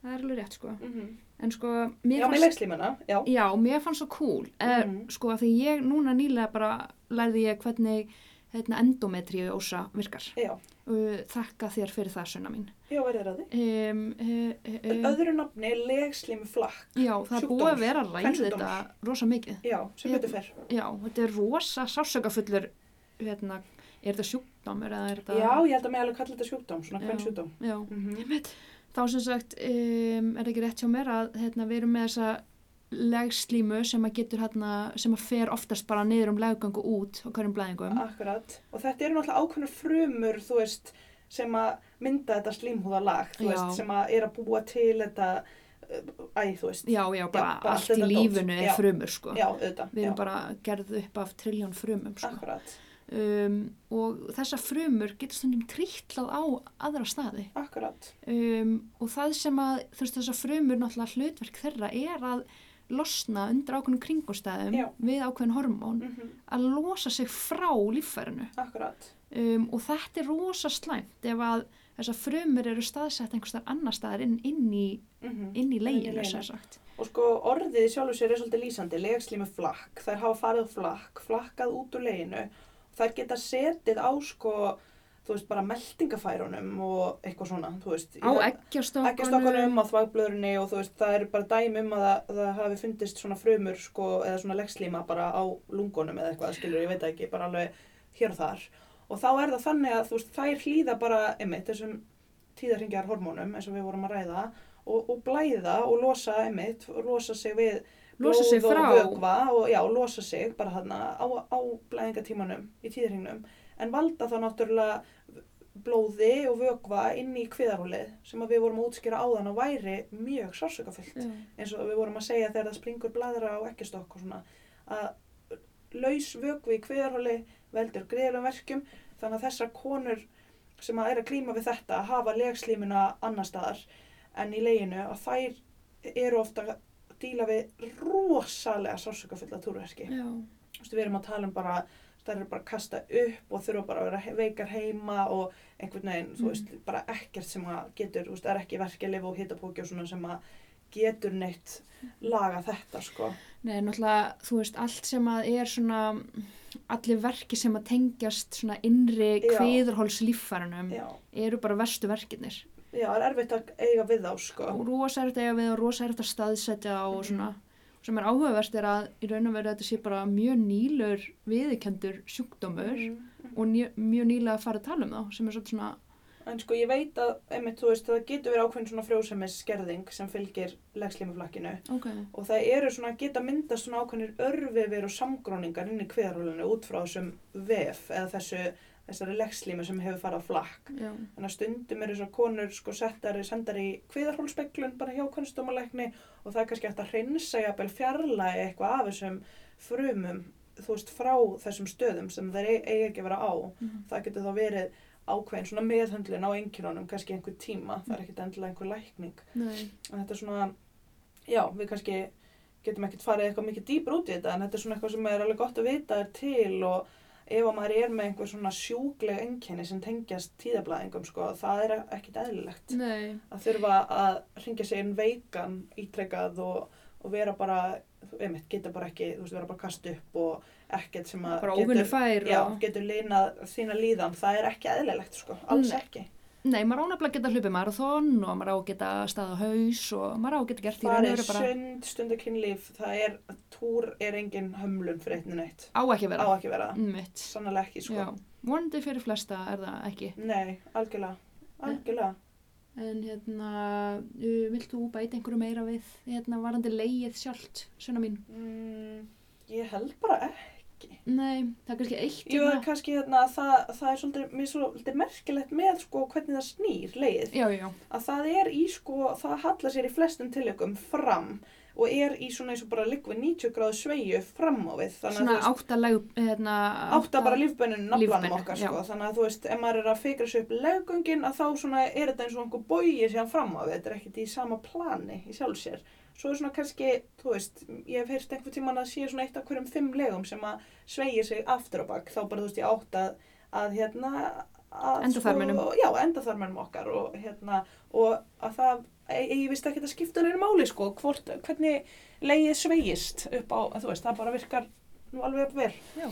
S1: það er alveg rétt, sko.
S3: Mm -hmm.
S1: En sko,
S3: Já,
S1: mér
S3: með
S1: fannst...
S3: leikslímuna. Já.
S1: Já, mér fannst svo cool. Eh,
S3: Mhm.
S1: Sko, af því ég núna nýlega bara lærði ég hvernig hérna, endometriósa virkar.
S3: Já.
S1: Uh, Þakka þér fyrir það, sunna mín.
S3: Já, verður að því.
S1: Um, uh, uh,
S3: En
S1: uh,
S3: öðru nafni er leikslímuflakk.
S1: já, það er búið
S3: sjúkdóms-
S1: að vera að ræða
S3: kvensjúkdóms.
S1: þetta rosa mikið.
S3: Já, sem
S1: Ég-
S3: betur fer.
S1: Já, þetta er rosa sásökafullur, hérna, er þetta sjúkdómur eða er þetta...
S3: Já, ég held að mig alveg kalla þetta sjúkdóm, svona
S1: Já. Mhm.
S3: hvern sjúkdóm.
S1: Já,
S3: Mm -hmm.
S1: einmitt. Þá sem sagt, um, er ekki rétt hjá mér að hérna, við erum með þessa legslímu sem að getur hérna, sem að fer oftast bara niður um leggöngu út á hverjum blæðingum.
S3: Mhm. Ah. Akkurat. Og þetta eru náttúrulega ákveðna frumur, þú veist, sem að mynda þetta slímhúðalag, þú
S1: Já.
S3: veist, sem að er að búa til þetta, uh, æ, þú veist.
S1: Já, já, bara,
S3: bara allt
S1: allt í
S3: þetta dót.
S1: lífinu er
S3: Já.
S1: frumur, sko.
S3: Já, Ah. auðvitað.
S1: Við erum
S3: já.
S1: bara gerð upp af trilljón frumum, sko.
S3: Akkurat.
S1: um, og þessa frumur getur stundum trýtlað á aðra staði
S3: akkurat.
S1: um, og það sem að þú veist þessar frumur náttúrulega hlutverk þeirra er að losna undir ákveðnum kringumstæðum
S3: Já.
S1: við ákveðin hormón
S3: Mm
S1: að losa sig frá líffærinu
S3: Akkurat.
S1: um, og þetta er rosa slæmt ef að þessar frumur eru staðsett einhvers þar annar staðar inn, inn í,
S3: Mm
S1: inn í
S3: leginu.
S1: leginu sem sagt.
S3: Og sko orðið í sjálfu sér er svolítið lýsandi, legslími flakk, þær hafa farið á flakk, flakkað út úr leginu, þær geta setið á sko, þú veist, bara meltingafærunum og eitthvað svona, þú veist.
S1: á
S3: ekki
S1: eggjastokkanum
S3: stokkanum á þvagblöðrunni og þú veist, það eru bara dæmi um að það, það hafi fundist svona frumur sko, eða svona legslíma bara á lungunum eða eitthvað, skilur, ég veit það ekki, bara alveg hér og þar. Og þá er það þannig að þú veist, þær hlýða bara, einmitt, þessum tíðarhingjar hormónum eins og við vorum að ræða og, og blæða og losa, einmitt, losa sig við
S1: Losa sig
S3: blóð
S1: frá.
S3: og vökva og já, losa sig bara þarna á, á blæðingatímanum í tíðarhingnum en valda þá náttúrulega blóði og vökva inn í kviðarhólið sem að við vorum að útskýra áðan að væri mjög sársökafullt
S1: Já.
S3: eins og við vorum að segja þegar það springur bladra á ekkistokk og svona að laus vökvi í kviðarhóli veldur greiðlum verkjum þannig að þessar konur sem að er að klíma við þetta að hafa legslímuna annar staðar en í leginu að þær eru ofta að díla við rosalega sársökafulla túrverki
S1: Já.
S3: Þú veist, við erum að tala um bara þær eru bara að kasta upp og þurfa bara að vera he- veikar heima og einhvern veginn, þú
S1: Mm.
S3: veist, bara ekkert sem að getur, þú veist, er ekki verkelif og hitapóki og svona sem að getur neitt laga þetta, sko.
S1: Nei, náttúrulega, þú veist, allt sem að er svona, allir verki sem að tengjast svona innri
S3: Já.
S1: kviðurhólslíffærunum
S3: Já,
S1: eru bara verstu verkinir.
S3: já, það er erfitt að eiga við þá, sko.
S1: Og rosa er þetta eiga við og rosa er þetta staðsetja
S3: Mhm.
S1: og svona. Sem er áhugavert er að í raun og veru þetta sé bara mjög nýlur viðkendur sjúkdómur
S3: Mhm.
S1: og njö, mjög nýlega að fara að tala um þá sem er svolítið svona,
S3: En sko, ég veit að, einmitt, þú veist, það getur verið ákveðin svona frjósemis skerðing sem fylgir legslímuflakkinu
S1: ok,
S3: og það eru svona, geta myndast svona ákveðnir örvefir og samgróningar inn í kviðarhólinu út frá þessum vef eða þessu, þessari legslímu sem hefur farið á flakk.
S1: já,
S3: Þannig að stundum eru svona konur sko settar, sendar í kviðarhólspeglun bara hjá kunstdómalækni og það er kannski hægt að hreinsa jafnvel fjarlægi eitthvað af þessum frumum, þú veist, frá þessum stöðum sem þeir eigi eigi ekki að vera á.
S1: Mhm.
S3: Það getur þá verið ákveðin svona meðhöndlun á einkjörunum, kannski einhver tíma, það er ekkit endilega einhver lækning.
S1: nei,
S3: En þetta er svona, já, við kannski getum ekkert farið eitthvað mikið dýpr út í þetta en þetta er svona eitthvað sem er alveg gott að vita er til og ef að maður er með einhver svona sjúkleg enginni sem tengjast tíðablaðingum sko, það er ekkit eðlilegt
S1: nei,
S3: að þurfa að hringja sig inn veikan ítrekkað og, og vera bara, þú einmitt, geta bara ekki, þú veist, vera bara kast upp og ekkert sem að
S1: bara óvinni fær
S3: já,
S1: og,
S3: getur linað þína líðan, það er ekki eðlilegt sko, alls
S1: Nei.
S3: ekki.
S1: nei, maður ánafla að geta hlupið marathon og maður á að geta staða haus og maður á að geta gert í raun og
S3: farið
S1: veru bara,
S3: sund, stundakinnlíf, það er, túr er engin hömlun fyrir eitt neitt.
S1: á ekki að
S3: Á
S1: vera,
S3: ekki vera það.
S1: mitt,
S3: Sannlega ekki, sko.
S1: já, vonandi fyrir flesta er það ekki.
S3: Nei, algjörlega. Algjörlega.
S1: En hérna, uh, vilt þú bæta einhverju meira við hérna varandi leið sjálft, svona mín?
S3: Mm, ég held bara ekki.
S1: Nei, það er kannski eitt
S3: Jú,
S1: hérna.
S3: kannski hérna, það, það er svolítið, mér er svolítið merkilegt með, sko, hvernig það snýr leið.
S1: Já, já, já.
S3: Að það er í, sko, það hallar sér í flestum tilökum fram og er í svona eins og bara liggvið 90 gráðu sveigju fram á við. Þannig að þú
S1: Svona
S3: veist-
S1: áttalegu, hérna.
S3: átta bara lífbönnun naflanum
S1: Lífbönnin,
S3: okkar
S1: já.
S3: sko. þannig að þú veist, ef maður er að fikra sér upp leggöngin að þá svona er þetta eins og einhver bóið síðan fram á við, þetta er ekkert í sama plani í sjálf sér, svo er svona kannski þú veist, ég hef heyrt einhver tíman að sé svona eitt af hverjum fimm legum sem að sveigir sig aftur á bak, þá bara þú veist ég átt að, að hérna að,
S1: Endaþarminum.
S3: sko, já, endaþarminum okkar og hérna, og að það ég, ég vist ekki að skipta neina máli sko, hvort, hvernig legið sveigist upp á, þú veist, það bara virkar nú alveg upp vel
S1: Já,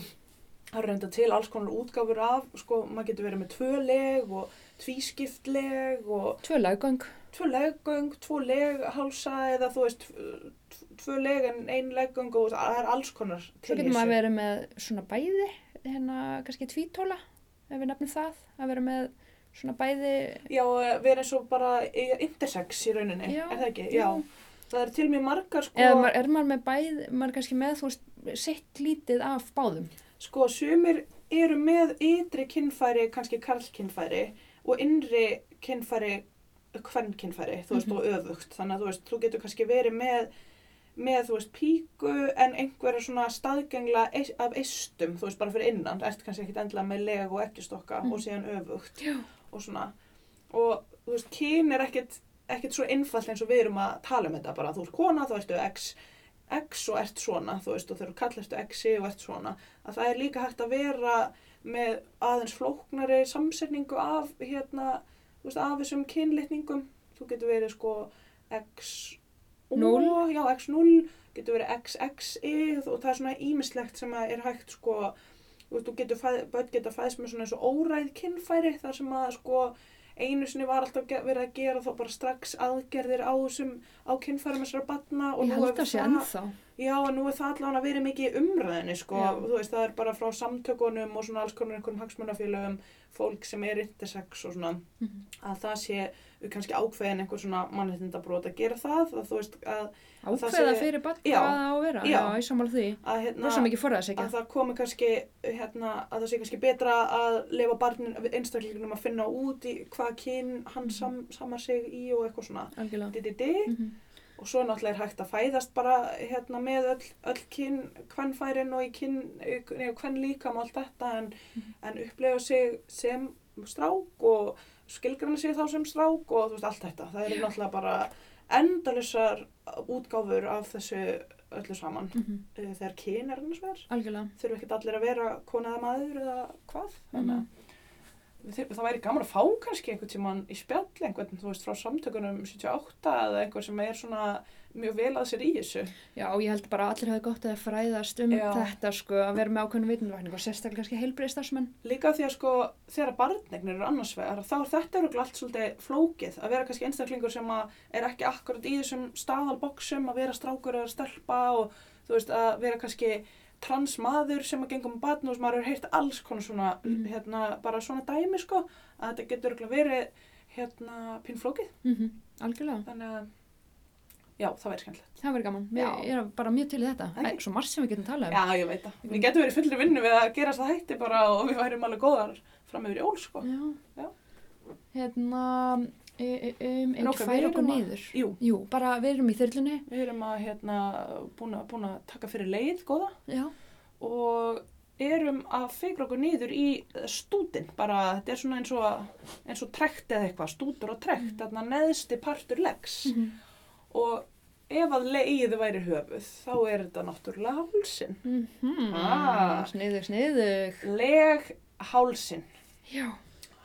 S3: Það eru reynda til alls konar útgáfur af, sko, maður getur verið með tvö leg og tvískipt leg og
S1: tvö laggöng.
S3: tvö leggöng, tvö leghálsa eða þú veist, tv- tv- tvö leg en ein leggöng og það er alls konar
S1: Svo
S3: til í
S1: getur maður
S3: þessu.
S1: verið með svona bæði, hérna, kannski tvítóla, ef við nefnum það, að vera með svona bæði.
S3: Já, verið eins og bara í- intersex í rauninni,
S1: Já,
S3: er það ekki?
S1: já.
S3: Það eru til mjög margar, sko,
S1: Eða maður, er maður með bæði, maður er kannski með, þú veist, sitt lítið af báðum.
S3: sko, sumir eru með ytri kynfæri, kannski karlkynfæri og innri kynfæri, kvennkynfæri, þú veist,
S1: Mhm.
S3: og öfugt. Þannig að þú veist, þú getur kannski verið með með, þú veist, píku en einhverja svona staðgengla eis- af eistum, þú veist, bara fyrir innan ertu kannski ekkit endilega með leg og ekkjustokka
S1: Mm.
S3: og síðan öfugt
S1: Já.
S3: og svona og, þú veist, kyn er ekkit ekkit svo einfalt eins og við erum að tala um þetta bara, þú ert kona, þá ertu x x og ert svona, þú veist, og þegar þú kallastu xi og ert svona, að það er líka hægt að vera með aðeins flóknari samsetningu af hérna, þú veist, af þessum kynlitningum þú getur verið sko x
S1: Núll.
S3: já, x0 getur verið xxi og það er svona ímislegt sem að er hægt sko, þú veist, þú getur fæð, börn geta fæðst með svona eins og óræð kynfæri þar sem að sko einu sinni var alltaf ge- verið að gera þá bara strax aðgerðir á þessum á kynfærum þessara batna og
S1: Ég
S3: nú
S1: held
S3: hefur
S1: að sé
S3: það-
S1: ennþá.
S3: Já, en nú er það allavega að vera mikið í umræðinni, sko,
S1: Já.
S3: þú veist, það er bara frá samtökunum og svona alls konar einhverjum hagsmunafélögum, fólk sem er intersex og svona,
S1: Mhm.
S3: að það sé kannski ákveðin einhver svona mannréttindabrót að gera það, að þú veist, að, það
S1: Ákveða
S3: sé-
S1: fyrir bann
S3: Já.
S1: hvað það á að vera.
S3: Já.
S1: Já, ég sammála því.
S3: að
S1: Það
S3: hérna,
S1: er svo mikið forðast ekki.
S3: að það komi kannski, hérna, að það sé kannski betra að lefa barnin, einstaklingunum að finna út í hvað kyn hann sam, samar sig í og eitthvað svona,
S1: Algjörlega.
S3: di, di, di.
S1: Mhm.
S3: og svo náttúrulega er hægt að fæðast bara hérna með öll, öll kyn kvennfærin og í kyn nefnir kvenn líkam og allt þetta en,
S1: Mhm.
S3: en upplega sig sem strák og skilgrana sig þá sem strák og þú veist allt þetta það eru náttúrulega bara endalisar útgáfur af þessu öllu saman
S1: Mhm.
S3: Eh, þegar kyn er annars vegar
S1: Algjörlega.
S3: þurfa ekkert allir að vera kona eða maður eða hvað þannig
S1: Mhm.
S3: að Við þyr- Það væri gaman að fá kannski einhvern tímann í spjall einhvern, þú veist, frá samtökunum 78 eða einhver sem er svona mjög vel að sér í þessu.
S1: Já, ég held bara að allir hafi gott að fræðast um
S3: Já.
S1: þetta sko, að vera með ákveðinu vitundvækning og sérstaklega kannski heilbreyðstarfsmenn.
S3: Líka því að sko, þegar barnegnir eru annars vegar, þá er þetta eru allt svolítið flókið að vera kannski einstaklingur sem að er ekki akkurat í þessum staðalboksum, að vera strákur eða stelpa og þú veist, að vera kannski transmaður sem að gengum barn og sem maður hefur heyrt alls konar svona,
S1: Mhm.
S3: hérna, bara svona dæmi sko, að þetta getur örugglega verið, hérna, pinnflókið.
S1: Mm Algjörlega.
S3: Þannig að, já, það væri skemmtilegt.
S1: Það verður gaman. Ég,
S3: Já.
S1: ég er bara mjög til í þetta.
S3: Ekki?
S1: Æ, svo margt sem við getum talað um.
S3: Já, ég veit það. Við getum verið fullir vinnu við að gera það hætti bara og við værum alveg góðar fram yfir jól, sko.
S1: Já.
S3: Já.
S1: Hérna, e, e, um,
S3: En
S1: ekki
S3: ok, við
S1: færa
S3: erum
S1: okkur
S3: að-
S1: niður.
S3: Jú,
S1: Jú, bara við erum í þyrlunni.
S3: við erum að, hérna, búin að, búin að taka fyrir leið, góða,
S1: Já.
S3: og erum að feigra okkur niður í stútin, bara þetta er svona eins og, eins og trekt eða eitthvað, stútur og trekt, þarna neðsti partur legs.
S1: Mhm.
S3: Og ef að leið væri höfuð, þá er þetta náttúrulega hálsin.
S1: Mhm.
S3: Ah.
S1: Sniðug, sniðug.
S3: Leg hálsin.
S1: Já.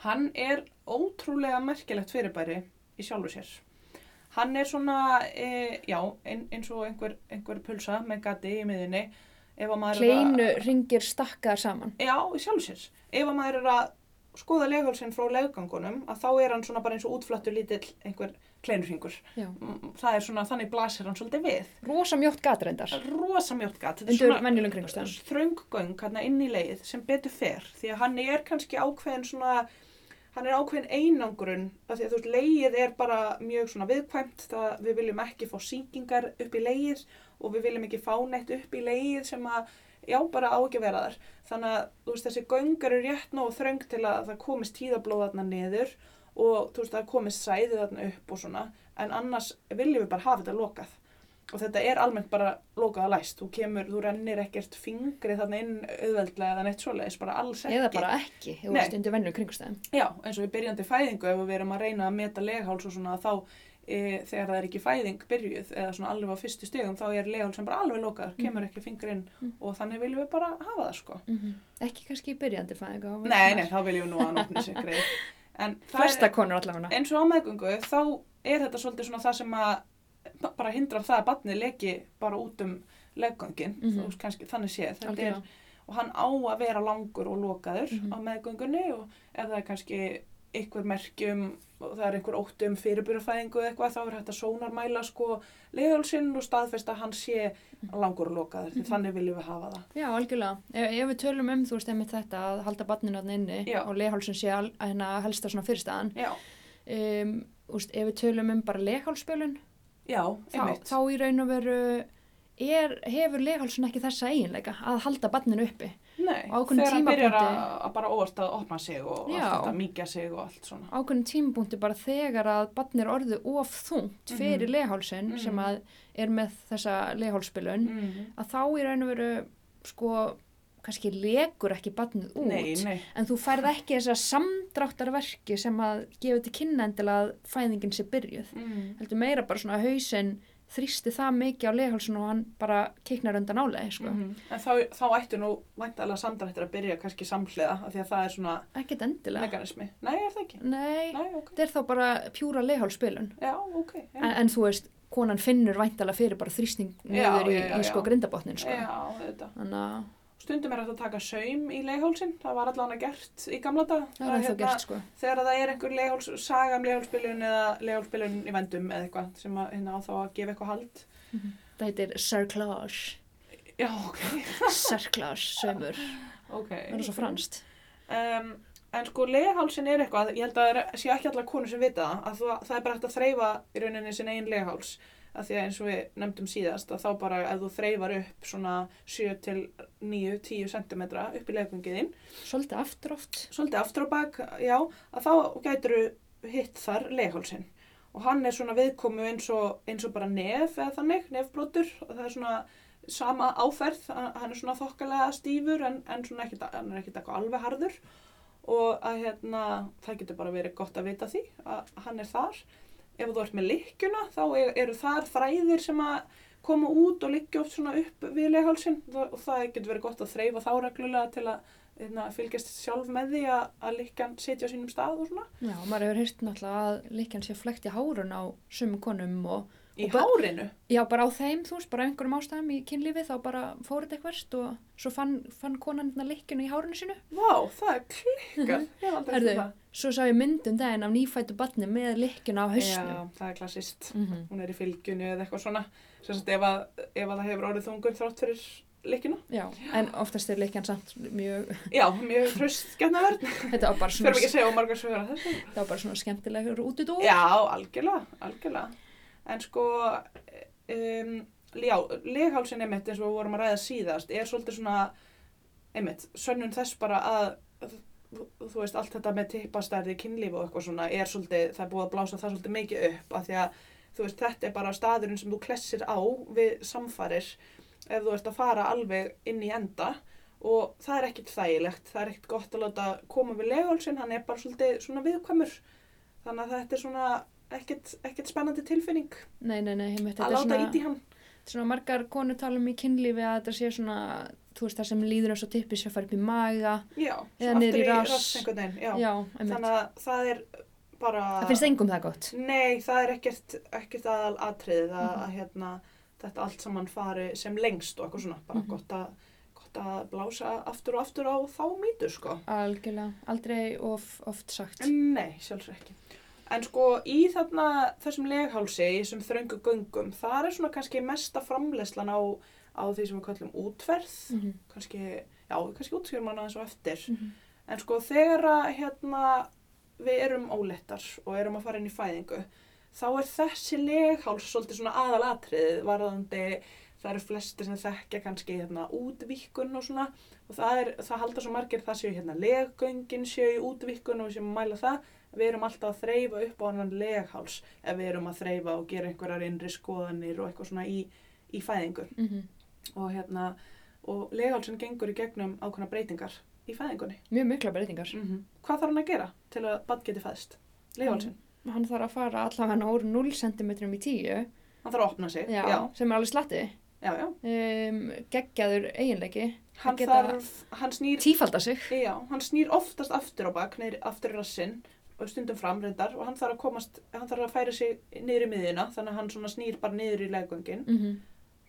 S3: Hann er ótrúlega merkilegt fyrirbæri í sjálfu sér. Hann er svona, e, já, ein, eins og einhver, einhver pulsa með gati í miðinni. Ef að maður er að-
S1: Kleinu ringir stakkaðar saman.
S3: Já, í sjálfu sér. Ef að maður er að skoða leghálsinn frá leggangunum, að þá er hann svona bara eins og útflattur lítill einhver kleinurhingur.
S1: Já.
S3: Mm, Það er svona, þannig blasir hann svolítið við.
S1: Rosa mjótt gatrendar.
S3: Rosa mjótt gat. Þetta er
S1: Undur
S3: svona-
S1: venjulegum kringumstæðum.
S3: þrönggöng hérna inn í leið sem betur fer því að hann er kannski ákveðin svona hann er ákveðin einangrun af því að þú veist, leið er bara mjög svona viðkvæmt það við viljum ekki fá sýkingar upp í leið og við viljum ekki fá neitt upp í leið sem að já, bara á ekki að vera þar þannig að þú veist, þessi göng eru rétt nóg þröng til að það komist tíðablóð þarna niður og þú veist, það komist sæðið þarna upp og svona en annars viljum við bara hafa þetta lokað og þetta er almennt bara lokað að læst þú kemur, þú rennir ekkert fingri þarna inn auðveldlega eða neitt svoleiðis bara alls ekki
S1: Eða bara ekki, þú
S3: Nei.
S1: veist, undir venjulegum kringumstæðum.
S3: já, eins og við byrjandi fæðingu ef við erum að reyna að meta legháls og svona þá e, þegar það er ekki fæðing byrjuð eða svona alveg á fyrstu stegum þá er legháls sem bara alveg lokaður, kemur ekki fingur inn
S1: Mm.
S3: og þannig viljum við bara hafa það sko
S1: Mhm. Ekki kannski í byrjandi fæðinga. á
S3: nei, nei,
S1: vörslunar.
S3: þá viljum við nú að náttunni sér greið en það er-
S1: Flesta konur allavega.
S3: eins og á meðgöngu þá er þetta svolítið svona það sem að ba- bara hindrar það að barnið leki bara út um leggöngin
S1: Mhm.
S3: þú veist kannski þannig séð þetta
S1: Algjörlega.
S3: er, og hann á að vera langur og lokaður
S1: Mhm.
S3: á meðgöngunni og ef það er kannski einhver merkjum og það er einhver óttum fyrirbyrjafæðingu eða eitthvað þá er hægt að sónarmæla sko leðalsinn og staðfest að hann sé
S1: Mhm.
S3: langur og lokaður því þannig viljum við hafa það
S1: Já, algjörlega. Ef, ef við tölum um, þú veist, einmitt þetta að halda barninu hann inni
S3: Já.
S1: og leghálsun sé al, hérna helsta svona fyrirstaðan.
S3: já,
S1: Um, úst, ef við tölum um bara leghálspölun,
S3: já,
S1: þá,
S3: einmitt
S1: þá í raun og veru er, hefur leghálsun ekki þessa eiginleika að halda barninu uppi.
S3: Nei,
S1: Á ákveðnum
S3: þegar hann byrjar að,
S1: tímapunkti.
S3: að bara óvart að opna sig og
S1: Já.
S3: allt þetta mýkja sig og allt svona.
S1: ákveðin tímbúndi bara þegar að barn er orðið of þungt fyrir mm
S3: Mhm. Mhm.
S1: sem að er með þessa leghálspilun
S3: Mm.
S1: að þá í raun og veru sko kannski legur ekki barnið út
S3: Nei, nei,
S1: en þú færð ekki þessa samdráttarverki sem að gefa til kynna endilega að fæðingin sé byrjuð
S3: mm.
S1: heldur meira bara svona að hausinn þrýsti það mikið á leghálsun og hann bara keiknar undan álega sko.
S3: Mhm. en þá, þá ættu nú væntalega samdrættir að byrja kannski samhliða af því að það er svona
S1: ekkert endilega
S3: mekanismi. Nei, er það ekki?
S1: nei,
S3: Nei, ok.
S1: þetta er þá bara pjúra leghálspilun
S3: Já, ok. Já,
S1: en, en þú veist, konan finnur væntalega fyrir bara þrýsting
S3: Já,
S1: niður í,
S3: já, já,
S1: í sko
S3: já.
S1: grindabotnin sko.
S3: já þetta.
S1: þannig að
S3: Stundum er hægt að taka saum í leghálsin, það var allavega gert í gamla dag.
S1: það er ennþá gert sko
S3: hérna Þegar það er einhver legháls, saga um leghálspilun eða leghálspilun í vendum eða eitthvað sem að, hérna, á þá að gefa eitthvað hald.
S1: það heitir cerclage,
S3: Já, ok.
S1: cerclage sömur,
S3: Ok.
S1: það er svo franskt
S3: Um, en sko, leghálsin er eitthvað, ég held að það er- séu ekki allar konur sem vita það, að það, það er bara hægt að þreyfa í rauninni sinn einn legháls. Af því að eins og við nefndum síðast, að þá bara ef þú þreyfar upp svona 7 til 9, 10 cm upp í legungiðin,
S1: svolítið aftur oft
S3: svolítið aftur á bak, já, að þá gætur hitt þar leghálsin. Og hann er svona viðkomu eins og, eins og bara nef eða þannig, nefbrotur, og það er svona sama áferð, hann hann er svona þokkalega stífur en, en svona ekkit, hann er ekkit eitthvað alveg harður og að hérna, það getur bara verið gott að vita því að hann er þar. Ef þú ert með lykkjuna þá er- eru þar þræðir sem að koma út og liggja oft svona upp við leghálsin og það getur verið gott að þreyfa þá reglulega til að hérna, fylgjast sjálf með því að, að líkjan sitja á sínum stað og svona.
S1: Já, maður hefur heyrt náttúrulega að líkjan sé flekt í hárun á sumum konum og
S3: Í
S1: Og bara-
S3: hárinu?
S1: já, bara á þeim, þú veist, bara af einhverjum ástæðum í kynlífi þá bara fóruð eitthverst og svo fann, fann konan hérna líkjunu í hárunu sínu.
S3: Vá, það er klikkað. Ég hef aldrei
S1: Herðu,
S3: séð það.
S1: svo sá ég myndum daginn af nýfættu barni með líkjunu á hausnum.
S3: Já, það er klassist.
S1: Mm
S3: Hún er í fylgjunu eða eitthvað svona. Sérst ef, að- ef að það hefur orðið þungur þrátt fyrir líkjuna.
S1: já, en oftast er líkjan samt mjög,
S3: Já, mjög hröst getnaverð.
S1: þetta var bara svona,
S3: Fyrir ekki að segja og margar sögur að þessu.
S1: þetta var bara svona skemmtilegur út í dó.
S3: Já, algjörlega, algjörlega. En sko, um, já, leghálsin einmitt eins og við vorum að ræða síðast er svolítið svona, einmitt, sönnun þess bara að, þú veist, allt þetta með tippastærði, kynlíf og eitthvað svona er svolítið, það er búið að blása það svolítið mikið upp af því að, þú veist, þetta er bara staðurinn sem þú klessir á við samfarir ef þú ert að fara alveg inn í enda og það er ekkit þægilegt, það er ekkit gott að láta koma við leghálsin, hann er bara svolítið svona viðkvæmur Þannig að þetta er svona ekkert, ekkert spennandi tilfinning
S1: Nei, nei, nei, heimitt, þetta
S3: að
S1: er
S3: láta
S1: svona,
S3: ít í hann.
S1: svona margar konur tala um í kynlífi að þetta sé svona, þú veist, það sem líður eins og tippi sem fara upp í maga.
S3: Já,
S1: Eða
S3: svo
S1: niður
S3: aftur
S1: í
S3: í
S1: rass.
S3: rass, einhvern veginn. Já.
S1: Já, einmitt.
S3: Þannig að það er bara...
S1: Það finnst engum það gott.
S3: Nei, það er ekkert, ekkert aðal atriðið að,
S1: Mhm.
S3: að hérna, þetta allt saman fari sem lengst og eitthvað svona. Bara
S1: Mhm.
S3: gott, að, gott að blása aftur og aftur á þá mýtu, sko.
S1: Algjörlega, aldrei of oft sagt.
S3: Nei, sjálfsög ekki. En sko í þarna þessum leghálsi, í þessum þröngu göngum, það er svona kannski mesta framleyslan á, á því sem við kallum útferð,
S1: Mhm,
S3: kannski, já, kannski útskjörum hana aðeins og eftir.
S1: mhm.
S3: En sko þegar að, hérna, við erum óleittar og erum að fara inn í fæðingu, þá er þessi legháls svolítið svona aðalatriðið varðandi, það eru flestir sem þekkja kannski hérna útvíkkun og svona og það, er, það halda svo margir það séu hérna leggöngin séu í útvíkkun og við séum að mæla það, við erum alltaf að þreyfa upp á hann legháls ef við erum að þreyfa og gera einhverjar innri skoðanir og eitthvað svona í, í fæðingu
S1: Mhm.
S3: og hérna, og leghálsin gengur í gegnum ákveðna breytingar í fæðingunni.
S1: Mjög mikla breytingar.
S3: Hvað þarf hann að gera til að bann geti fæðst? Leifálsinn.
S1: Hann þarf að fara allavega úr 0 cm í 10, já,
S3: Hann þarf að opna sig. já,
S1: sem er alveg slatti.
S3: já. já.
S1: Um, geggjaður eiginleiki.
S3: Hann
S1: geta-
S3: þarf, hann snýr,
S1: Tífalda sig.
S3: já, hann snýr oftast aftur á bak, niður, aftur í rassinn og stundum fram reyndar og hann þarf að komast, hann þarf að færa sig niður í miðina þannig að hann svona snýr bara niður í leggöngin.
S1: Mm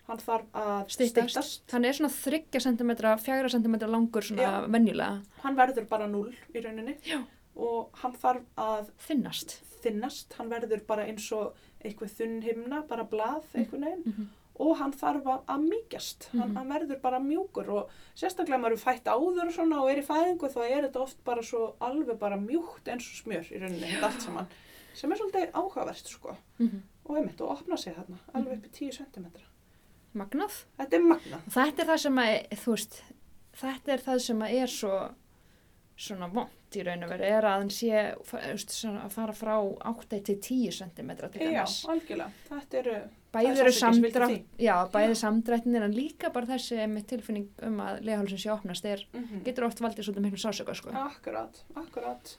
S3: Hann þarf að
S1: Styttast. Hann er svona 3 cm, 4 cm langur svona venjulega.
S3: Hann verður bara núl í rauninni
S1: Já.
S3: og hann þarf að
S1: Þinnast.
S3: þinnast, hann verður bara eins og eitthvað þunn himna, bara blað einhvern veginn.
S1: Mm -hmm.
S3: og hann þarf að, að mýkjast, hann,
S1: Mhm.
S3: hann verður bara mjúkur og sérstaklega ef maður er fætt áður og svona og er í fæðingu þá er þetta oft bara svo alveg bara mjúkt eins og smjör í rauninni, þetta allt saman, sem er svolítið áhugavert sko
S1: mhm.
S3: og einmitt og opna sig þarna alveg upp í 10 cm.
S1: Magnað.
S3: Þetta er magna.
S1: Þetta er það sem að, þú veist, þetta er það sem að er svo svona vond í raun og veru er að hann sé fa- þú veist, svona að fara frá 8 til 10 cm til
S3: Já,
S1: dæmis.
S3: algjörlega. Þetta eru,
S1: Bæði
S3: það er
S1: eru
S3: sársauki sem fylgir
S1: samdrátt, já, bæði samdrættinir en líka bara þessi með tilfinning um að leghálsum sé opnast er,
S3: mm
S1: getur oft valdið svolítið miklu sásöka sko.
S3: akkurat, akkurat.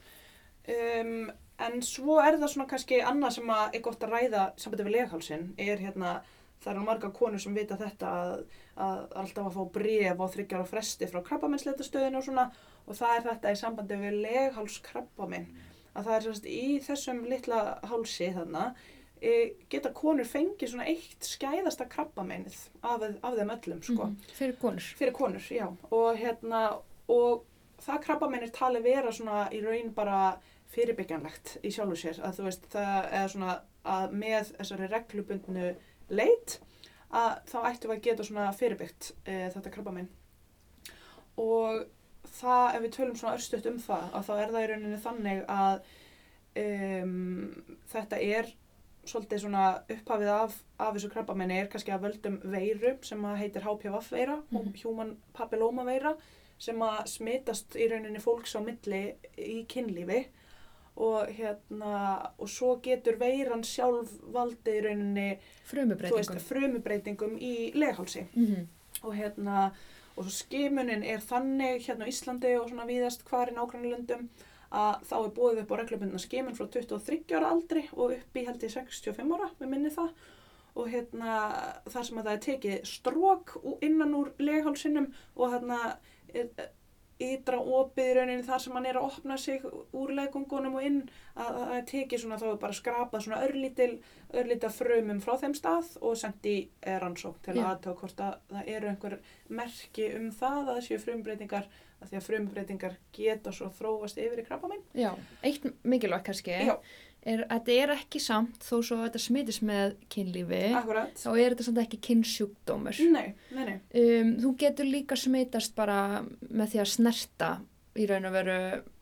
S3: Um, en svo er það svona kannski annað sem að er gott að ræða sambandi við leghálsin er hérna, það eru marga konur sem vita þetta að, að alltaf að fá bref á þryggjar og fresti frá krabbamennsleitastöðinu og svona og það er þetta í sambandi við leghálskrabbamenn að það er sérst í þessum litla hálsi þarna e, geta konur fengið svona eitt skæðasta krabbamennið af, af þeim öllum sko
S1: Mhm, Fyrir konur.
S3: fyrir konur, já og hérna og það krabbamenn er talið vera svona í raun bara fyrirbyggjanlegt í sjálfu sér að þú veist það er svona að með þessari reglubundnu leit að þá ættum við að geta svona fyrirbyggt e, þetta krabbamenn og það ef við tölum svona örstuðt um það að þá er það í rauninni þannig að um, þetta er svolítið svona upphafið af, af þessu krabbamenni er kannski að völdum veiru sem að heitir HPV-veira,
S1: Mhm.
S3: Human Papilloma veira sem að smitast í rauninni fólks á milli í kynlífi og hérna og svo getur veiran sjálf valdið í rauninni þú veist,
S1: Frumubreitingum.
S3: frumubreitingum í leghálsi
S1: Mm
S3: og hérna og svo skimunin er þannig hérna á Íslandi og svona víðast hvar í nágrannlöndum að þá er búið upp á reglubundna skimun frá 23 ára aldri og upp í held í 65 ára, við minni það og hérna þar sem að það er tekið strók innan úr leghálsinum og hérna er- ytra opið í rauninni þar sem hann er að opna sig úr legungunum og inn að að það er tekið svona þá er bara skrapað svona örlítil örlítið frumum frá þeim stað og sendt í eh, rannsókn til
S1: Já.
S3: yeah. aðtöða hvort að það eru einhver merki um það að það séu frumbreytingar að því að frumbreytingar geta svo þróast yfir í krabba minn.
S1: Já, eitt mikilvægt kannski
S3: Já.
S1: er að þetta er ekki samt þó svo að þetta smitist með kynlífi
S3: Akkurat.
S1: þá er þetta samt ekki kynnsjúkdómur.
S3: Nei, nei, nei.
S1: Um, þú getur líka smitast bara með því að snerta í raun og veru,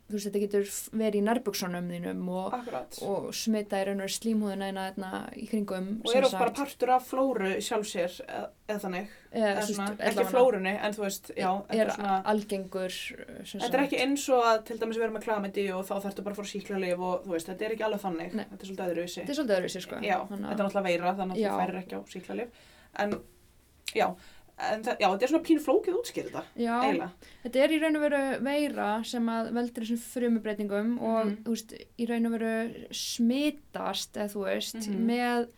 S1: þú veist þetta getur f- verið í nærbuksunum þínum og,
S3: Akkurat. Og,
S1: og smita í raun og veru slímhúðina eina þarna í kringum. sem
S3: er oft bara
S1: sagt.
S3: partur af flóru sjálf sér eða, eða þannig.
S1: Eða,
S3: Eða
S1: þú veist,
S3: svona, ekki
S1: allavega
S3: flórunni en þú veist, já, þetta
S1: er
S3: er svona...
S1: algengur eh, sem
S3: Þetta er
S1: sagt.
S3: ekki eins og að til dæmis við erum með klamiti og þá þarftu bara að fóra síklarleif og þú veist, þetta er ekki alveg þannig,
S1: Nei.
S3: þetta er svolítið öðruvísi.
S1: Þetta er svolítið öðruvísi sko.
S3: Já,
S1: Þannig
S3: þetta er
S1: að-
S3: náttúrulega veira þannig að
S1: Já.
S3: þú færir ekki á síklarlif en já, en það, já, þetta er svona pín flókið útskýr þetta
S1: Já,
S3: eiginlega.
S1: Þetta er í raun og veru veira sem að veldur þessum frumubreitingum og
S3: Mhm.
S1: þú veist, í raun og veru smitast, eða þú veist,
S3: Mhm.
S1: með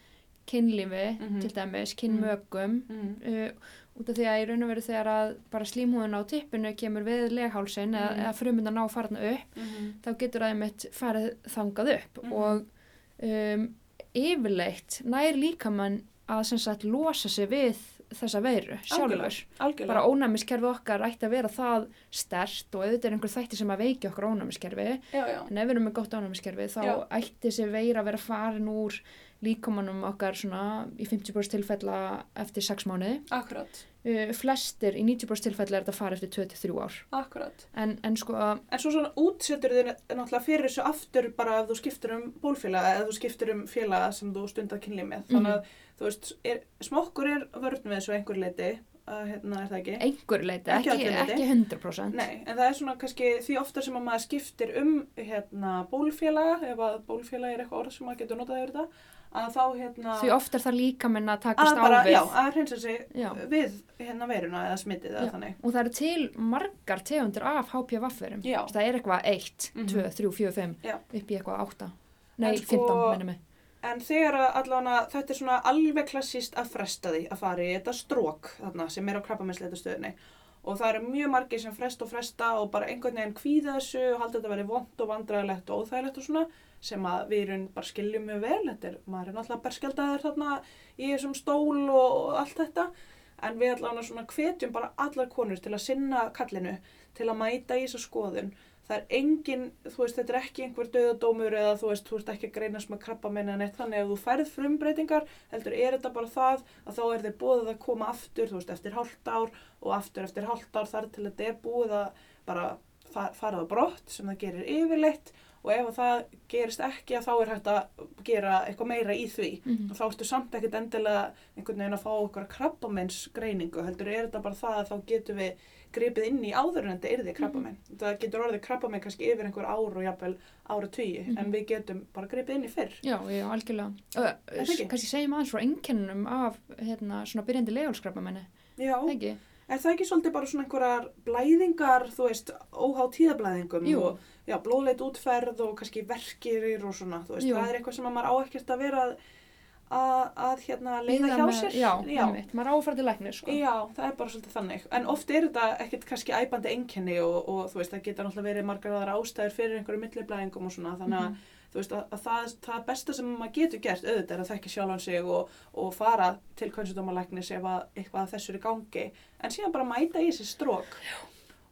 S1: kynlífi,
S3: Mhm.
S1: til dæmis, kynmögum,
S3: Mm.
S1: uh, út af því að í raun og veru þegar að bara slímhúðin á tippinu kemur við leghálsin eða,
S3: Mhm.
S1: eða frumundan ná að fara þarna upp,
S3: Mm.
S1: þá getur það einmitt farið þangað upp
S3: Mhm.
S1: og um, yfirleitt nær líkamann að sem sagt losa sig við þessa veiru sjálfur
S3: Algjörlega.
S1: bara ónæmiskerfi okkar ætti að vera það stert og auðvitað er einhver þætti sem að veiki okkar ónæmiskerfi
S3: já, já.
S1: en ef við erum með gott ónæmiskerfi þá
S3: Já.
S1: ætti þessi veira að vera farin úr líkomanum okkar svona í 50% tilfella eftir 6 mánuði
S3: Akkurat,
S1: uh, flestir í 90% tilfella er þetta farið eftir 2-3 ár
S3: akkurat.
S1: en, en sko
S3: En svo svona útsettur þið náttúrulega fyrir þessu aftur bara ef þú skiptir um bólfélaga eða þú skiptir um félaga sem þú stundar kynlið með.
S1: Mhm.
S3: Þannig að þú veist, er, smokkur er vörn með þessu einhver leiti, að, hérna er það ekki?
S1: einhver leiti,
S3: Ekki
S1: ekki,
S3: öllu
S1: ekki,
S3: leyti.
S1: 100%
S3: Nei, en það er svona kannski því oftar sem að maður skiptir um hérna, bólfélaga, ef að bólfélaga er eitthvað orð sem maður getur notað yfir þetta, að þá hérna...
S1: því oft er það líkaminn að
S3: að
S1: takast á
S3: bara,
S1: við
S3: já, að hreinsa sig
S1: Já.
S3: við hérna veiruna eða smitið eða
S1: Já.
S3: þannig.
S1: og það eru til margar tegundir af HPV-verum
S3: Já.
S1: það er eitthvað 1,
S3: Mhm.
S1: 2, 3, 4, 5
S3: Já.
S1: upp í eitthvað 8 nei,
S3: En sko-
S1: 15 mennum við
S3: En þegar að allavega þetta er svona alveg klassíst að fresta því að fara í þetta strók þarna sem er á krabbamennsleita stöðinni og það eru mjög margir sem fresta og fresta og bara einhvern veginn kvíða þessu og halda þetta að vera vond og vandræðilegt og óþægilegt og svona sem að við erum bara skiljum mjög vel, þetta er, maður er náttúrulega berskjaldæður þarna í þessum stól og, og allt þetta en við allavega svona hvetjum bara allar konur til að sinna kallinu, til að mæta í þessa skoðun það er engin, þú veist, þetta er ekki einhver döðadómur eða þú veist, þú ert ekki að greinast með krabba meina neitt þannig ef þú færð frumbreytingar heldur er þetta bara það að þá er þeir búið að koma aftur, þú veist, eftir hálft ár og aftur eftir hálft ár þar til þetta er búið að bara fa- fara á brott sem það gerir yfirleitt og ef það gerist ekki að þá er hægt að gera eitthvað meira í því
S1: Mhm.
S3: og þá ertu samt ekkert endilega einhvern veginn að fá okkur krabbamennsgreiningu heldur er þetta bara það að þá getum við gripið inn í áður en þetta
S1: Mhm.
S3: yrði krabbamenn það getur orðið krabbamenn kannski yfir einhver ár og jafnvel ára tugi en
S1: Mhm.
S3: við getum bara gripið inn í fyrr
S1: Já, já, algjörlega. Uh,
S3: Er það ekki?
S1: kannski segjum aðeins frá einkennunum af hérna, svona byrjandi legálskrabamenni,
S3: Já,
S1: ekki?
S3: er það ekki svolítið bara svona einhverjar blæðingar, þú veist, óhá tíðablæðingum
S1: Jú.
S3: og já, blóðleit útferð og kannski verkirir og svona, þú veist,
S1: Jú.
S3: það er eitthvað sem að maður á ekkert að vera að, að, að hérna leiða hjá
S1: með-
S3: sér.
S1: Já,
S3: já.
S1: einmitt, maður áfært í læknir, sko.
S3: Já, það er bara svolítið þannig. En oft er þetta ekkert kannski æpandi einkenni og, og þú veist, það geta náttúrulega verið margar aðra ástæður fyrir einhverju milliblæðingum og svona, þannig að
S1: Mhm.
S3: þú veist, að, að það, það besta sem maður getur gert auðvitað er að þekka sjálfan sig og, og fara til kvænsudómalæknis ef að, eitthvað að þessu er í gangi en síðan bara mæta í þessi strók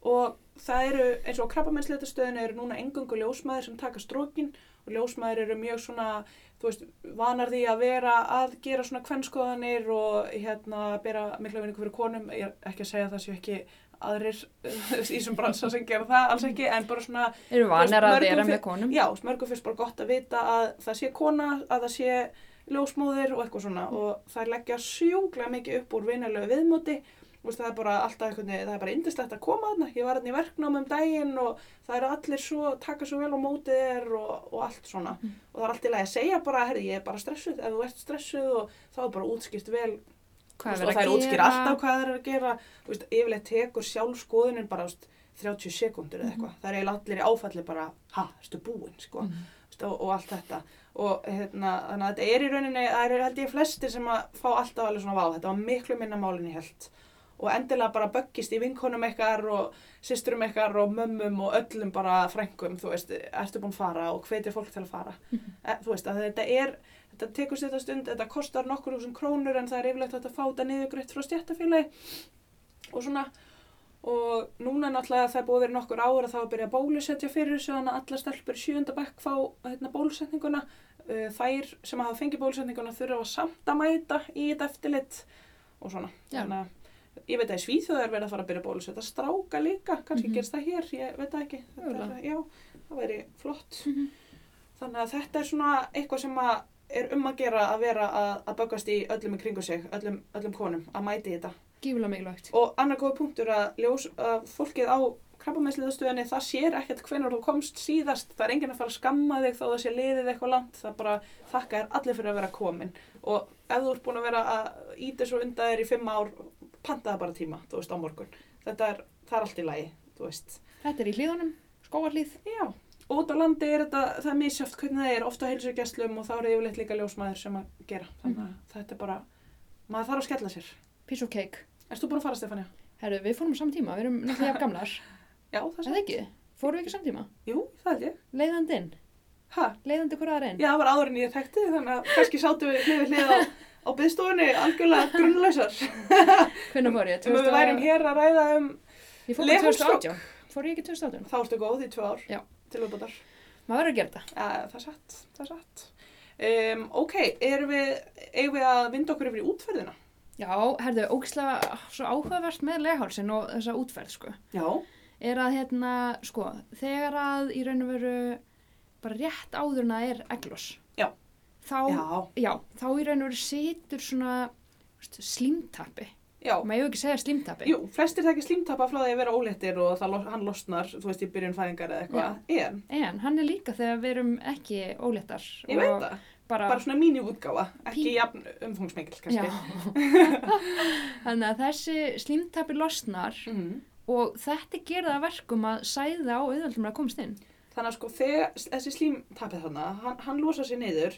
S3: og það eru eins og krabbamennsleitastöðinu eru núna engungu ljósmaður sem taka strókin og ljósmaður eru mjög svona þú veist, vanar því að vera að gera svona kvennskoðanir og hérna bera mikla vinningu fyrir konum ég er ekki að segja að það séu ekki aðrir í þessum bransa sem gera það alls ekki en bara svona
S1: Eru vanar að
S3: Þú veist, mörgum
S1: vera með
S3: fi-
S1: konum.
S3: Já, smörgum finnst bara gott að vita að það sé kona, að það sé ljósmóðir og eitthvað svona
S1: Mm.
S3: og það leggja sjúklega mikið upp úr vinalegu viðmóti og það er bara alltaf einhvern veginn, það er bara indislegt að koma þarna, ég var þarna í verknám um daginn og það eru allir svo, taka svo vel á mótið þér og, og allt svona
S1: Mm.
S3: og það er allt í lagi að segja bara, herri, ég er bara stressuð, ef þú ert stressuð og þá er bara útskipt vel
S1: Hvað
S3: Þú veist, og
S1: er
S3: það
S1: verið
S3: er
S1: að
S3: útskýr
S1: gera?
S3: alltaf hvað það er að gera þú veist, yfirleitt tekur sjálfskoðunin bara þú veist, 30 sekundur eða eitthvað það er eiginlega allir í áfalli bara ha, ertu búinn sko,
S1: Mhm.
S3: Þú veist, og, og allt þetta og hérna, þannig að þetta er í rauninni það eru held ég flestir sem að fá alltaf alveg svona vá, þetta var miklu minna málinni held og endilega bara böggist í vinkonum ykkar og sýsturum ykkar og mömmum og öllum bara frængum, þú veist, ertu búin að fara og hvetir fólk til að fara e, þú veist, að þetta er þetta tekur sér þetta stund, þetta kostar nokkur húsum krónur en það er yfirlegt hægt að fá þetta niðurgreitt frá stjættafélagi og svona og núna náttúrulega það er búið að vera í nokkur ára þá er byrjað að bólusetja fyrir þessu þannig að alla stelpur í sjöunda bekk fá hérna, bólusetninguna Uh, þær sem hafa fengið bólusetninguna þurfa samt að mæta í þetta eftirlit og svona
S1: Já.
S3: að ég veit að í Svíþjóð er verið að fara að byrja að bólusetja stráka líka, kannski
S1: Mhm.
S3: gerst það hér ég veit það ekki, Þetta er,
S1: Mögulega.
S3: já, það væri flott
S1: Mhm.
S3: Þannig að þetta er svona eitthvað sem að er um að gera að vera að, að böggast í öllum í kringu sig, öllum, öllum konum, að mæti þetta.
S1: Gífulega mikilvægt.
S3: Og annar góð punktur að, ljós, að fólkið á krabbamænsliðastöðinni, það sér ekkert hvenar þú komst síðast, það er enginn að fara að skamma þig þó það sé liðið eitthvað langt, það bara þakka þér allir fyrir að vera komin. Og ef þú ert búin að vera að íta svo undan þér í fimm ár, pantaða bara tíma, þú veist, á morgun. Þetta er, það er allt í lagi, þú veist.
S1: Þetta er í hlíðunum, skóarhlíð.
S3: Já, og út á landi er þetta, það er misjöft hvernig það er, ofta heilsugjastlum og þá eru yfirleitt líka ljósmaður sem að gera. Þannig að þetta er bara, maður þarf að skella sér.
S1: Piece of cake.
S3: Erst þú búin að fara, Stefania?
S1: Herru, við fórum á samtíma, við erum náttúrulega jafn gamlar.
S3: Já, það
S1: Er
S3: er
S1: það ekki? Fórum við ekki á samtíma?
S3: Jú, það held ég.
S1: Leiðandi inn.
S3: Ha?
S1: Leiðandi hverjaðar inn.
S3: Já, það var áður en ég þekkti þig, þannig að kannski sátum við hlið við hlið á, á byggstofunni algjörlega grunnlausar.
S1: Hvernig fór ég?
S3: Ef við værim hér að ræða um,
S1: Ég fór bara
S3: Leghálsstrák.
S1: 2018. Fór ég ekki 2018?
S3: þá ertu góð í tvö ár
S1: Já.
S3: til uppbútar.
S1: Maður verður að gera þetta.
S3: Já, það er satt, það er satt. Um, ok, erum við, eigum við að vinda okkur yfir í útferðina?
S1: Já, herðu, ógislega svo áhugavert með leghálsin og þessa útferð, sko.
S3: Já.
S1: Er að, hérna, sko, þegar að í raun og veru bara rétt áður en það er eglos.
S3: Já.
S1: Þá, já.
S3: Já,
S1: þá í raun og veru situr svona þú veist, slímtappi.
S3: já.
S1: Má ég ekki segja slímtappi?
S3: Jú, flestir þekkja slímtappa frá því að vera óléttir og það, los- hann losnar, þú veist, í byrjun fæðingar eða eitthvað. En,
S1: En hann er líka þegar við erum ekki óléttar.
S3: ég veit það,
S1: Bara,
S3: bara svona mínu-útgáfa, ekki
S1: Pí-
S3: jafn umfungsmengil, kannski.
S1: já. Þannig að þessi slímtappi losnar
S3: Mm.
S1: og þetta gerða að verkum að sæða á auðvöldum að komast inn.
S3: Þannig að sko, þegar þessi slímtappið þarna, hann, hann losa sér niður,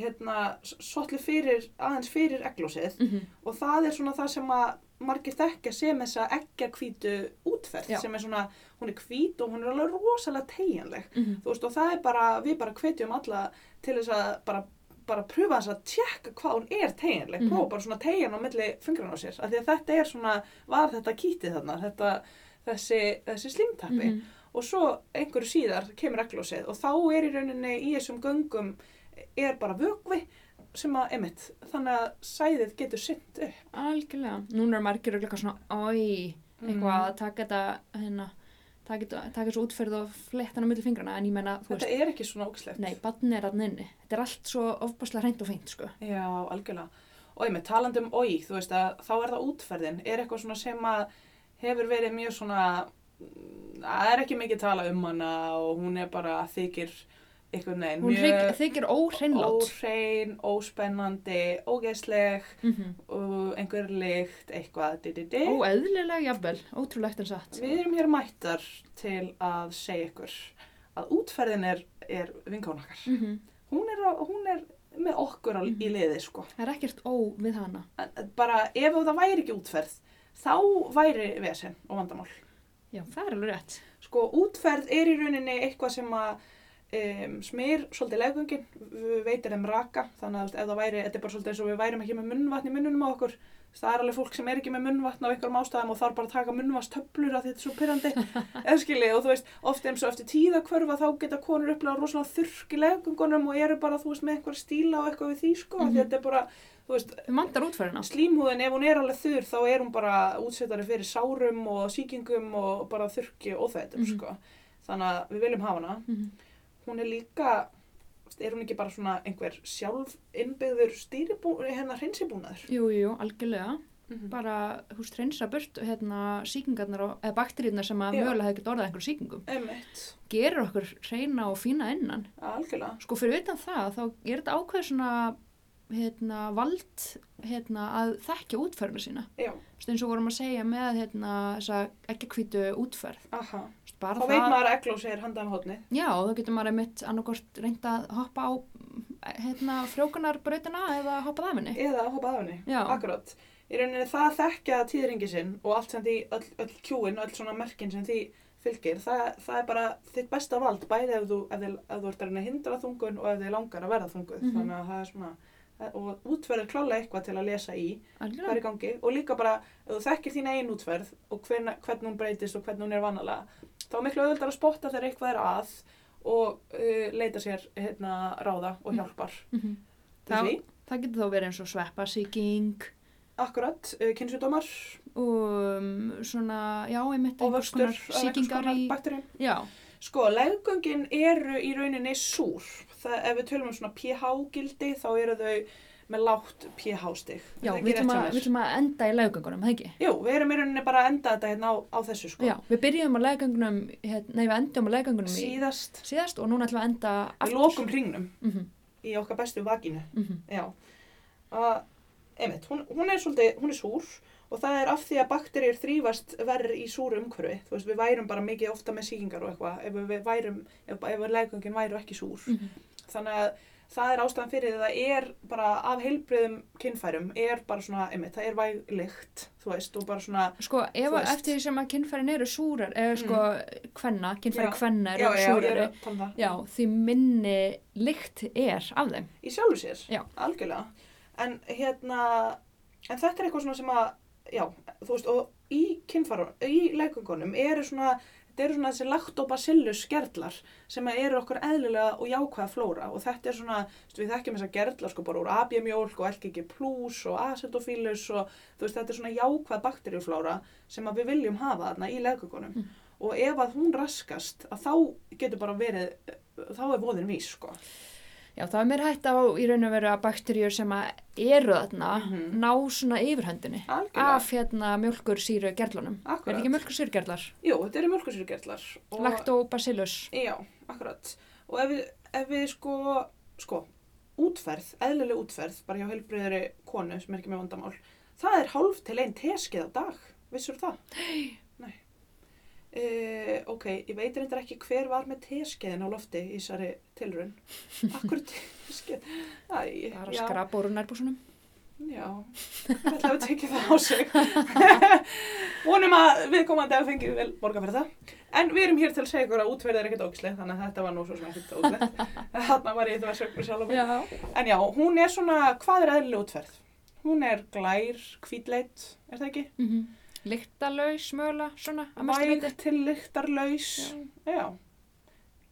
S3: hérna, svolítið fyrir, aðeins fyrir egglósið
S1: Mm -hmm.
S3: og það er svona það sem að margir þekkja sem þessa eggjakvítu útferð,
S1: Já.
S3: sem er svona, hún er hvít og hún er alveg rosalega tegjanleg. þú veist, og það er bara, við bara hvetjum alla til þess að bara, bara pröfa þess að tjekka hvað hún er teginleg,
S1: Mhm.
S3: prófa bara svona tegin á milli fingran á sér, af því að þetta er svona, var þetta kítið þarna, þetta, þessi, þessi slimtappi, og svo einhverju síðar kemur reglósið og þá er í rauninni í þessum göngum er bara vögvi sem að, emitt, þannig að sæðið getur synd upp.
S1: Mm.
S3: Mhm.
S1: Algjörlega. Núna er margir örugglega eitthvað svona, oi, eitthvað að taka þetta, hérna, taka taka svo útferð og flettana millir fingrana en ég menna, þú
S3: Þetta
S1: veist,
S3: er ekki svona ógislegt.
S1: nei, badni er hann inni þetta er allt svo ofbaslega hreint og feint sko.
S3: Já, algjörlega. Og ég með talandi um oi, þú veist að þá er það útferðin. Er eitthvað svona sem að hefur verið mjög svona, mm, það er ekki mikið tala um hana og hún er bara þykir einhvern veginn
S1: hún Mjö... þykir óhreinlátt
S3: óhrein, óspennandi, ógeðsleg
S1: mm
S3: og einhver lykt, eitthvað, di, di, di.
S1: óeðlilega jafnvel, ótrúlegt en satt
S3: Eh? Við erum hér mættar til að segja ykkur að útferðin er, er vinkona okkar.
S1: mm
S3: Hún er, á- hún er með okkur á, í liði, sko.
S1: það er ekkert ó við hana
S3: En Bara ef það væri ekki útferð, þá væri vesen og vandamál.
S1: já, það er alveg rétt
S3: Sko, útferð er í rauninni eitthvað sem að um, smyr svolítið legungin, veitir þeim raka, þannig að þú veist, ef það væri, þetta er bara svolítið eins og við værim ekki með munnvatn í munnunum á okkur, Þú veist, það er alveg fólk sem er ekki með munnvatn af einhverjum ástæðum og þarf bara að taka munnvastöflur af því þetta er svo pyrrandi, eða skilji, og þú veist, oft eins og eftir tíðakvörfa þá geta konur upplega rosalega þurrk í legungunum og eru bara, þú veist, með einhver stíla og eitthvað við því, sko, mm
S1: Mhm.
S3: þetta er bara, þú veist,
S1: við mandar útferðina
S3: slímhúðin, ef hún er alveg þurr þá er hún bara útsettari fyrir sárum og sýkingum og bara þurrki og óþættum
S1: Mhm.
S3: sko. þannig að við viljum hafa hana
S1: mm -hmm.
S3: hún er líka, er hún ekki bara svona einhver sjálf innbyggður stýribúnaður, hérna hreinsibúnaður
S1: jú, jú, jú, algjörlega
S3: mm
S1: bara, þú veist, reynsa burt hérna, sýkingarnar og, eða bakteríunar sem að
S3: Já.
S1: mögulega hefði getið orðað einhverjum sýkingum
S3: emitt,
S1: gerir okkur reyna og fína innan
S3: algjörlega
S1: sko fyrir utan það, þá er þetta ákveð svona hérna, vald hérna, að þekkja útferðinu sína
S3: já,
S1: Þú veist, eins og vorum að segja með hérna, þessa ekkjakvítu útferð
S3: aha,
S1: Þú veist, bara
S3: þá veit maður að eglós er handan hótni
S1: já, þá getur maður einmitt annarkort reynd að hoppa á hérna, frjókunarbrautina eða hoppa það minni
S3: eða að hoppa af henni,
S1: Já.
S3: akkurat í rauninni það þekkja tíðringi sinn og allt sem því, öll, öll kjúin og öll svona merkin sem því fylgir, það, það er bara þitt besta vald, bæði ef þú, ef þið, ef þú ert að reyna að hindra þungun og ef þið langar að verða þunguð,
S1: Mhm.
S3: þannig að það er svona og útferð er klálega eitthvað til að lesa í hvað er
S1: algjörlega,
S3: í gangi og líka bara ef þú þekkir þín einn útferð og hvern, hvern hún breytist og hvern hún er vanalega þá er miklu auðvitað að spotta þegar eitthvað er að og uh, leita sér hérna, ráða og hjálpar
S1: mm -hmm.
S3: til
S1: Já.
S3: því,
S1: það getur þá verið eins og sveppasýking
S3: akkurat, uh, kynsjúdómar
S1: og um, svona, já, einmitt
S3: og
S1: einhvers
S3: vöxtur
S1: konar
S3: af einhvers
S1: sýkingar
S3: konar
S1: í,
S3: bakteríum.
S1: já,
S3: Sko, leggöngin eru í rauninni súr. Það, ef við tölum um svona pH-gildi þá eru þau með lágt pH-stig.
S1: já, við ætlum að, við ætlum að enda í legugöngunum, það ekki?
S3: Jú, við erum í rauninni bara að enda þetta hérna á, á þessu sko.
S1: Já, við byrjum á legugöngunum, hérna, nei, við endum á legugöngunum í
S3: Síðast,
S1: síðast og núna ætlum við að enda
S3: við lókum hringnum
S1: Mm -hmm,
S3: í okkar bestu vakinu.
S1: mhm,
S3: Já. Uh, einmitt, hún, hún er svolítið, hún er súr og það er af því að bakterjur þrýfast verð í súru umhverfi. Þú veist, við værum bara mikið ofta með sýkingar og eitthvað ef við værum, ef, ef leggöngin væru ekki súr.
S1: mhm.
S3: þannig að það er ástæðan fyrir því að það er bara af heilbriðum kynfærum er bara svona, einmitt, það er væglikt þú veist, og bara svona
S1: Sko, ef
S3: Þú
S1: að
S3: veist.
S1: eftir því sem að kynfærin eru súrar, eða
S3: Mm.
S1: sko, kvenna, kynfæri
S3: Já.
S1: kvenna
S3: já,
S1: eru
S3: já, ég er
S1: súrari,
S3: að tala um það
S1: já, því minni lykt er af þeim.
S3: í sjálfu sér,
S1: Já.
S3: algjörlega en hérna, en þetta er eitthvað svona sem að, já, þú veist og í kynfærum, í legungunum eru svona, þetta eru svona þessi lactobacillus gerlar sem að eru okkur eðlilega og jákvæða flóra og þetta er svona, þú veist, við þekkjum þessa gerlar sko bara úr abjamjólk og LGG plus og acetofilus og þú veist, þetta er svona jákvæð bakterjuflóra sem að við viljum hafa þarna í legungunum
S1: Mm.
S3: og ef að hún raskast að þá getur bara verið, þá er voðin vís sko.
S1: Já, það er mér hægt á í raun og veru að bakterjur sem að eru þarna
S3: Mhm.
S1: ná svona yfirhöndinni
S3: Algjörlega.
S1: af hérna mjölkur síru gerlunum. Er
S3: Akkurat.
S1: þetta ekki mjölkur síru gerlar?
S3: Jú, þetta eru mjölkursýrgerðlar.
S1: Lactobacillus.
S3: Já, akkurat. Og ef við, ef við sko, sko, útferð, eðlileg útferð, bara hjá heilbriðari konu sem er ekki með vandamál, það er hálf til einn teskið á dag, vissur það? Nei. Nei. Uh, ok, ég veit reyndar ekki hver var með teskeiðin á lofti í þessari tilrun. Akkur teskeið? Æ,
S1: Það er að
S3: já.
S1: skrapa úr nærbúsunum.
S3: Já, ég ætla að tekja það á sig. Vonum að við komandi að fengið vel borga fyrir það. En við erum hér til að segja ykkur að útverðið er ekkert ógislega, þannig að þetta var nú svo sem ekkert ógislega. Þarna var ég það að sögur sjálf og mig.
S1: Já.
S3: En já, hún er svona, hvað er eðlileg útferð? Hún er glær, hvítleit, er það ekki?
S1: Mm -hmm. Lyktalös mögulega, svona, að mestu
S3: Væg
S1: viti.
S3: til lyktarlaus. Já.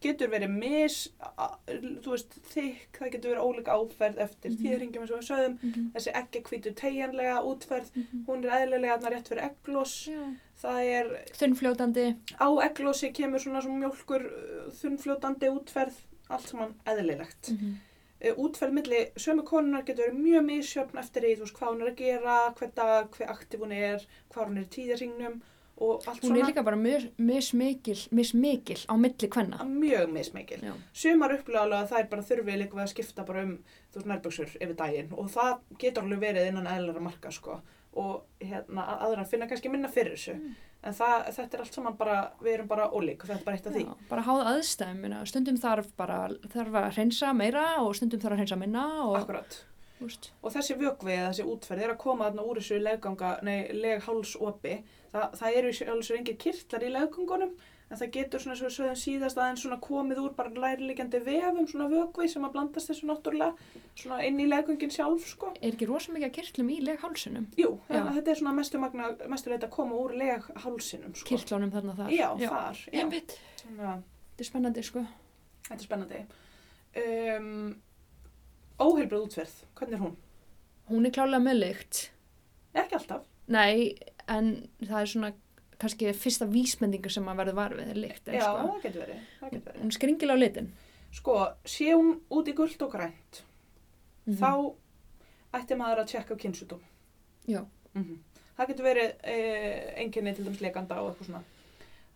S3: getur verið mis, a- þú veist, þykk, það getur verið ólík áferð eftir
S1: Mhm.
S3: mm. þýðringjum eins og við sögðum.
S1: Mhm.
S3: Þessi ekki hvítu teigjanlega útferð,
S1: Mhm.
S3: hún er eðlilega þarna rétt fyrir egglós.
S1: Já.
S3: Það er,
S1: Þunnfljótandi.
S3: á egglósi kemur svona svona mjólkur uh, þunnfljótandi útferð, allt saman eðlilegt.
S1: Mhm.
S3: Mm. Útferð milli sömu konunar getur verið mjög misjöfn eftir því, þú veist, hvað hún er að gera, hver dag, hver aktiv hún er, hvað hún er í tíðarringnum og allt
S1: Hún er
S3: svona
S1: líka bara mis- mismikil, mismikil á milli hvenna.
S3: mjög mismikil.
S1: Já.
S3: sumar upplega alveg að þær bara þurfi líka við að skipta bara um þú veist nærbuksur yfir daginn og það getur alveg verið innan eðlera marka sko og hérna að- aðrar finna kannski minna fyrir þessu
S1: Mm.
S3: en það, þetta er allt saman bara, við erum bara ólík og þetta er bara eitt af því
S1: Já, bara háð aðstæðum, minna. stundum þarf bara þarf að hreinsa meira og stundum þarf að hreinsa minna og,
S3: akkurat
S1: úst,
S3: og þessi vökvi eða þessi útferð er að koma þarna úr þessu legganga, nei, leghálsopi Þa, það eru alveg engir kirtlar í leggangunum en það getur svona svo sögðum síðast aðeins svona komið úr bara lærlíkjandi vefum svona vökvi sem að blandast þessu náttúrulega svona inn í leggangin sjálf sko
S1: er ekki rosa mikið að kirtlum í leghálsunum,
S3: Jú,
S1: Já.
S3: þannig að þetta er svona mestu, magna, mestu leita að koma úr leghálsinum, sko.
S1: kirtlunum þarna þar.
S3: Já, þar. Já.
S1: Einmitt,
S3: Þannig að
S1: þetta er spennandi sko.
S3: Þetta er spennandi. Um, óheilbrið útferð, hvernig er hún?
S1: Hún er klálega með lykt,
S3: Ekki alltaf.
S1: nei, en það er svona kannski fyrsta vísmendingu sem maður verður varfið er lykt, en
S3: Já,
S1: sko,
S3: það getur verið. Það getur verið.
S1: hún skringil á litin.
S3: Sko, sé hún út í gullt og grænt,
S1: Mhm.
S3: þá ætti maður að tjekka á kynsjúdóm.
S1: Já.
S3: Mhm. Það getur verið e, enginni til dæmis leikanda og eitthvað svona.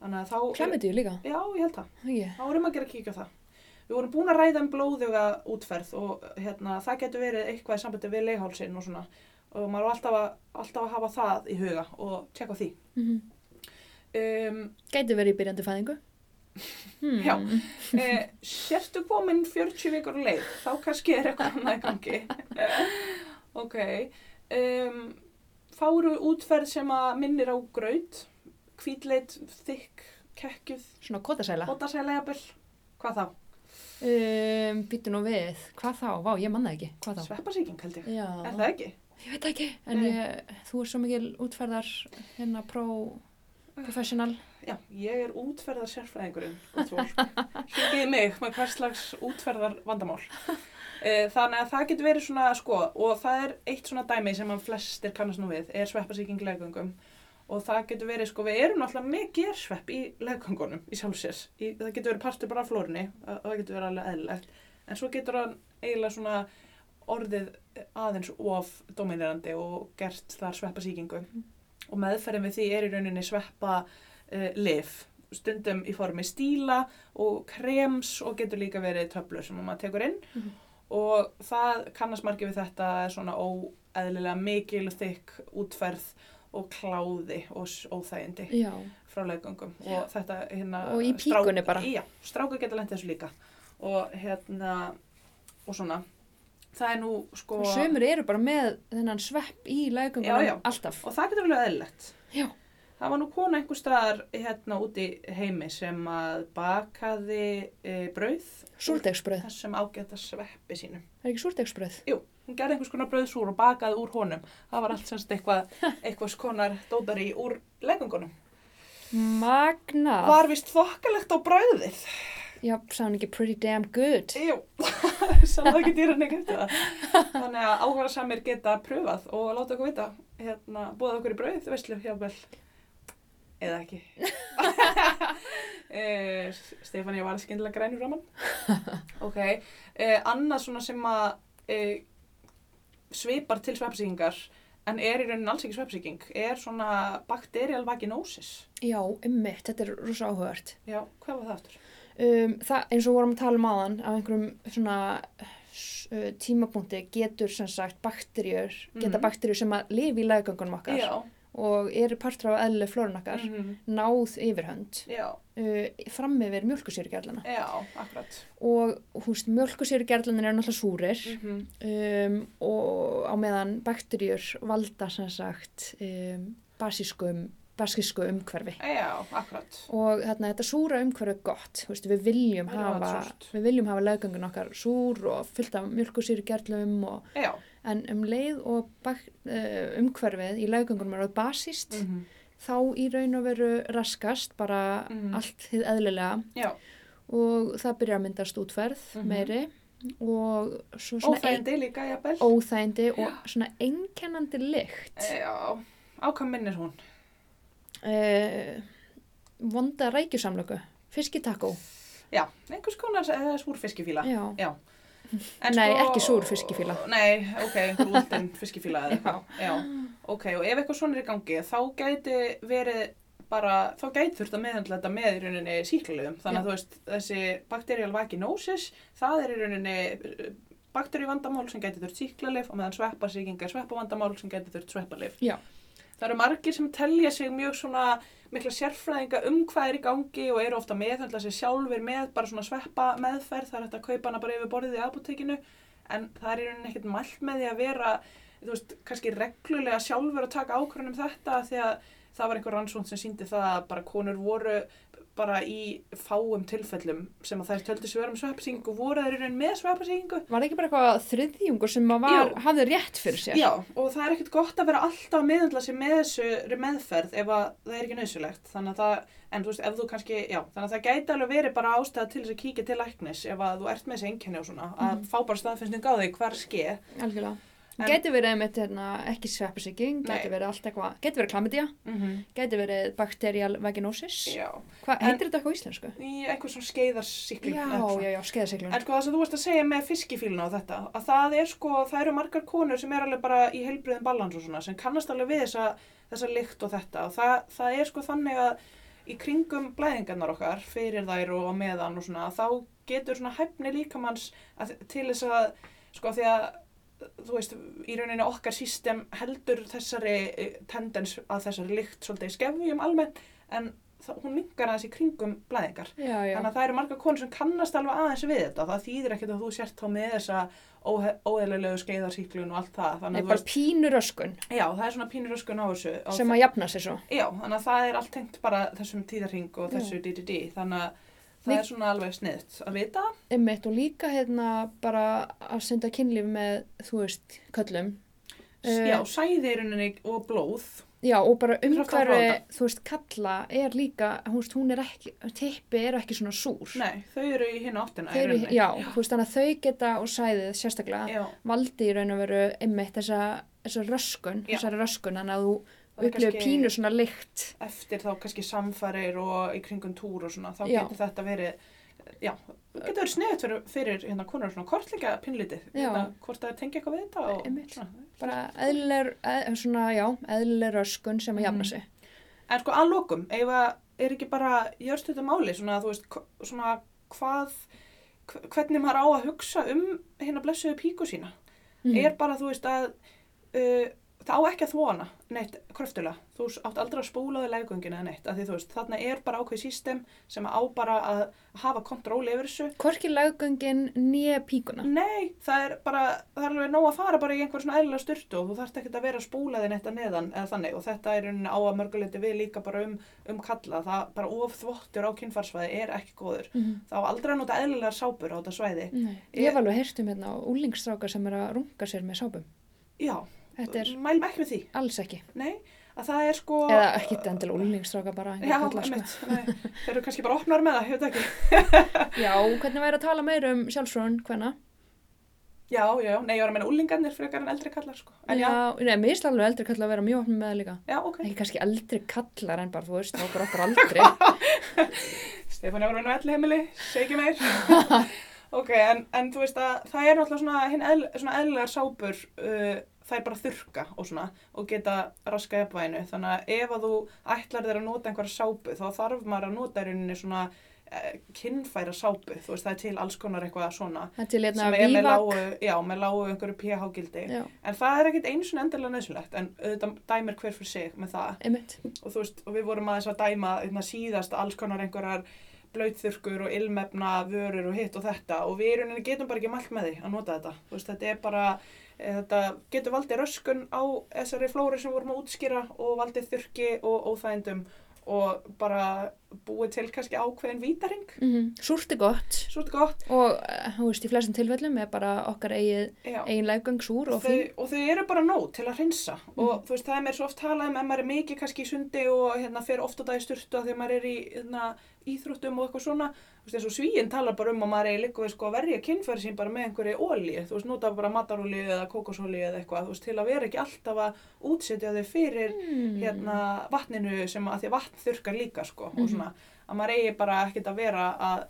S3: Þannig að þá...
S1: Klæmiðið líka,
S3: Já, ég held það.
S1: ekki?
S3: Þá erum að gera kíkja á það. Við vorum búin að ræða um blóðuga útferð og hérna, það getur verið eitthvað í sambandi við leihálsinn og svona. Og maður á alltaf að, alltaf að hafa það í huga og tjekka á því.
S1: Mm
S3: Um,
S1: Gæti verið í byrjandi fæðingu. Hmm.
S3: Já. e, sértu komin 40 vikur á leið, þá kannski er eitthvað annað í gangi. ok. Um, fáru útferð sem að minnir á graut, hvítleit, þykk, kekkjuð,
S1: Hmm. Svona kótasæla.
S3: bótasælegabill, hvað þá?
S1: Um, Býttu nú við, hvað þá? Vá, ég manna ekki, hvað þá?
S3: Sveppasíking held ég.
S1: Já,
S3: Er það ekki?
S1: ég veit ekki, en
S3: Nei.
S1: ég, þú er svo mikil útferðar hérna pro professional.
S3: Já, ég er útferðar sérfræðingurinn, hringið í mig með hvers slags útferðar vandamál. Eh, Þannig að það getur verið svona, sko, og það er eitt svona dæmi sem að flestir kannast nú við, er sveppasíking legungum. Og það getur verið, sko, við erum náttúrulega með gersvepp í legungunum, í sjálfsérs. Í, það getur verið partur bara af flórunni, það það getur verið alveg eðlilegt. En svo getur hann eiginlega svona orðið aðeins of dominerandi og gert þar sveppasíkingu. Og meðferðin við því er í rauninni sveppa uh, lif stundum í formi stíla og krems og getur líka verið töflur sem maður tekur inn
S1: Mhm.
S3: og það kannast margir við þetta svona óeðlilega mikil þykk útferð og kláði og s- óþægindi
S1: Já,
S3: frá leggöngum og þetta hérna
S1: Og í
S3: strák-
S1: píkunni bara.
S3: já, strákur geta lent þessu líka og hérna og svona það er nú sko
S1: og sömur eru bara með þennan svepp í
S3: Já, já.
S1: lægungunum alltaf.
S3: og það getur vel eðlilegt
S1: Já.
S3: það var nú kona einhver staðar hérna úti heimi sem að bakaði e, brauð
S1: Súrdegsbröð,
S3: þessum ágæta sveppi sínum
S1: það er ekki súrdegsbröð?
S3: hún gerði einhvers konar brauðsúr og bakaði úr honum það var allt semst eitthvað einhvers konar dótari úr leggungunum
S1: Magnað.
S3: var vist þokkalegt á brauðið
S1: Já, sá hann ekki pretty damn good.
S3: Jú, sem það ekki dýran ekki eftir það. Þannig að áhuga samir geta pröfað og láta okkur vita, hérna, búða okkur í brauð, veistlu, jáfnvel, eða ekki. e, Stefán, ég var skyndilega grænur raman. Ok, e, annað svona sem að e, svipar til sveppsýkingar, en er í rauninni alls ekki sveppsýking, er svona bakterial vaginosis.
S1: Já, einmitt, þetta er rosa áhugart.
S3: Já, hvað var það aftur?
S1: Um, það, eins og vorum að tala um aðan, á einhverjum svona uh, tímapunkti getur sem sagt bakterjur, geta
S3: Mhm.
S1: bakterjur sem að lifi í lægungunum okkar og eru partur af eðli flórun okkar.
S3: mhm,
S1: náð yfirhönd
S3: já,
S1: uh, fram yfir mjölkusýrugerlana
S3: já, akkurat.
S1: og húst, mjölkusýrugerlanin er náttúrulega súrir
S3: Mm -hmm.
S1: um, og á meðan bakterjur valda sem sagt um, basískum, basísku umhverfi
S3: Já, akkurat.
S1: og þarna, þetta súra umhverfi er gott húst, við viljum
S3: Við viljum
S1: hafa
S3: það súrt.
S1: við viljum hafa leggöngun okkar súr og fullt af mjölkusýrugerlum og,
S3: Já.
S1: en um leið og bak, uh, umhverfið í leggöngunum er að basíst
S3: Mm
S1: þá í raun og veru raskast bara
S3: Mhm.
S1: allt þið eðlilega
S3: Já,
S1: og það byrjar að myndast útferð
S3: Mhm.
S1: meiri og svo svona ein-
S3: Óþægindi líka, jafnvel.
S1: óþægindi og svona einkennandi lykt
S3: Já, á hvað minnir hún?
S1: uh, vonda rækjusamlöku fiskitakó
S3: Já, einhvers konar uh, súrfiskifíla.
S1: já.
S3: En sko-
S1: Nei, ekki súr fiskifíla.
S3: Nei, ok, einhver útinn fiskifíla eða
S1: Já.
S3: eitthvað. Já. ok, og ef eitthvað svona er í gangi, þá gæti verið bara, þá gæti þurft að meðhandla þetta með í rauninni síklarlegum. Þannig
S1: Já.
S3: að þú veist, þessi bakterial vaginosis, það er í rauninni eh, bakteríuvandamál sem gæti þurft síklarleif og meðan sveppasíkinga er sveppavandamál sem gæti þurft sveppaleif.
S1: Já.
S3: Það eru margir sem telja sig mjög svona mikla sérfræðinga um hvað er í gangi og eru ofta meðhandla sig sjálfur með bara svona sveppa meðferð, það er hægt að kaupa hana bara yfir borðið í apotekinu en það er í rauninni ekkert mælt með því að vera þú veist, kannski reglulega sjálfur að taka ákvörðunum þetta því að það var einhver rannsónd sem síndi það að bara konur voru bara í fáum tilfellum sem að þær töldu sig vera um sveppasíkingu voru þær í rauninni með sveppasíkingu
S1: var það ekki bara eitthvað þriðjungur sem að var,
S3: Jú.
S1: hafði rétt fyrir sér
S3: Já, og það er ekkert gott að vera alltaf að meðhandla sig með þessu meðferð ef að það er ekki nöðsulegt. Þannig að það, en þú veist, ef þú kannski, já, þannig að það gæti alveg verið bara ástæða til þess að kíkja til læknis ef að þú ert með þessi einkenni og svona, að
S1: Mhm.
S3: fá bara staðfinnsning á því hvar sker.
S1: algjörlega
S3: En-
S1: Gæti verið einmitt hérna, ekki sveppasíking, gæti
S3: Nei.
S1: verið allt eitthvað, gæti verið klamidía,
S3: Mm -hmm.
S1: gæti verið bakterial vaginosis.
S3: Já,
S1: Hvað
S3: En-
S1: heitir þetta eitthvað á íslensku?
S3: í einhver svona skeiðarsíkling.
S1: Já,
S3: eða eitthvað svona.
S1: já, já, skeiðarsiglun.
S3: En sko það sem þú varst að segja með fiskifíluna og þetta, að það er sko, það eru margar konur sem er alveg bara í heilbriðum balans og svona, sem kannast alveg við þessa, þessa lykt og þetta og það, það er sko þannig að í kringum blæðingarnar okkar, fyrir þær og á meðan og svona, þá getur svona hæfni líkamanns að, til þess að, sko því að, þú veist, í rauninni okkar system heldur þessari eh, tendens að þessari lykt svolítið í skefjum almennt, en það, hún mingar aðeins í kringum blæðingar.
S1: Já, já,
S3: Þannig að það eru marga konur sem kannast alveg aðeins við þetta. Það þýðir ekkert að þú sért þá með þessa óhe- óeðlilegu skeiðarsýklun og allt það.
S1: Nei,
S3: Þannig að þú
S1: bara
S3: veist,
S1: pínur öskun
S3: já, það er svona pínur öskun á þessu. Á
S1: sem að jafna sér svo.
S3: Já, þannig að það er allt tengt bara þessum tíðarhing og
S1: Já.
S3: þessu DDD. Þannig að það
S1: Nei.
S3: er svona alveg sniðt að vita.
S1: Einmitt og líka hérna bara að senda kynlíf með, þú veist, köllum. Eh,
S3: já, sæðiruninni og blóð.
S1: Já, og bara
S3: Kraft að
S1: umhverfi,
S3: ráða.
S1: þú veist, kalla er líka, hún veist, hún er ekki, tippi er ekki svona súr.
S3: Nei, þau eru í hinn áttina
S1: Þau
S3: í
S1: eru,
S3: rauninni.
S1: já, þú veist, þannig að þau geta og sæðið sérstaklega
S3: já.
S1: valdi í raun og veru einmitt þessa, þessa röskun,
S3: Já.
S1: þessari röskun, þannig að þú
S3: Það er
S1: upplifir
S3: kannski-
S1: pínu svona lykt.
S3: Eftir þá kannski samfarir og í kringum túr og svona, þá
S1: Já.
S3: getur þetta verið, já, getur verið sniðut fyrir, fyrir hérna konur svona kortleika pinnlítið,
S1: Já.
S3: hérna hvort það er tengið eitthvað við þetta og
S1: Einmitt.
S3: svona.
S1: Bara eðlileg, eð, svona, já, eðlileg röskun sem að jafna
S3: Mhm.
S1: sig.
S3: En sko að lokum, ef að er ekki bara jörst þetta máli, svona þú veist, hva- svona hvað, hv- hvernig maður á að hugsa um hérna blessuðu píku sína,
S1: Mm. Mhm.
S3: er bara þú veist að uh, það á ekki að þvó hana, neitt, kröftulega, þú s- átt aldrei að spóla þig legungina eða neitt, að því þú veist, þarna er bara ákveð sístem sem á bara að hafa kontról yfir þessu
S1: Hvorki laggöngin nýja píkuna.
S3: Nei, það er bara, það er alveg nóg að fara bara í einhver svona eðlilega styrtu og þú þarft ekkert að vera að spúla þinn þetta neðan eða þannig og þetta er í rauninni á að mörguleiti við líka bara um, um kalla, það bara ofþvottur á kynfarsvæði er ekki góður.
S1: Mm.
S3: Þá aldrei að nota eðlilega sápur á þetta svæði.
S1: Ég hef alveg heyrt um hérna úlingstrákar sem er að runga sér með sápum.
S3: Já,
S1: Þetta er
S3: mælum ekki með því,
S1: alls ekki.
S3: nei, að það er sko...
S1: Eða ekki endil úlingstrákar bara. einhver
S3: Já,
S1: kallar, sko.
S3: einmitt, nei, þeir eru kannski bara opnar með það, hefur þetta ekki.
S1: já, hvernig væri að tala meir um sjálfsfrón, hvenna?
S3: Já, já, nei, ég var að menna úlingarnir frekar en eldri kallar sko. En já,
S1: Já, nei, mér er alveg eldri kallar að vera mjög opnum með það líka.
S3: já, ok.
S1: Ekki kannski eldri kallar en bara, þú veist, okkur okkur aldri.
S3: Stefán Efraun á elli heimili, segi meir. ok, en, en þú veist að það er náttúrulega svona, hinn eðl, svona eðlilegar sápur, uh, það er bara þurka og svona og geta raska jafnvæginu. Þannig að ef að þú ætlar þér að nota einhverja sápu þá þarf maður að nota í rauninni svona uh, kinnfæra sápu. Þú veist það er til alls konar eitthvað svona
S1: Það er til hérna
S3: sem eh. er með
S1: víva
S3: lágu, já, með lágu einhverju pH-gildi.
S1: Já,
S3: En það er ekkit eins og endilega nöðsulegt en auðvitað dæmir hver fyrir sig með það
S1: einmitt.
S3: og þú veist, og við vorum aðeins að dæma einna, síðast alls konar einhverjar blöytþurkur og ilmefna vörur og hitt og þetta og við í rauninni getum bara ekki mælt með því að nota þetta, þú veist, þetta er bara eh, þetta getur valdið röskun á þessari flóri sem við vorum að útskýra og valdið þurki og óþægindum og bara búið til kannski ákveðin vítaring.
S1: mm Súrt er gott
S3: Svo er þetta gott.
S1: og eh, þú veist, í flestum tilfellum er bara okkar eigið,
S3: Já.
S1: eigin lægöng súr og fín. Mhm.
S3: Þau, og þau eru bara nóg til að hreinsa og þú veist það er mér svo oft talað um ef maður er mikið kannski í sundi og hérna fer oft á dag í sturtu að þegar maður er í hérna, íþróttum og eitthvað svona þú veist eins og svíinn talar bara um að maður er líka við sko að verja kynfæri sín bara með einhverju ólíu þú veist nota bara matarolíu eða kókosólíu eða eitthvað þú veist til að vera ekki alltaf að útsetja þau fyrir
S1: Mm.
S3: hérna, vatninu sem að því að vatn þurkar líka sko, og svona að maður eigi bara ekkert að vera að,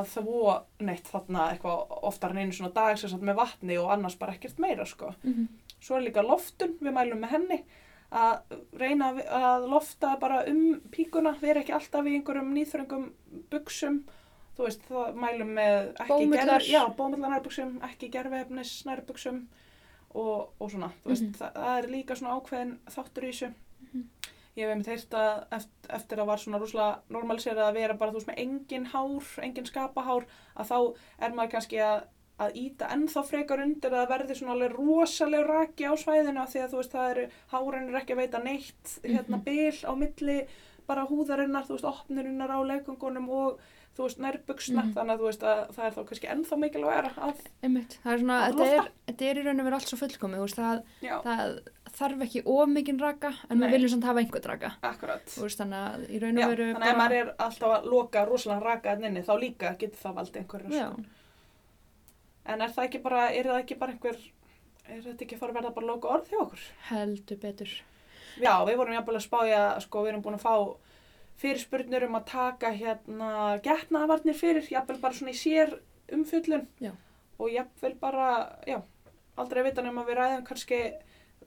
S3: að þvó neitt þarna eitthvað oftar en einu svona dag sem sagt með vatni og annars bara ekkert meira sko.
S1: Mhm.
S3: Svo er líka loftun, við mælum með henni að reyna að- að lofta bara um píkuna, vera ekki alltaf í einhverjum nýþröngum buksum þú veist, það mælum með ekki
S1: Bómullar.
S3: gerf- já, bómullar nærbuksum, ekki gerfefnis nærbuksum og, og svona, þú veist,
S1: Mhm.
S3: það, það er líka svona ákveðin þáttur í þessu ég hef einmitt heyrt að eft- eftir að var svona rúslega normaliserað að vera bara þú veist með engin hár, engin skapahár að þá er maður kannski að að íta ennþá frekar undir að það verði svona alveg rosaleg raki á svæðinu af því að þú veist það eru hárinn er ekki að veita neitt hérna
S1: Mhm.
S3: bil á milli bara húðarinnar, þú veist, opnurinnar á leikungunum og þú veist, nærbuksna
S1: Mhm.
S3: þannig að þú veist að það er þá kannski ennþá mikilvægara að,
S1: Einmitt. Það er svona,
S3: Að
S1: þetta er,
S3: lofta.
S1: þetta er í raun og vera allt svo fullkomið, þú veist, það,
S3: já,
S1: það þarf ekki of mikinn raka, en
S3: Nei.
S1: við viljum samt hafa einhvern raka.
S3: akkurat
S1: Þú veist, þannig að í raun
S3: já,
S1: og veru
S3: þannig að ef maður er alltaf að loka rosalega raka en inni, þá líka getur það valdið einhverju
S1: Já,
S3: En er það ekki bara, er það ekki bara einhver, er þetta ekki að fara að verða bara loka orð hjá okkur?
S1: heldur betur.
S3: Já, við vorum jafnvel að spája, sko, við erum búin að fá fyrirspurnir um að taka hérna getnaðvarnir fyrir, jafnvel bara svona í sér umfyllun.
S1: Já.
S3: Og jafnvel bara, já, aldrei að vita nema við ræðum kannski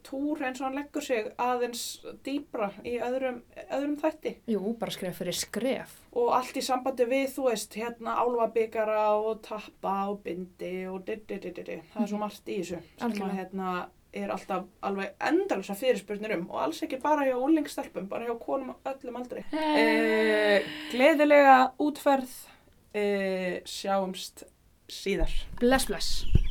S3: túr eins og hann leggur sig aðeins dýbra í öðrum, öðrum þætti.
S1: Jú, bara skref fyrir skref.
S3: og allt í sambandi við, þú veist, hérna álfabikara og tappa og bindi og di-di-di-di-di, það er svo margt í þessu sem að
S1: Algjörlega.
S3: hérna er alltaf alveg endalsa fyrirspurnir um og alls ekki bara hjá úlingstelpum, bara hjá konum á öllum aldri. Eh, gleðilega útferð, eh, sjáumst síðar.
S1: Bless, bless.